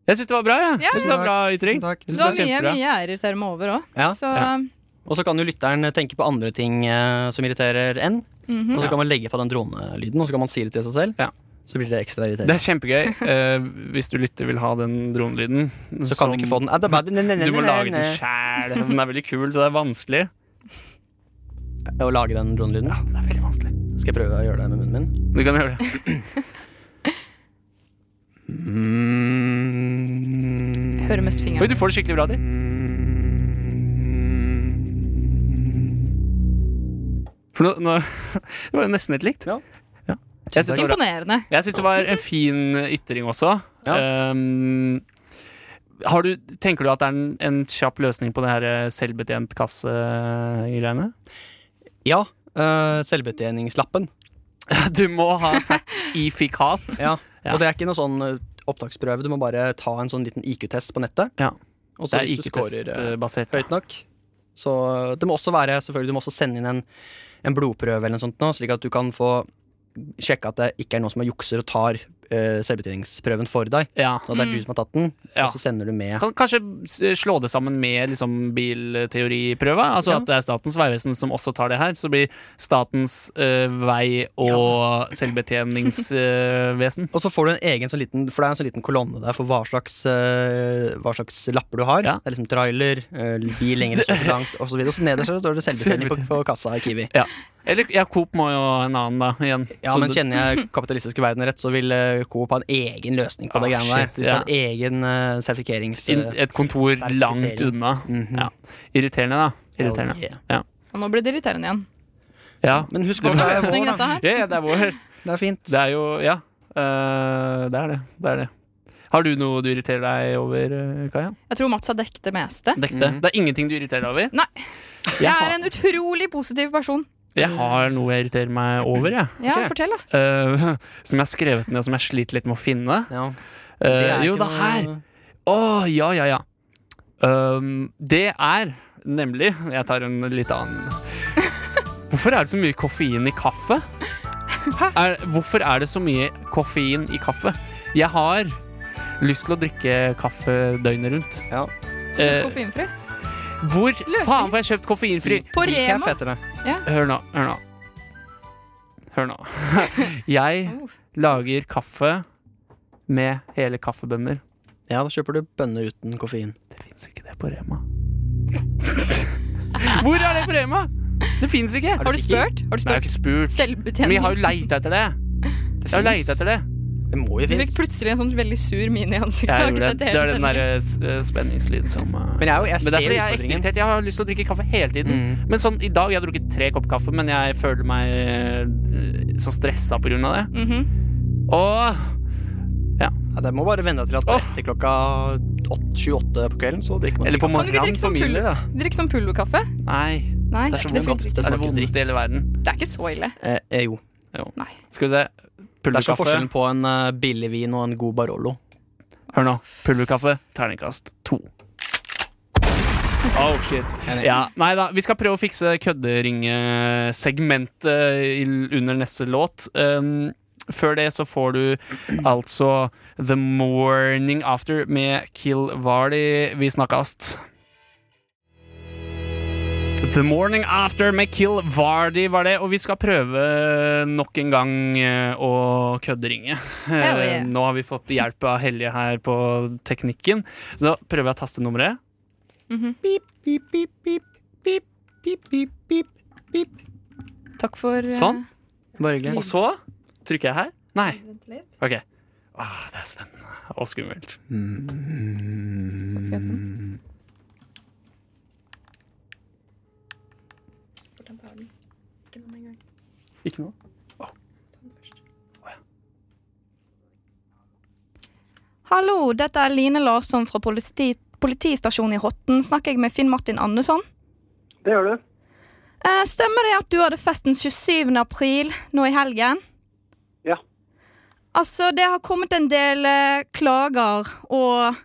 Speaker 2: Jeg syns det var bra, jeg.
Speaker 4: Ja.
Speaker 2: Jeg synes det var bra ytring.
Speaker 1: Takk.
Speaker 2: Jeg synes
Speaker 4: Det var mye,
Speaker 2: det var kjempebra.
Speaker 4: mye jeg irriterer meg over òg.
Speaker 1: Ja.
Speaker 4: Så mm.
Speaker 2: Ja.
Speaker 1: Og så kan jo lytteren tenke på andre ting eh, som irriterer enn.
Speaker 4: mhm.
Speaker 1: Og så kan man legge på den dronelyden, og så kan man si det til seg selv.
Speaker 2: Ja.
Speaker 1: Så blir det ekstra
Speaker 2: Det
Speaker 1: irriterende.
Speaker 2: er kjempegøy. Eh, hvis du lytter vil ha den dronelyden,
Speaker 1: Så kan du ikke få den Ah, det er bare- ne, ne, ne,
Speaker 2: <laughs> Du må
Speaker 1: ne,
Speaker 2: lage
Speaker 1: ne.
Speaker 2: den sjæl. Den er veldig kul, så det er vanskelig.
Speaker 1: Å lage den dronelyden?
Speaker 2: Det er veldig vanskelig.
Speaker 1: Skal jeg prøve å gjøre det med munnen min?
Speaker 2: Du kan gjøre det.
Speaker 4: Jeg hører mest
Speaker 2: Oi,
Speaker 4: fingeren.
Speaker 2: du får det skikkelig bra til. For nå, nå <laughs> Det var jo nesten helt likt.
Speaker 1: Ja.
Speaker 2: Ja. Jeg synes det var bra.
Speaker 4: Imponerende.
Speaker 2: Jeg syns det var en fin ytring også.
Speaker 1: Ja.
Speaker 2: Ehm, har du, tenker du at det er en, en kjapp løsning på det her eh, selvbetjent kasse-greiene?
Speaker 1: Ja. eh, selvbetjeningslappen.
Speaker 2: Du må ha sagt <laughs> ifikat.
Speaker 1: Ja.
Speaker 2: Ja.
Speaker 1: Og det er ikke noe sånn eh, opptaksprøve. Du må bare ta en sånn liten IQ-test på nettet.
Speaker 2: Ja.
Speaker 1: Og så
Speaker 2: Det er
Speaker 1: hvis du scorer eh,
Speaker 2: IQ-test-basert.
Speaker 1: høyt nok. Så det må også være selvfølgelig, du må også sende inn en, en blodprøve eller noe sånt nå, slik at du kan få sjekke at det ikke er noen som er jukser og tar eh, selvbetjeningsprøven for deg.
Speaker 2: Ja.
Speaker 1: Så det er du som har tatt den,
Speaker 2: Mm. Ja.
Speaker 1: og så sender du med.
Speaker 2: Kan kanskje s- slå det sammen med liksom, bilteoriprøva. Altså
Speaker 1: Ja.
Speaker 2: at det er Statens vegvesen som også tar det her. Så blir Statens eh, vei- og <laughs> selvbetjeningsvesen.
Speaker 1: Og så får du en egen sånn liten For det er en sånn liten kolonne der for hva slags, eh, hva slags lapper du har.
Speaker 2: Ja.
Speaker 1: Det er liksom trailer, eh, bil lenger og så langt, og så videre. Og så nederst her står det selvbetjening på, på kassa i Kiwi.
Speaker 2: ja. Eller ja, Coop må jo ha en annen, da. Igjen.
Speaker 1: Ja,
Speaker 2: Så
Speaker 1: men
Speaker 2: det-
Speaker 1: kjenner jeg kapitalistiske verden rett, så vil eh, Coop ha en egen løsning på
Speaker 2: Ah,
Speaker 1: det greiene der.
Speaker 2: shit,
Speaker 1: De skal ha en egen uh, sertifikerings...
Speaker 2: inn- et kontor
Speaker 1: Sertifisering.
Speaker 2: langt unna.
Speaker 1: Mhm.
Speaker 2: Ja. Irriterende, da. Irriterende.
Speaker 1: Oh, yeah.
Speaker 2: ja.
Speaker 4: Og nå ble det irriterende igjen.
Speaker 2: Ja.
Speaker 1: Men husk
Speaker 2: Det
Speaker 1: at det
Speaker 2: var
Speaker 1: er
Speaker 4: Løsning,
Speaker 1: vår, da.
Speaker 4: dette her.
Speaker 2: Ja, ja, det er vår.
Speaker 1: Det er fint.
Speaker 2: Det er jo Ja. Eh, det er det. Det er det. Har du noe du irriterer deg over, eh, Kaja? Mm.
Speaker 4: Jeg tror Mats har dekket det meste.
Speaker 2: Dekk det. Det er ingenting du irriterer deg over?
Speaker 4: Nei.
Speaker 2: Jeg
Speaker 4: Jeg
Speaker 2: har,
Speaker 4: er en utrolig positiv person.
Speaker 2: jeg har noe jeg irriterer meg over, jeg.
Speaker 4: Ja,
Speaker 1: Ok.
Speaker 4: fortell, da.
Speaker 2: Eh, <laughs> som jeg har skrevet ned, og som jeg sliter litt med å finne.
Speaker 1: Ja.
Speaker 2: Eh, jo,
Speaker 1: ikke
Speaker 2: det er her!
Speaker 1: noe-
Speaker 2: Å, ja, ja, ja. Øhm, det er nemlig Jeg tar en litt annen Hvorfor er det så mye koffein i kaffe? Er, hvorfor er det så mye koffein i kaffe? Jeg har lyst til å drikke kaffe døgnet rundt.
Speaker 1: Ja.
Speaker 2: Eh,
Speaker 4: Koffeinfri.
Speaker 2: hvor faen får jeg kjøpt koffeinfri?
Speaker 4: På
Speaker 1: Decaf
Speaker 4: Rema.
Speaker 1: heter det.
Speaker 2: Hør nå, hør nå. Hør nå. <laughs> Jeg
Speaker 4: Oh.
Speaker 2: lager kaffe med hele kaffebønner.
Speaker 1: Ja, da kjøper du bønner uten koffein.
Speaker 2: Det fins ikke det på Rema. <laughs> Hvor er det på Rema? Det fins ikke.
Speaker 1: Er
Speaker 4: Har du
Speaker 1: sikker?
Speaker 4: spurt? Har du
Speaker 2: Nei, jeg har
Speaker 4: spurt?
Speaker 2: ikke spurt. Men
Speaker 4: Selvbetjening.
Speaker 2: jeg har jo leita etter det. Jeg har leita etter det.
Speaker 1: Det må jo
Speaker 4: Du fikk
Speaker 1: finnes.
Speaker 4: plutselig en sånn veldig sur mine i ansiktet.
Speaker 2: Jeg
Speaker 4: har ikke
Speaker 2: gjorde
Speaker 4: sett det
Speaker 2: det. Det
Speaker 4: hele
Speaker 2: er den
Speaker 4: sendingen.
Speaker 2: derre eh, spenningslyden som eh,
Speaker 1: Men jeg, er jo- jeg
Speaker 2: Men det er
Speaker 1: ser
Speaker 2: fordi jeg er ekte
Speaker 1: utfordringen. Mm.
Speaker 2: irritert. Jeg har lyst til å drikke kaffe hele tiden. Men sånn, i dag Jeg har drukket tre kopper kaffe, men jeg føler meg eh, så stressa på grunn av det.
Speaker 4: Mhm.
Speaker 2: Og
Speaker 1: Ja, det må bare vende deg til at
Speaker 2: Åh.
Speaker 1: etter klokka åt- 28 på kvelden, så drikker man
Speaker 2: Eller på
Speaker 4: Kan du ikke
Speaker 2: morgenen,
Speaker 4: drikke
Speaker 2: for
Speaker 4: sånn
Speaker 2: min del, da.
Speaker 4: Drikk sånn pulverkaffe.
Speaker 2: Nei.
Speaker 4: Nei,
Speaker 2: Det er så
Speaker 4: det,
Speaker 2: vondt.
Speaker 4: funker
Speaker 2: Det
Speaker 1: Det
Speaker 4: ikke.
Speaker 2: er det
Speaker 1: smaker
Speaker 2: vondeste i hele verden.
Speaker 4: det er ikke så ille.
Speaker 1: eh, eh, Jo.
Speaker 2: Skal vi se.
Speaker 1: Det er så
Speaker 2: Pulverkaffe.
Speaker 1: forskjellen på en eh, billig vin og en god Barolo.
Speaker 2: Hør nå. Pulverkaffe, terningkast to. Oh, shit.
Speaker 1: Enig.
Speaker 2: Ja, nei da, vi skal prøve å fikse kødderingesegmentet i- under neste låt. Um, før det så får du altså The Morning After med Kill Vardy. Vi snakkast. The Morning After med Kill Vardy var det, og vi skal prøve nok en gang eh, å kødderinge.
Speaker 4: Hell yeah.
Speaker 2: Eh, Nå har vi fått hjelp av Helje her på teknikken, så da prøver jeg tastenummeret.
Speaker 4: Takk for eh,
Speaker 2: Sånn.
Speaker 1: Bare hyggelig.
Speaker 2: Og så trykker jeg her. Nei. Ok. Åh, det er spennende og skummelt.
Speaker 1: Mm.
Speaker 2: Ikke noe? Åh. Åh, ja.
Speaker 4: Hallo, dette er Line Larsson fra politi politistasjonen i Horten. Snakker jeg med Finn Martin Andersson?
Speaker 11: Det gjør du.
Speaker 4: Eh, stemmer det at du hadde festen 27. april nå i helgen?
Speaker 11: Ja.
Speaker 4: Altså, det har kommet en del eh, klager og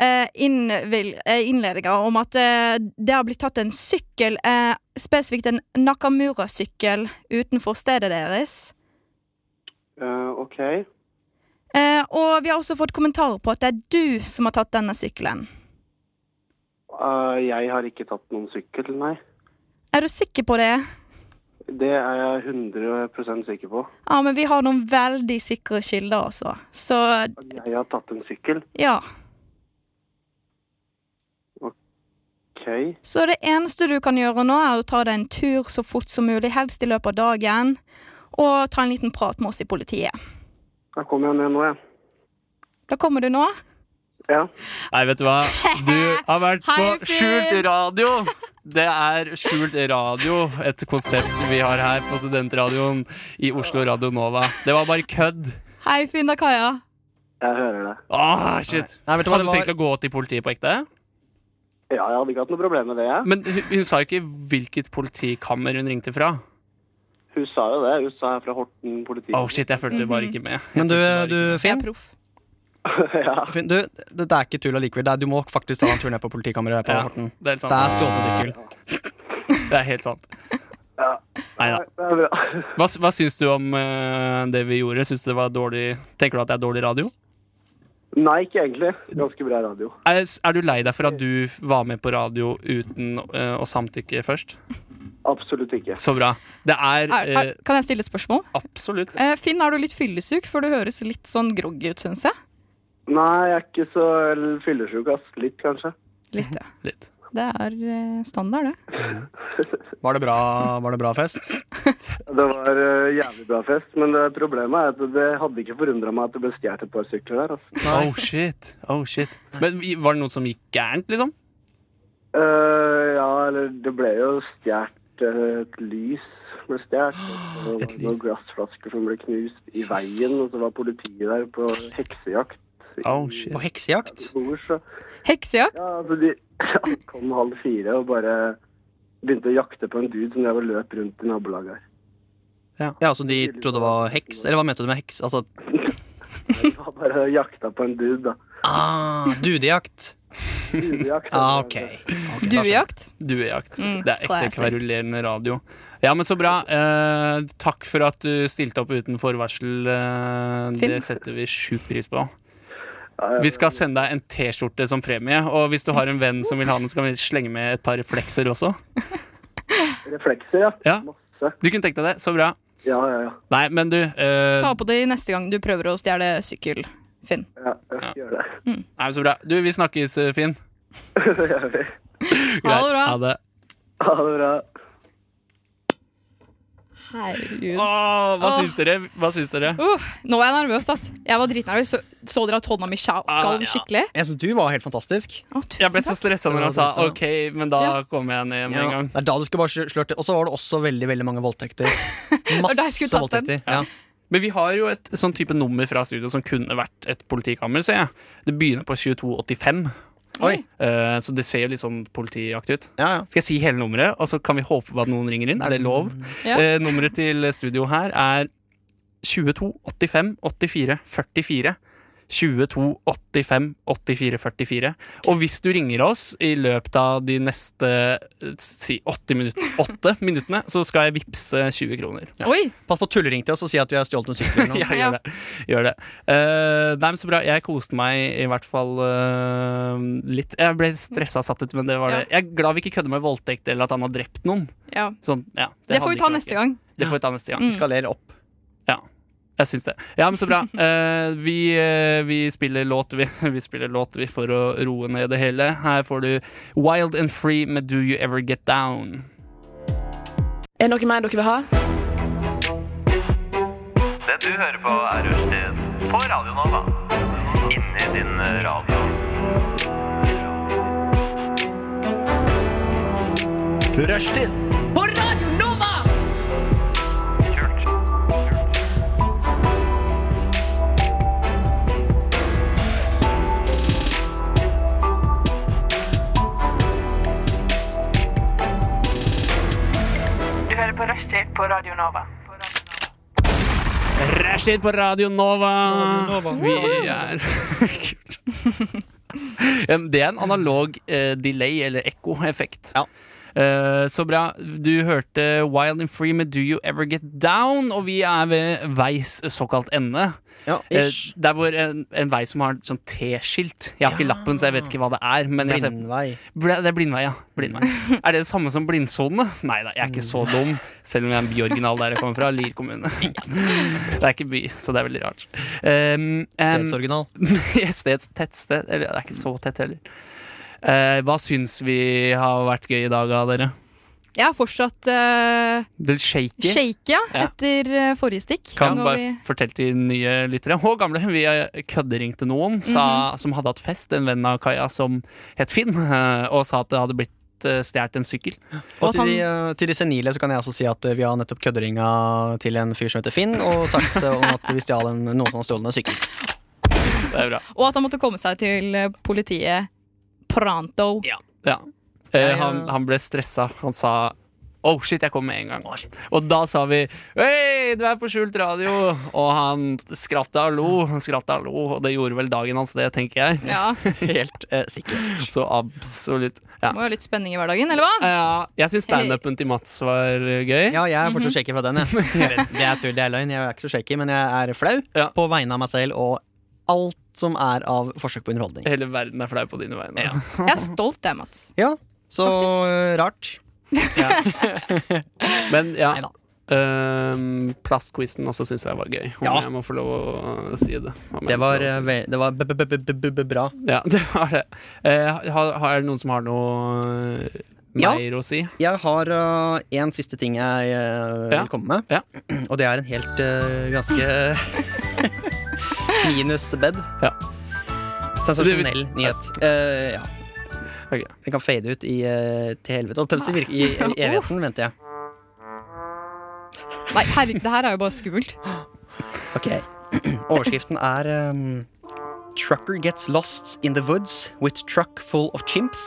Speaker 4: eh, innvil- eh, innledninger om at eh, det har blitt tatt en sykkel, eh, spesifikt en Nakamura-sykkel, utenfor stedet deres.
Speaker 11: Eh, ok.
Speaker 4: Eh, og vi har også fått kommentarer på at det er du som har tatt denne sykkelen.
Speaker 11: Eh, jeg har ikke tatt noen sykkel, nei.
Speaker 4: Er du sikker på det?
Speaker 11: Det er jeg 100 sikker på.
Speaker 4: Ja, men vi har noen veldig sikre kilder, altså. Så
Speaker 11: Jeg har tatt en sykkel.
Speaker 4: ja.
Speaker 11: Ok.
Speaker 4: Så det eneste du kan gjøre nå, er å ta deg en tur så fort som mulig, helst i løpet av dagen, og ta en liten prat med oss i politiet.
Speaker 11: Da kommer jeg ned nå, jeg.
Speaker 4: Da kommer du nå.
Speaker 11: Ja.
Speaker 2: Nei, vet du hva?
Speaker 4: <laughs>
Speaker 2: Du har vært på
Speaker 4: Hei, Finn!
Speaker 2: skjult radio! Det er skjult radio, et konsept vi har her på studentradioen i Oslo Radio Nova. Det var bare kødd.
Speaker 4: Hei, Finn og Kaja.
Speaker 11: Jeg hører det.
Speaker 2: Ah, shit.
Speaker 1: Nei, vet
Speaker 2: Hadde
Speaker 1: du hva,
Speaker 2: du
Speaker 1: det var-
Speaker 2: tenkt å gå til politiet på ekte?
Speaker 11: Ja, jeg hadde ikke hatt noe problem med det, jeg.
Speaker 2: Men hun, hun sa jo ikke hvilket politikammer hun ringte fra.
Speaker 11: Hun sa jo det. Hun sa jeg er fra Horten politi.
Speaker 2: Oh shit, jeg fulgte
Speaker 4: Mhm.
Speaker 2: bare ikke med.
Speaker 1: Men du, eh, du
Speaker 4: Jeg
Speaker 1: Finn,
Speaker 4: er proff.
Speaker 1: Finn du, det, det er ikke tull allikevel. Det er- Du må faktisk ta en tur ned på politikammeret på
Speaker 2: Ja,
Speaker 1: Horten.
Speaker 2: det er helt
Speaker 1: Det
Speaker 2: sant.
Speaker 1: er stjålet en sykkel.
Speaker 2: Det er helt sant.
Speaker 11: Ja.
Speaker 2: Nei da.
Speaker 11: Det er bra. <laughs>
Speaker 2: Hva, hva syns du om eh, det vi gjorde? Syns du det var dårlig Tenker du at det er dårlig radio?
Speaker 11: Nei, ikke egentlig. Ganske bra radio.
Speaker 2: Er, er du lei deg for at du var med på radio uten eh, å samtykke først?
Speaker 11: Absolutt ikke.
Speaker 2: Så bra. Det er
Speaker 4: Er, er,
Speaker 2: eh,
Speaker 4: kan jeg stille et spørsmål?
Speaker 2: absolutt
Speaker 4: Eh, Finn, er du litt fyllesjuk? For du høres litt sånn groggy ut, syns jeg.
Speaker 11: Nei, jeg er ikke så fyllesyk, ass. Litt, kanskje.
Speaker 4: Litt, ja.
Speaker 2: litt.
Speaker 4: Det er eh, standard, det.
Speaker 1: Var det bra, var det bra fest?
Speaker 11: Det var eh, jævlig bra fest, men det problemet er at det hadde ikke forundra meg at det ble stjålet et par sykler der. Altså.
Speaker 2: Oh shit. Oh shit. Men vi- var det noe som gikk gærent, liksom?
Speaker 11: Eh, ja, eller det ble jo stjålet et lys. Ble stjålet.
Speaker 2: <gasps>
Speaker 11: Og
Speaker 2: Et
Speaker 11: det var noen
Speaker 2: lys.
Speaker 11: glassflasker som ble knust i veien, og så var politiet der på heksejakt. i-
Speaker 2: Oh shit.
Speaker 1: På heksejakt?
Speaker 11: Nord, så.
Speaker 4: Heksejakt?
Speaker 11: Ja, altså de <clears throat> kom halv fire og bare begynte å jakte på en dude som drev og løp rundt i nabolaget
Speaker 2: <laughs>
Speaker 11: her.
Speaker 1: Ja, Som de trodde var heks? Eller hva mente du med heks? Altså,
Speaker 11: De var bare jakta på en
Speaker 2: <laughs>
Speaker 11: dude, da.
Speaker 1: ah, Dudejakt.
Speaker 11: Duejakt,
Speaker 1: Ah,
Speaker 2: <laughs>
Speaker 11: altså.
Speaker 1: OK.
Speaker 4: Duejakt?
Speaker 2: Duejakt.
Speaker 4: Mm,
Speaker 2: det er ekte
Speaker 4: classic.
Speaker 2: kverulerende radio. Ja, men så bra. Eh, takk for at du stilte opp uten forvarsel. Eh,
Speaker 4: Finn.
Speaker 2: det setter vi sjukt pris på.
Speaker 11: Ja, ja.
Speaker 2: Vi skal sende deg en T-skjorte som premie. Og hvis du har en venn som vil ha den, så kan vi slenge med et par reflekser også.
Speaker 11: Reflekser, ja.
Speaker 2: Ja.
Speaker 11: Masse.
Speaker 2: Du kunne tenkt deg det. Så bra.
Speaker 11: Ja, ja, ja.
Speaker 2: Nei, men du eh,
Speaker 4: Ta på deg neste gang du prøver å stjele sykkel, Finn.
Speaker 11: Ja, jeg skal gjøre det.
Speaker 2: nei, så bra. Du, vi snakkes, eh, Finn.
Speaker 11: Det <laughs> gjør vi.
Speaker 4: Ha det bra.
Speaker 2: Ha det.
Speaker 11: Ha det bra.
Speaker 4: Herregud.
Speaker 2: Åh, hva
Speaker 4: Åh.
Speaker 2: syns dere? Hva syns dere?
Speaker 4: Uh, nå var jeg nervøs, ass. Jeg var dritnervøs. Så, så dere at hånda mi skja-
Speaker 2: Ah,
Speaker 4: skalv
Speaker 2: ja.
Speaker 4: skikkelig?
Speaker 1: Jeg syns du var helt fantastisk.
Speaker 4: Å, tusen
Speaker 2: Jeg ble så
Speaker 4: takk.
Speaker 2: stressa når han sa
Speaker 1: Ja.
Speaker 2: OK, men da kommer jeg ned med en
Speaker 1: Ja,
Speaker 2: gang.
Speaker 1: det er da du skal bare slør- slørte. Og så var det også veldig veldig mange
Speaker 4: <laughs>
Speaker 1: voldtekter.
Speaker 4: var da jeg
Speaker 1: Masse
Speaker 4: skulle tatt den.
Speaker 1: voldtekter. Ja.
Speaker 2: Men vi har jo et sånn type nummer fra studio som kunne vært et politikammer, ser jeg. Det begynner på 2285,
Speaker 1: Oi.
Speaker 2: eh, så det ser jo litt sånn politiaktig ut.
Speaker 1: Ja, ja.
Speaker 2: Skal jeg si hele nummeret, og så kan vi håpe på at noen ringer inn? Er det lov?
Speaker 4: Ja.
Speaker 2: Eh, nummeret til studio her er 2285 84 44. 2285 84 44. Og hvis du ringer oss i løpet av de neste eh, si, åtte, minut åtte minuttene, så skal jeg vippse 20 kroner.
Speaker 4: Oi!
Speaker 1: Pass på å tullering til oss og si at vi har stjålet en
Speaker 4: <laughs>
Speaker 1: sykkel. eller noe.
Speaker 2: <laughs> Ja, gjør det. Gjør det. Eh, nei, men så bra. Jeg koste meg i hvert fall eh, litt. Jeg ble stressa og satt ut, men det var det. Jeg er glad vi ikke kødder med voldtekt eller at han har drept noen.
Speaker 4: Ja.
Speaker 2: Sånn, ja,
Speaker 4: Det
Speaker 2: hadde
Speaker 4: får vi
Speaker 2: ikke
Speaker 4: ta
Speaker 2: vært
Speaker 4: neste
Speaker 2: gøy.
Speaker 4: gang.
Speaker 2: Det får vi ta neste gang.
Speaker 4: Mm.
Speaker 1: Skalerer opp.
Speaker 2: Jeg syns det. Ja, men så
Speaker 4: <laughs>
Speaker 2: bra. Eh, vi, eh, vi spiller låt, vi. <laughs> Vi spiller låt, vi, for å roe ned det hele. Her får du Wild and Free med Do You Ever Get Down.
Speaker 6: Er det noe mer dere vil ha?
Speaker 9: Det du hører på, er Rushtid på Radio Nova. Inni din eh, radio.
Speaker 8: Rushtid.
Speaker 6: På Radio Nova!
Speaker 9: Kult.
Speaker 12: Rushtid på Radio Nova.
Speaker 2: Rushtid på Radio Nova. Vi er <laughs> En- Det er en analog eh, delay, eller ekkoeffekt. Eh, så bra. Du hørte Wild and Free med Do You Ever Get Down, og vi er ved veis såkalt ende. Eh,
Speaker 1: ish.
Speaker 2: der hvor en, en vei som har sånn T-skilt. Jeg har ikke lappen, så jeg vet ikke hva det er. Men jeg ser-
Speaker 1: Blindvei.
Speaker 2: Bl- Det er blindvei, ja. Blindvei. Er det det samme som blindsonene? Nei da, jeg er ikke så dum. Selv om jeg er en byoriginal der jeg kommer fra, Lier kommune. Det er ikke by, så det er veldig rart. Um,
Speaker 13: Stedsoriginal.
Speaker 2: <laughs> Steds tettsted. Eller det er ikke så tett heller. Eh, hva syns vi har vært gøy i dag av dere?
Speaker 4: Jeg er fortsatt eh,
Speaker 2: Det shaky?
Speaker 4: shake, ja,
Speaker 2: Ja.
Speaker 4: etter eh, forrige stikk.
Speaker 2: Kan
Speaker 4: Når
Speaker 2: bare
Speaker 4: vi-
Speaker 2: fortelle til nye lyttere og gamle. Vi eh, kødderingte noen sa, som hadde hatt fest, en venn av Kaja som het Finn, <laughs> eh, og sa at det hadde blitt eh, stjålet en sykkel.
Speaker 1: Og til de, eh, til de senile så kan jeg også si at eh, vi har nettopp kødderinga til en fyr som heter Finn, og sagt eh, om at vi stjal en, noen som har stjålet en sykkel.
Speaker 2: Det er bra.
Speaker 4: Og at han måtte komme seg til eh, politiet pronto.
Speaker 2: Ja. Eh, han, han ble stressa. Han sa Oh shit, jeg kom med en gang. og da sa vi Hei, du er på skjult radio! Og han skratta og lo. Han skratta og lo, og det gjorde vel dagen hans, det, tenker jeg.
Speaker 4: Ja.
Speaker 2: Helt eh, sikkert. Så absolutt. Ja.
Speaker 4: Må jo ha litt spenning i hverdagen, eller hva?
Speaker 2: Ja, jeg syns standupen til Mats var eh, gøy.
Speaker 1: Ja, jeg er fortsatt shaky fra den, jeg. Eller, Det er tull, det er løgn. Jeg er ikke så shaky, men jeg er flau på vegne av meg selv og alt som er av forsøk på underholdning.
Speaker 2: Hele verden er flau på dine vegne.
Speaker 4: Jeg er stolt, jeg, Mats.
Speaker 1: Ja, så eh, rart.
Speaker 2: Men ja. Um, plastquizen også syns jeg var gøy, om jeg må få lov å si det. Om jeg
Speaker 1: Det
Speaker 2: må få lov
Speaker 1: var,
Speaker 2: å si
Speaker 1: eh, ve- det var b- b- b- b- b- bra.
Speaker 2: Ja, <laughs> det var det. Eh, har, har, er det noen som har noe eh,
Speaker 1: Ja.
Speaker 2: mer å si?
Speaker 1: Jeg har uh, en siste ting jeg uh,
Speaker 2: Ja.
Speaker 1: vil komme med. <clears throat> Og det er en helt uh, ganske <laughs> minusbed.
Speaker 2: Ja.
Speaker 1: Sensasjonell nyhet. Uh, ja. Den kan fade ut i, uh, til helvete. Og til virke, i,
Speaker 4: <laughs>
Speaker 1: i evigheten, venter jeg.
Speaker 4: Nei, herregud, det her er jo bare skummelt.
Speaker 1: Ok. <clears throat> Overskriften er um, Trucker gets lost in the woods with truck full of chimps.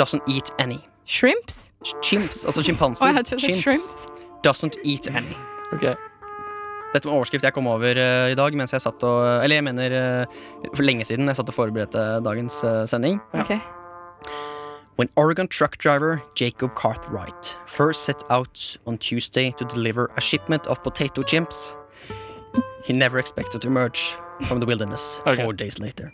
Speaker 1: Doesn't eat any.
Speaker 4: Shrimps?
Speaker 1: Chimps, altså
Speaker 4: Å,
Speaker 1: sjimpanser.
Speaker 4: jeg trodde
Speaker 1: Chimps.
Speaker 4: shrimps.
Speaker 1: Doesn't eat any. Dette var en overskrift jeg kom over eh, i dag mens jeg satt og Eller jeg mener eh, for lenge siden jeg satt og forberedte dagens eh, sending.
Speaker 4: Ok.
Speaker 1: When Oregon truck driver Jacob Cartwright first set out on Tuesday to deliver a shipment of potato chimps, he never expected to emerge from the wilderness four days later.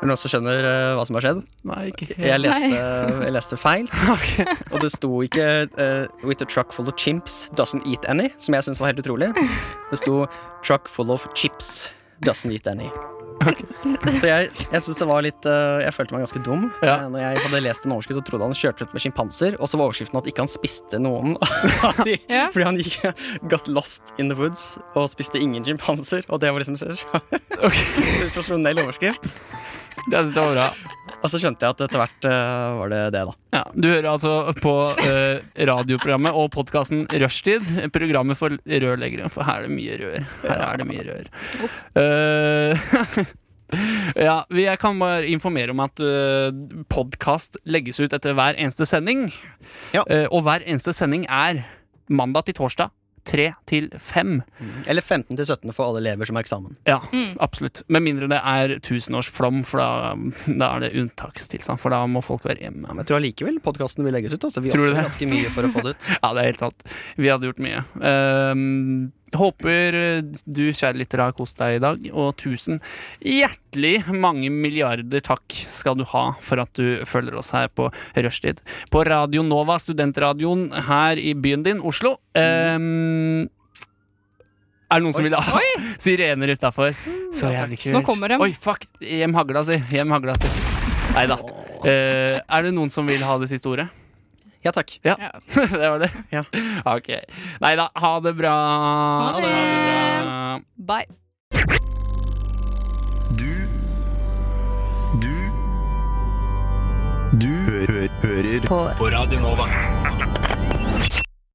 Speaker 1: Er det noen som skjønner eh, hva som har skjedd?
Speaker 2: Nei, ikke helt. <laughs>
Speaker 1: Jeg leste,
Speaker 2: Nei.
Speaker 1: jeg leste feil. Og det sto ikke eh, 'With a truck full of chimps doesn't eat any', som jeg syns var helt utrolig. Det sto 'Truck full of chips doesn't eat any'. Så jeg, jeg synes det var litt eh, Jeg følte meg ganske dum eh, Når jeg hadde lest en overskrift og trodde han kjørte rundt med sjimpanser. Og så var overskriften at ikke han spiste noen. <laughs> av de, Fordi han gikk, got lost in the woods og spiste ingen sjimpanser. Og det var liksom <laughs> sensasjonell overskrift. Og så skjønte jeg at etter hvert eh, var det det, da.
Speaker 2: Ja, du hører altså på eh, radioprogrammet og podkasten Rushtid. Programmet for rørleggere, for her er det mye rør. Her er det mye rør. Eh, <laughs> ja, vi- jeg kan bare informere om at uh, podkast legges ut etter hver eneste sending. Eh, og hver eneste sending er mandag til torsdag. Tre til fem.
Speaker 1: Eller 15 til 17 for alle elever som har eksamen.
Speaker 2: Ja, absolutt. Med mindre det er tusenårsflom, for da, da er det unntakstilstand. For da må folk være hjemme.
Speaker 1: Men jeg tror allikevel podkasten vil legges ut. Altså. Vi
Speaker 2: Tror du
Speaker 1: ofrer
Speaker 2: det?
Speaker 1: ganske mye for å få
Speaker 2: <laughs>
Speaker 1: det ut.
Speaker 2: Ja, det er helt sant. Vi hadde gjort mye. Ehm, håper du, kjære lytter, har kost deg i dag. Og tusen hjertelig mange milliarder takk skal du ha for at du følger oss her på rushtid. På Radio Nova, studentradioen her i byen din, Oslo. Ehm, er det noen som vil ha <laughs> sirener utafor? Så jævlig kult.
Speaker 4: Nå kommer dem.
Speaker 2: Oi, fuck. Hjem hagla si. Hjem hagla si. Nei da. Eh, er det noen som vil ha det siste ordet?
Speaker 1: Ja takk.
Speaker 2: Ja, <laughs> det var det. Ok. Nei da, ha det bra. Ha det. bra.
Speaker 4: Bye.
Speaker 8: Du Du hø hø hører på Radio Nova.